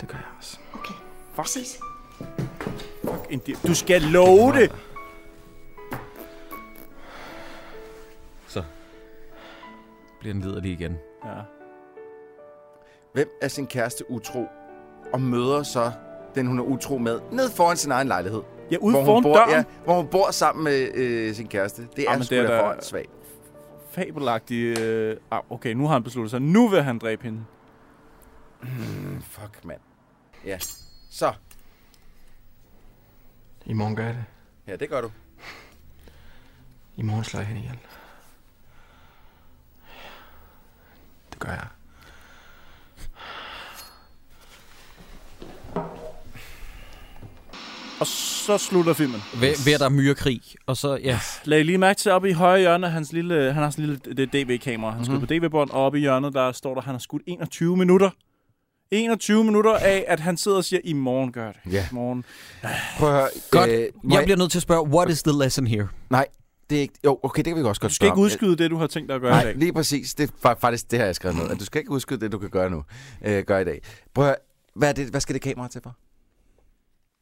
Speaker 13: Det gør jeg også.
Speaker 14: Okay. Fuck. Ses.
Speaker 7: Fuck, en di- Du skal love det!
Speaker 1: Så bliver den liderlig igen.
Speaker 7: Ja.
Speaker 6: Hvem er sin kæreste utro, og møder så den, hun er utro med, ned foran sin egen lejlighed?
Speaker 7: Ja, ude
Speaker 6: hvor
Speaker 7: foran
Speaker 6: hun bor,
Speaker 7: døren.
Speaker 6: hvor hun bor sammen med øh, sin kæreste. Det er
Speaker 7: Jamen,
Speaker 6: sgu
Speaker 7: det er
Speaker 6: da
Speaker 7: da-
Speaker 6: for svagt.
Speaker 7: fabelagtig... Øh, ah, okay, nu har han besluttet sig. Nu vil han dræbe hende.
Speaker 6: Mm, fuck, mand. Ja. Så.
Speaker 13: I morgen gør jeg det.
Speaker 6: Ja, det gør du.
Speaker 13: I morgen slår jeg hende ihjel. Det gør jeg.
Speaker 7: Og så slutter filmen.
Speaker 1: Ved, ved at der er myrekrig, og så, ja.
Speaker 7: Lad lige mærke til, oppe i højre hjørne, hans lille, han har sådan en lille det DV-kamera. Han mm-hmm.
Speaker 1: Mhm.
Speaker 7: på DV-bånd, og oppe i hjørnet, der står der, han har skudt 21 minutter. 21 minutter af, at han sidder og siger, i morgen gør jeg det.
Speaker 6: Ja.
Speaker 7: I morgen.
Speaker 6: Prøv at høre.
Speaker 1: Godt.
Speaker 6: øh, må
Speaker 1: jeg bliver nødt til at spørge, what is the lesson here?
Speaker 6: Nej, det er ikke... Jo, okay, det kan vi også godt
Speaker 7: Du skal
Speaker 6: spørge
Speaker 7: ikke
Speaker 6: om.
Speaker 7: udskyde det, du har tænkt dig at gøre i
Speaker 6: Nej,
Speaker 7: dag.
Speaker 6: lige præcis. Det er fa- faktisk det, har jeg skrevet ned. At du skal ikke udskyde det, du kan gøre nu. Øh, gør i dag. Prøv at høre, hvad, er det, hvad skal det kamera til for?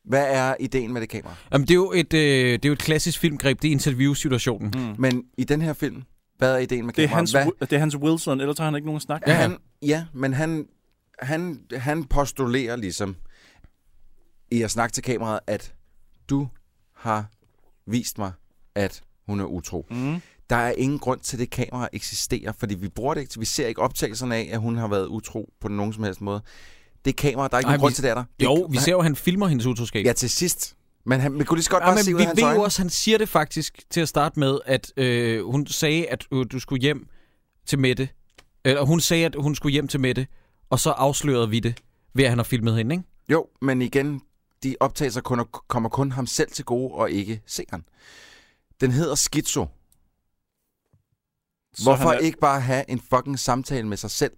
Speaker 6: Hvad er ideen med det kamera?
Speaker 1: Jamen, det er jo et, øh, det er jo et klassisk filmgreb, det er interviewsituationen.
Speaker 7: Mm.
Speaker 6: Men i den her film, hvad er ideen med
Speaker 7: Det er,
Speaker 6: kameraet?
Speaker 7: hans,
Speaker 6: Hvad-
Speaker 7: det er hans Wilson, ellers har han ikke nogen snak.
Speaker 6: Ja, han, ja men han, han, han postulerer ligesom i at snakke til kameraet, at du har vist mig, at hun er utro.
Speaker 1: Mhm.
Speaker 7: Mm.
Speaker 6: Der er ingen grund til, at det kamera eksisterer, fordi vi bruger det ikke. til- Vi ser ikke optagelserne af, at hun har været utro på nogen som helst måde. Det er kamera, der er ikke nogen grund til, det er der. Det-
Speaker 1: Jo, vi ser jo, at han filmer hendes utroskab.
Speaker 6: Ja, til sidst. Men han man kunne lige så godt
Speaker 1: Ja,
Speaker 6: bare
Speaker 1: men
Speaker 6: se ud
Speaker 1: vi
Speaker 6: af hans
Speaker 1: ved jo
Speaker 6: øjne.
Speaker 1: også, han siger det faktisk til at starte med, at øh, hun sagde, at øh, du skulle hjem til Mette. Eller hun sagde, at hun skulle hjem til Mette, og så afslørede vi det, ved at han har filmet hende, ikke?
Speaker 6: Jo, men igen, de optagelser kun, kommer kun ham selv til gode, og ikke seeren. Den hedder Schizo.
Speaker 7: Så
Speaker 6: Hvorfor
Speaker 7: han er-
Speaker 6: ikke bare have en fucking samtale med sig selv?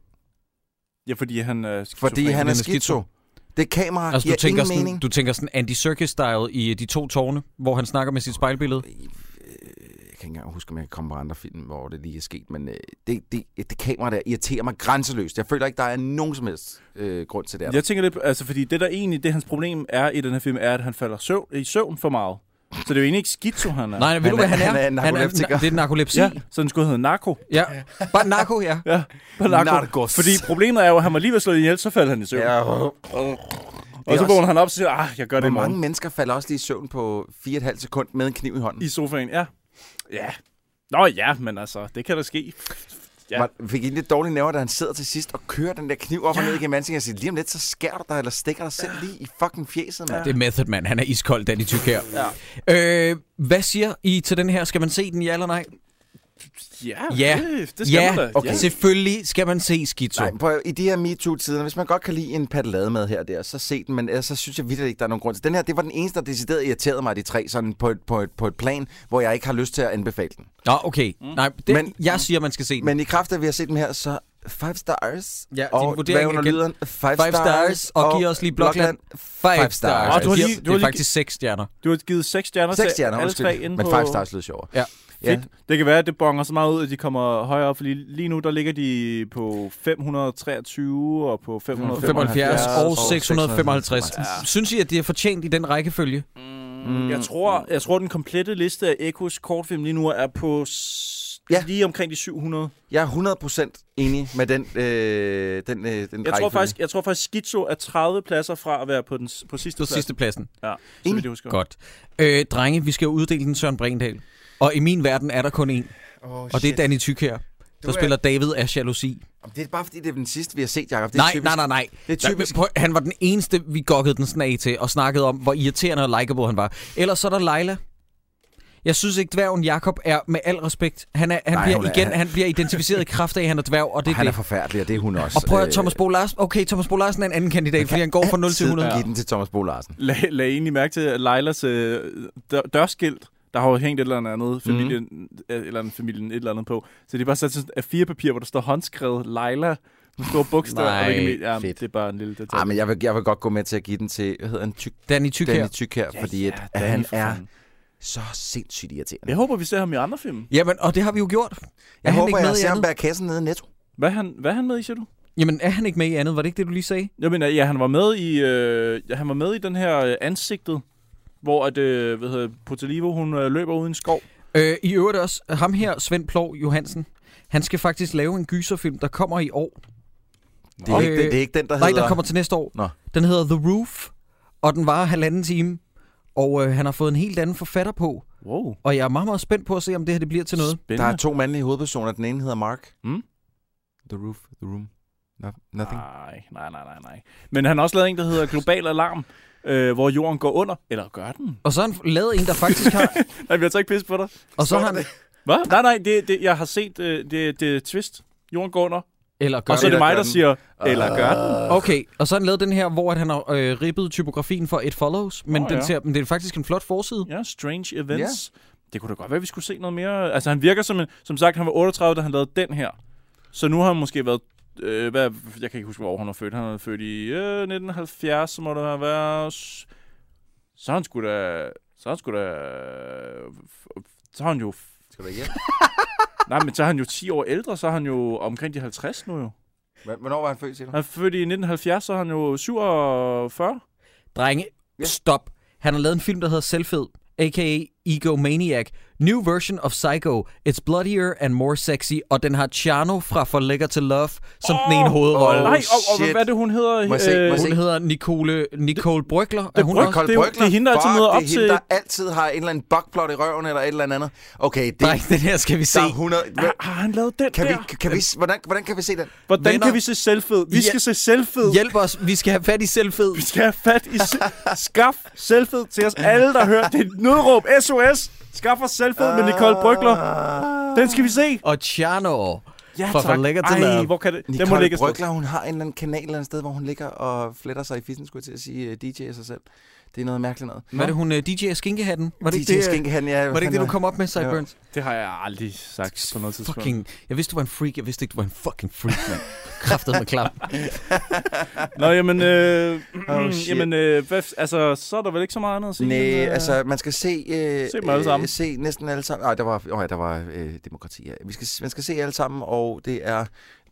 Speaker 7: Ja, fordi han er skizofren.
Speaker 6: Fordi han er schizo. Det kamera
Speaker 1: Altså,
Speaker 6: Ah, giver
Speaker 1: du tænker,
Speaker 6: ingen
Speaker 1: sådan,
Speaker 6: mening.
Speaker 1: du tænker sådan Andy Serkis-style i øh, De to tårne, hvor han snakker med sit spejlbillede.
Speaker 6: Jeg Øh, kan ikke engang huske, om jeg kan komme på andre film, hvor det lige er sket, men øh, det, det, det kamera der irriterer mig grænseløst. Jeg føler ikke, der er nogen som helst øh, grund til det.
Speaker 7: Jeg tænker lidt, altså fordi det der egentlig, det hans problem er i den her film, er, at han falder søvn, i søvn for meget. Så det er jo egentlig ikke skizo, han
Speaker 1: Nej,
Speaker 7: er.
Speaker 1: nej, ved du, hvad han er? Han
Speaker 7: en
Speaker 1: er-
Speaker 7: narkoleptiker.
Speaker 1: det er narkolepsi.
Speaker 7: Ja, så den skulle hedde narko.
Speaker 1: Ja, bare narko, ja.
Speaker 7: ja, bare narko.
Speaker 6: Narkos.
Speaker 7: Fordi problemet er jo, at han var lige ved at slå ihjel, så faldt han i søvn.
Speaker 6: Ja.
Speaker 7: Og
Speaker 6: Det er
Speaker 7: så
Speaker 6: også-
Speaker 7: vågner han op og siger, ah, jeg gør det i
Speaker 6: Hvor mange
Speaker 7: morgen.
Speaker 6: mennesker falder også lige i søvn på 4,5 sekund med en kniv i hånden?
Speaker 7: I sofaen, ja. Ja. Nå ja, men altså, det kan da ske. Ja.
Speaker 6: Ja. Man fik en lidt dårlig nerver, da han sidder til sidst og kører den der kniv op ja. og ned igennem ansigtet og siger, lige om lidt, så skærer du dig eller stikker dig selv lige i fucking fjeset, mand.
Speaker 1: Det er Method Man, han er iskold, Danny Tyk her. Ja. Øh, hvad siger I til den her? Skal man se den, ja eller nej?
Speaker 7: Ja,
Speaker 1: Ja,
Speaker 7: det, det skal
Speaker 1: ja.
Speaker 7: man da.
Speaker 1: Okay. selvfølgelig skal man se Schizo.
Speaker 6: Nej, prøv, at- i de her MeToo-tider, hvis man godt kan lide en patalademad her og der, så se den, men ellers så synes jeg virkelig ikke, der er nogen grund til. Den her, det var den eneste, der decideret irriterede mig, de tre, sådan på et, på et, på et plan, hvor jeg ikke har lyst til at anbefale den.
Speaker 1: Nå, okay. Mm. Nej, det,
Speaker 6: Men-
Speaker 1: men, jeg siger, man skal se den.
Speaker 6: Men i kraft af, at vi har set den her, så five stars.
Speaker 1: Ja,
Speaker 6: og
Speaker 1: din vurdering
Speaker 6: hvad under
Speaker 1: igen.
Speaker 6: lyden? Five,
Speaker 1: five stars, og, og giv os lige Blokland. Five stars.
Speaker 7: Åh, du har lige-
Speaker 1: Giv-
Speaker 7: du
Speaker 1: det
Speaker 7: har
Speaker 1: er
Speaker 7: lige-
Speaker 1: faktisk seks stjerner.
Speaker 7: Du har givet seks stjerner
Speaker 6: Seks
Speaker 7: til
Speaker 6: stjerner,
Speaker 7: alle
Speaker 6: undskyld.
Speaker 7: tre inde
Speaker 6: Men
Speaker 7: på...
Speaker 6: five stars lød sjovere.
Speaker 1: Ja.
Speaker 7: Fedt. Det kan være, at det bonger så meget ud, at de kommer højere op, fordi lige nu der ligger de på 523 og på
Speaker 1: 75
Speaker 7: 575
Speaker 1: og 655. Synes I, at det er fortjent i den rækkefølge?
Speaker 7: Mm. Jeg, tror, jeg tror, den komplette liste af Ekos kortfilm lige nu er på s- ja. lige omkring de 700.
Speaker 6: Jeg er 100% enig med den, øh, den, øh, den
Speaker 7: Jeg tror, faktisk, jeg tror faktisk, Schizo er 30 pladser fra at være på, den, s- på sidste
Speaker 1: På
Speaker 7: plads.
Speaker 1: sidste pladsen.
Speaker 7: Ja, så
Speaker 1: Enig.
Speaker 7: vidt jeg husker.
Speaker 1: Godt. Øh, drenge, vi skal jo uddele den Søren Brindal. Og i min verden er der kun én.
Speaker 6: Åh,
Speaker 1: og det er
Speaker 6: shit.
Speaker 1: Danny Tyk her, der
Speaker 6: er-
Speaker 1: spiller David af jalousi.
Speaker 6: Jamen, Det er bare fordi, det er den sidste, vi har set, Jacob. Det er
Speaker 1: Nej,
Speaker 6: typisk,
Speaker 1: nej, nej, nej.
Speaker 6: Det er typisk.
Speaker 1: Nej, men prøv- han var den eneste, vi gokkede den sådan af til, og snakkede om, hvor irriterende og likeable han var. Ellers så er der Leila. Jeg synes ikke, dværgen Jakob er, med al respekt, han, er, han,
Speaker 6: Nej,
Speaker 1: Nej, bliver,
Speaker 6: hun er-
Speaker 1: igen,
Speaker 6: han-
Speaker 1: han bliver identificeret i kraft af, at han er dværg, og det er
Speaker 6: han
Speaker 1: det.
Speaker 6: er forfærdelig, og det er hun også.
Speaker 1: Og prøv at høre,
Speaker 6: Øh,
Speaker 1: Thomas Bo Larsen. Okay, Thomas Bo Larsen er en anden kandidat, fordi han går fra 0 til
Speaker 6: altid
Speaker 1: 100.
Speaker 6: Giv den til Thomas Bo Larsen.
Speaker 7: Lag, lag egentlig mærke til at Leilas øh, dør, dørskilt, der har jo hængt et eller andet familien, mm. eller andet familien et eller andet på. Så det er bare sat sådan af fire papir, hvor der står håndskrevet Leila med store bogstaver.
Speaker 6: Nej,
Speaker 7: og det, kan, ja,
Speaker 6: fedt.
Speaker 7: det er bare en lille detalj.
Speaker 6: Ej, Ah, men jeg vil, jeg vil godt gå med til at give den til, hvad hedder han, tyk,
Speaker 1: Danny Tyk her.
Speaker 6: Danny Tyk her,
Speaker 7: Ja,
Speaker 6: fordi
Speaker 7: ja,
Speaker 6: at, at
Speaker 7: Danny
Speaker 6: han
Speaker 7: for
Speaker 6: er
Speaker 7: fanden.
Speaker 6: så sindssygt irriterende.
Speaker 7: Jeg håber, vi ser ham i andre film.
Speaker 1: Jamen, og det har vi jo gjort.
Speaker 6: Jeg
Speaker 1: han
Speaker 6: håber,
Speaker 1: ikke med
Speaker 6: jeg
Speaker 1: i
Speaker 6: ser ham
Speaker 1: andet?
Speaker 6: bære kassen nede i Netto.
Speaker 7: Hvad er han, hvad er han med i, siger du?
Speaker 1: Jamen, er han ikke med i andet? Var det ikke det, du lige sagde?
Speaker 7: Jeg mener, ja, han var med i, øh, ja, han var med i den her øh, ansigtet, hvor at, øh, hvad hedder, Potalivo, hun øh, løber uden skov.
Speaker 1: Øh, I øvrigt også, ham her, Svend Plov Johansen, han skal faktisk lave en gyserfilm, der kommer i år.
Speaker 6: Det er, ikke, det, det er ikke den, der
Speaker 1: Nej,
Speaker 6: hedder...
Speaker 1: der kommer til næste år.
Speaker 6: Nå.
Speaker 1: Den hedder The Roof, og den varer halvanden time. Og øh, han har fået en helt anden forfatter på.
Speaker 7: Wow.
Speaker 1: Og jeg er meget, meget spændt på at se, om det her det bliver til noget.
Speaker 6: Der er to mandlige hovedpersoner. Den ene hedder Mark.
Speaker 7: Mm? Ah.
Speaker 6: The Roof, The Room. No, nothing.
Speaker 7: Nej, nej, nej, nej, nej. Men han har også lavet en, der hedder Global Alarm, øh, hvor jorden går under. Eller gør den?
Speaker 1: Og så har han lavet en, der faktisk har...
Speaker 7: nej, jeg tager ikke pisse på dig.
Speaker 1: Og så har han...
Speaker 7: Hvad? Nej, nej, det, det, jeg har set øh, det, det er twist. Jorden går under.
Speaker 1: Eller
Speaker 7: Og så er det mig, der siger,
Speaker 6: Øh,
Speaker 7: eller gør den.
Speaker 1: Okay, og så har han lavet den her, hvor at han har øh, ribbet typografien for It Follows, men,
Speaker 7: Åh,
Speaker 1: oh, den
Speaker 7: ja.
Speaker 1: ja. ser, men det er faktisk en flot forside.
Speaker 7: Ja, Strange Events. Det kunne da godt være, at vi skulle se noget mere. Altså, han virker som en... Som sagt, han var 38, da han lavede den her. Så nu har han måske været... Øh, hvad, jeg kan ikke huske, hvor han var født. Han er født i øh, 1970, så må det have været... s- Så er han sgu da... Så er han sgu da... Så er han jo... Skal
Speaker 6: du
Speaker 7: igen? Nej, men så er han jo 10 år ældre, så er han jo omkring de 50 nu jo.
Speaker 6: Hvornår var han født, siger du?
Speaker 7: Han er født i 1970, så er han jo 47.
Speaker 1: Drenge, stop. Han har lavet en film, der hedder Selvfed, a.k.a. Egomaniac. New version of Psycho. It's bloodier and more sexy. Og den har Chano fra For Lækker til Love som den ene hovedrolle.
Speaker 7: nej, og, og hvad er det, hun hedder?
Speaker 1: Må jeg se,
Speaker 7: Øh,
Speaker 1: må jeg se. Hun hedder Nicole, Nicole Brygler.
Speaker 6: Det
Speaker 1: er
Speaker 6: er
Speaker 1: hun
Speaker 6: Brygler.
Speaker 1: også?
Speaker 6: Nicole Brygler.
Speaker 7: det er hende, der altid
Speaker 6: Fuck,
Speaker 7: møder op
Speaker 6: det er hende,
Speaker 7: til-
Speaker 6: der altid har en eller anden bugplot i røven eller et eller andet. Okay, det,
Speaker 1: Nej, den her skal vi se.
Speaker 6: Der er 100... Hva-
Speaker 7: Har han lavet den
Speaker 6: Kan
Speaker 7: Ah, der?
Speaker 6: vi, kan vi, hvordan, hvordan kan vi se den?
Speaker 7: Hvordan kan vi se selvfed? Vi skal se selvfed.
Speaker 1: Hjælp os, vi skal have fat i selvfed.
Speaker 7: Vi skal have fat i... Se- skaf selvfed til os alle, der hører. Det er et nødråb. SOS! Skaf os selvfed med Nicole Brygler. Den skal vi se.
Speaker 1: Og Chano.
Speaker 7: Ja,
Speaker 1: fra For
Speaker 7: tak.
Speaker 1: Lækker til
Speaker 7: Ej,
Speaker 1: Love.
Speaker 7: hvor kan det... Den må
Speaker 6: Nicole
Speaker 7: ligge
Speaker 6: Brygler, hun har en eller anden kanal et eller andet sted, hvor hun ligger og fletter sig i fissen, skulle jeg til at sige, øh, DJ'er sig selv. Det er noget mærkeligt noget.
Speaker 1: Hvad er det, hun øh, DJ Skinkehatten? Var det ikke
Speaker 6: DJ
Speaker 1: det, øh,
Speaker 6: Skinkehatten, ja, hvad
Speaker 1: Var det ikke det,
Speaker 6: fanden
Speaker 1: du kom
Speaker 6: var-
Speaker 1: op med, Sideburns?
Speaker 7: Det har jeg aldrig sagt på noget tidspunkt.
Speaker 1: Fucking, jeg vidste, du var en freak. Jeg vidste ikke, du var en fucking freak, mand. Kræftet med klam.
Speaker 7: Nå, jamen... Øh,
Speaker 6: Oh,
Speaker 7: oh,
Speaker 6: shit.
Speaker 7: jamen øh, hvad, altså, så er der vel ikke så meget andet at sige?
Speaker 6: Nej,
Speaker 7: end, øh,
Speaker 6: altså, man skal se... Øh,
Speaker 7: Se dem alle sammen.
Speaker 6: Øh, se næsten alle sammen. Nej, der var, øh, der var øh, demokrati. Ja. Vi skal, man skal se alle sammen, og det er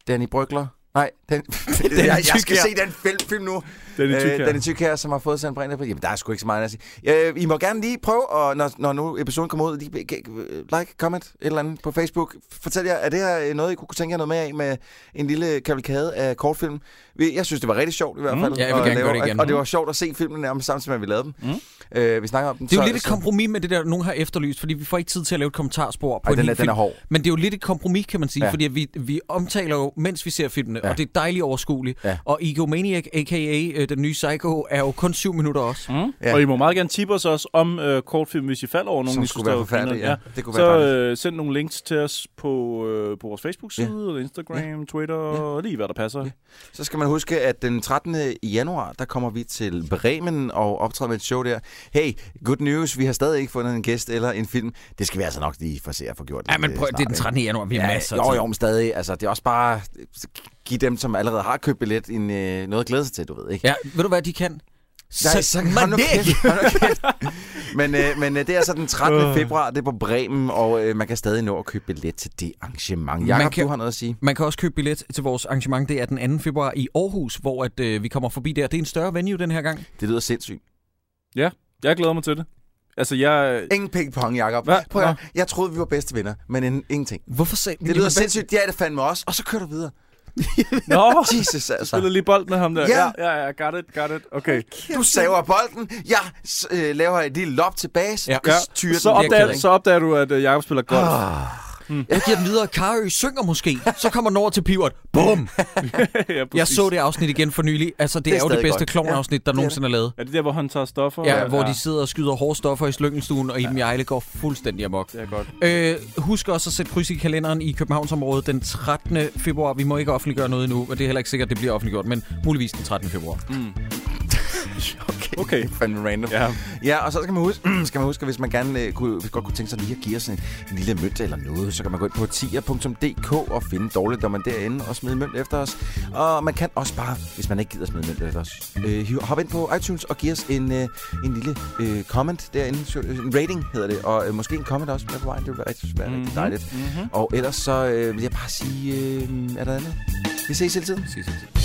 Speaker 6: Danny Brygler. Nej, den, den jeg, jeg skal
Speaker 7: Thykier.
Speaker 6: se den film, film nu.
Speaker 7: Danny Thykier.
Speaker 6: Øh, Danny Tykær, som har fået sendt brænder på. Jamen, der er sgu ikke så meget andet at sige. Øh, I må gerne lige prøve, og når, når nu episoden kommer ud, lige, øh, like, comment, et eller andet på Facebook. Fortæl jer, er det her øh, noget, I kunne tænke jer noget mere af med en lille kavalkade af kortfilm? Vi- Jeg synes, det var rigtig sjovt i hvert
Speaker 1: Mm.
Speaker 6: fald.
Speaker 1: Ja, jeg vil
Speaker 6: at
Speaker 1: gerne
Speaker 6: lave,
Speaker 1: gøre det igen. Mm.
Speaker 6: Og, og det var sjovt at se filmen nærmest samtidig med, at vi lavede dem. Mm. Øh, vi snakker om den.
Speaker 1: Det er jo
Speaker 6: så-
Speaker 1: lidt et
Speaker 6: så-
Speaker 1: kompromis med det der, nogen har efterlyst, fordi vi får ikke tid til at lave et kommentarspor på
Speaker 6: Ej,
Speaker 1: en
Speaker 6: den
Speaker 1: hel
Speaker 6: er- den
Speaker 1: film.
Speaker 6: er hård.
Speaker 1: Men det er jo lidt et kompromis, kan man sige,
Speaker 6: Ja.
Speaker 1: ja. fordi at vi, vi omtaler jo, mens vi ser filmene,
Speaker 6: Ja.
Speaker 1: ja. og det er dejligt overskueligt.
Speaker 6: Ja.
Speaker 1: Ja. Og Egomaniac, a.k.a. øh, den nye Psycho, er jo kun syv minutter også.
Speaker 7: Mm.
Speaker 6: Ja.
Speaker 7: Ja. Og I må meget gerne tippe os også om øh, kortfilm, hvis I falder over nogen,
Speaker 6: Som
Speaker 7: I
Speaker 6: skulle
Speaker 7: synes, der
Speaker 6: være
Speaker 7: er
Speaker 6: forfærdelige,
Speaker 7: grineren.
Speaker 6: ja. Det kunne
Speaker 7: så
Speaker 6: være
Speaker 7: øh, send nogle links til os på, øh, på vores Facebook-side, ja. Instagram, ja. Twitter, ja. lige hvad der passer. Ja.
Speaker 6: Så skal man huske, at den 13. januar, der kommer vi til Bremen og optræder med et show der. Hey, good news, vi har stadig ikke fundet en gæst eller en film. Det skal vi altså nok lige forsøge at få gjort.
Speaker 1: Ja, men
Speaker 6: øh,
Speaker 1: prøv, det er den
Speaker 6: snart,
Speaker 1: 13. januar, vi har
Speaker 6: Ja,
Speaker 1: masser af
Speaker 6: jo,
Speaker 1: tid.
Speaker 6: jo, men stadig. Altså, det er også bare øh, give dem, som allerede har købt billet, en, øh, noget at glæde sig til, du ved, ikke?
Speaker 1: Ja, ved du hvad, de kan?
Speaker 6: Nej, så hold nu
Speaker 1: Maniac!
Speaker 6: kæft, hold nu kæft. men, øh, men øh, det er altså den 13. februar, det er på Bremen, og øh, man kan stadig nå at købe billet til det arrangement. Jakob,
Speaker 1: kan-
Speaker 6: du har noget at sige.
Speaker 1: Man kan også købe billet til vores arrangement, det er den 2. februar i Aarhus, hvor at, øh, vi kommer forbi der. Det er en større venue den her gang.
Speaker 6: Det lyder sindssygt.
Speaker 7: ja, jeg glæder mig til det. Altså, jeg...
Speaker 6: Ingen ping-pong, Jacob.
Speaker 7: Hvad?
Speaker 6: Prøv at, høre, jeg troede, vi var bedste venner, men en, ingenting.
Speaker 1: Hvorfor sagde
Speaker 6: Det lyder sindssygt. Ja, det fandme også. Og så kører du videre.
Speaker 7: Nå,
Speaker 6: Jesus,
Speaker 7: jeg
Speaker 6: altså.
Speaker 7: spiller lige bold med ham der.
Speaker 6: Ja.
Speaker 7: Ja, ja, ja, got it, got it. Okay.
Speaker 6: Du saver bolden. Jeg s- øh, laver et lille lop tilbage. Så ja. du styrer
Speaker 7: Så,
Speaker 6: den. Ah,
Speaker 7: opdager, så opdager du, at øh, Jacob spiller golf.
Speaker 1: Jeg giver den videre. Karø synger måske. Så kommer den over til Pivot. Bum!
Speaker 7: ja, præcis.
Speaker 1: Jeg så det afsnit igen for nylig. Altså, det,
Speaker 6: Det er
Speaker 1: det er jo det
Speaker 6: stadig
Speaker 1: bedste
Speaker 6: godt.
Speaker 1: klovnafsnit, der nogensinde er lavet.
Speaker 7: Er det der, hvor han tager stoffer?
Speaker 1: Ja, hvor de sidder og skyder hårde stoffer i slyngelstuen, og Iben Jejle går fuldstændig amok.
Speaker 7: Det er godt.
Speaker 1: Øh, husk også at sætte kryds i kalenderen i Københavnsområdet den 13. februar. Vi må ikke offentliggøre noget endnu, og det er heller ikke sikkert, at det bliver offentliggjort, men muligvis den 13. februar.
Speaker 6: Okay.
Speaker 7: Okay.
Speaker 6: Det er fandme random. Ja.
Speaker 7: Ja.
Speaker 6: ja, og så skal man huske, skal man huske at hvis man gerne øh, kunne, hvis godt kunne tænke sig lige at give os en, en lille mønt eller noget, så kan man gå ind på tier.dk og finde dårligdommeren derinde og smide mønt efter os. Og man kan også bare, hvis man ikke gider smide mønt efter os, øh, hiv- hoppe ind på iTunes og give os en, øh, en lille øh, comment derinde. Så- øh, En rating hedder det, og øh, måske en comment også med på vejen. Det vil være rigtig, være rigtig dejligt. Mm-hmm. Og ellers så øh, vil jeg bare sige, øh, er der andet? Vi ses hele tiden.
Speaker 1: Ses hele tiden.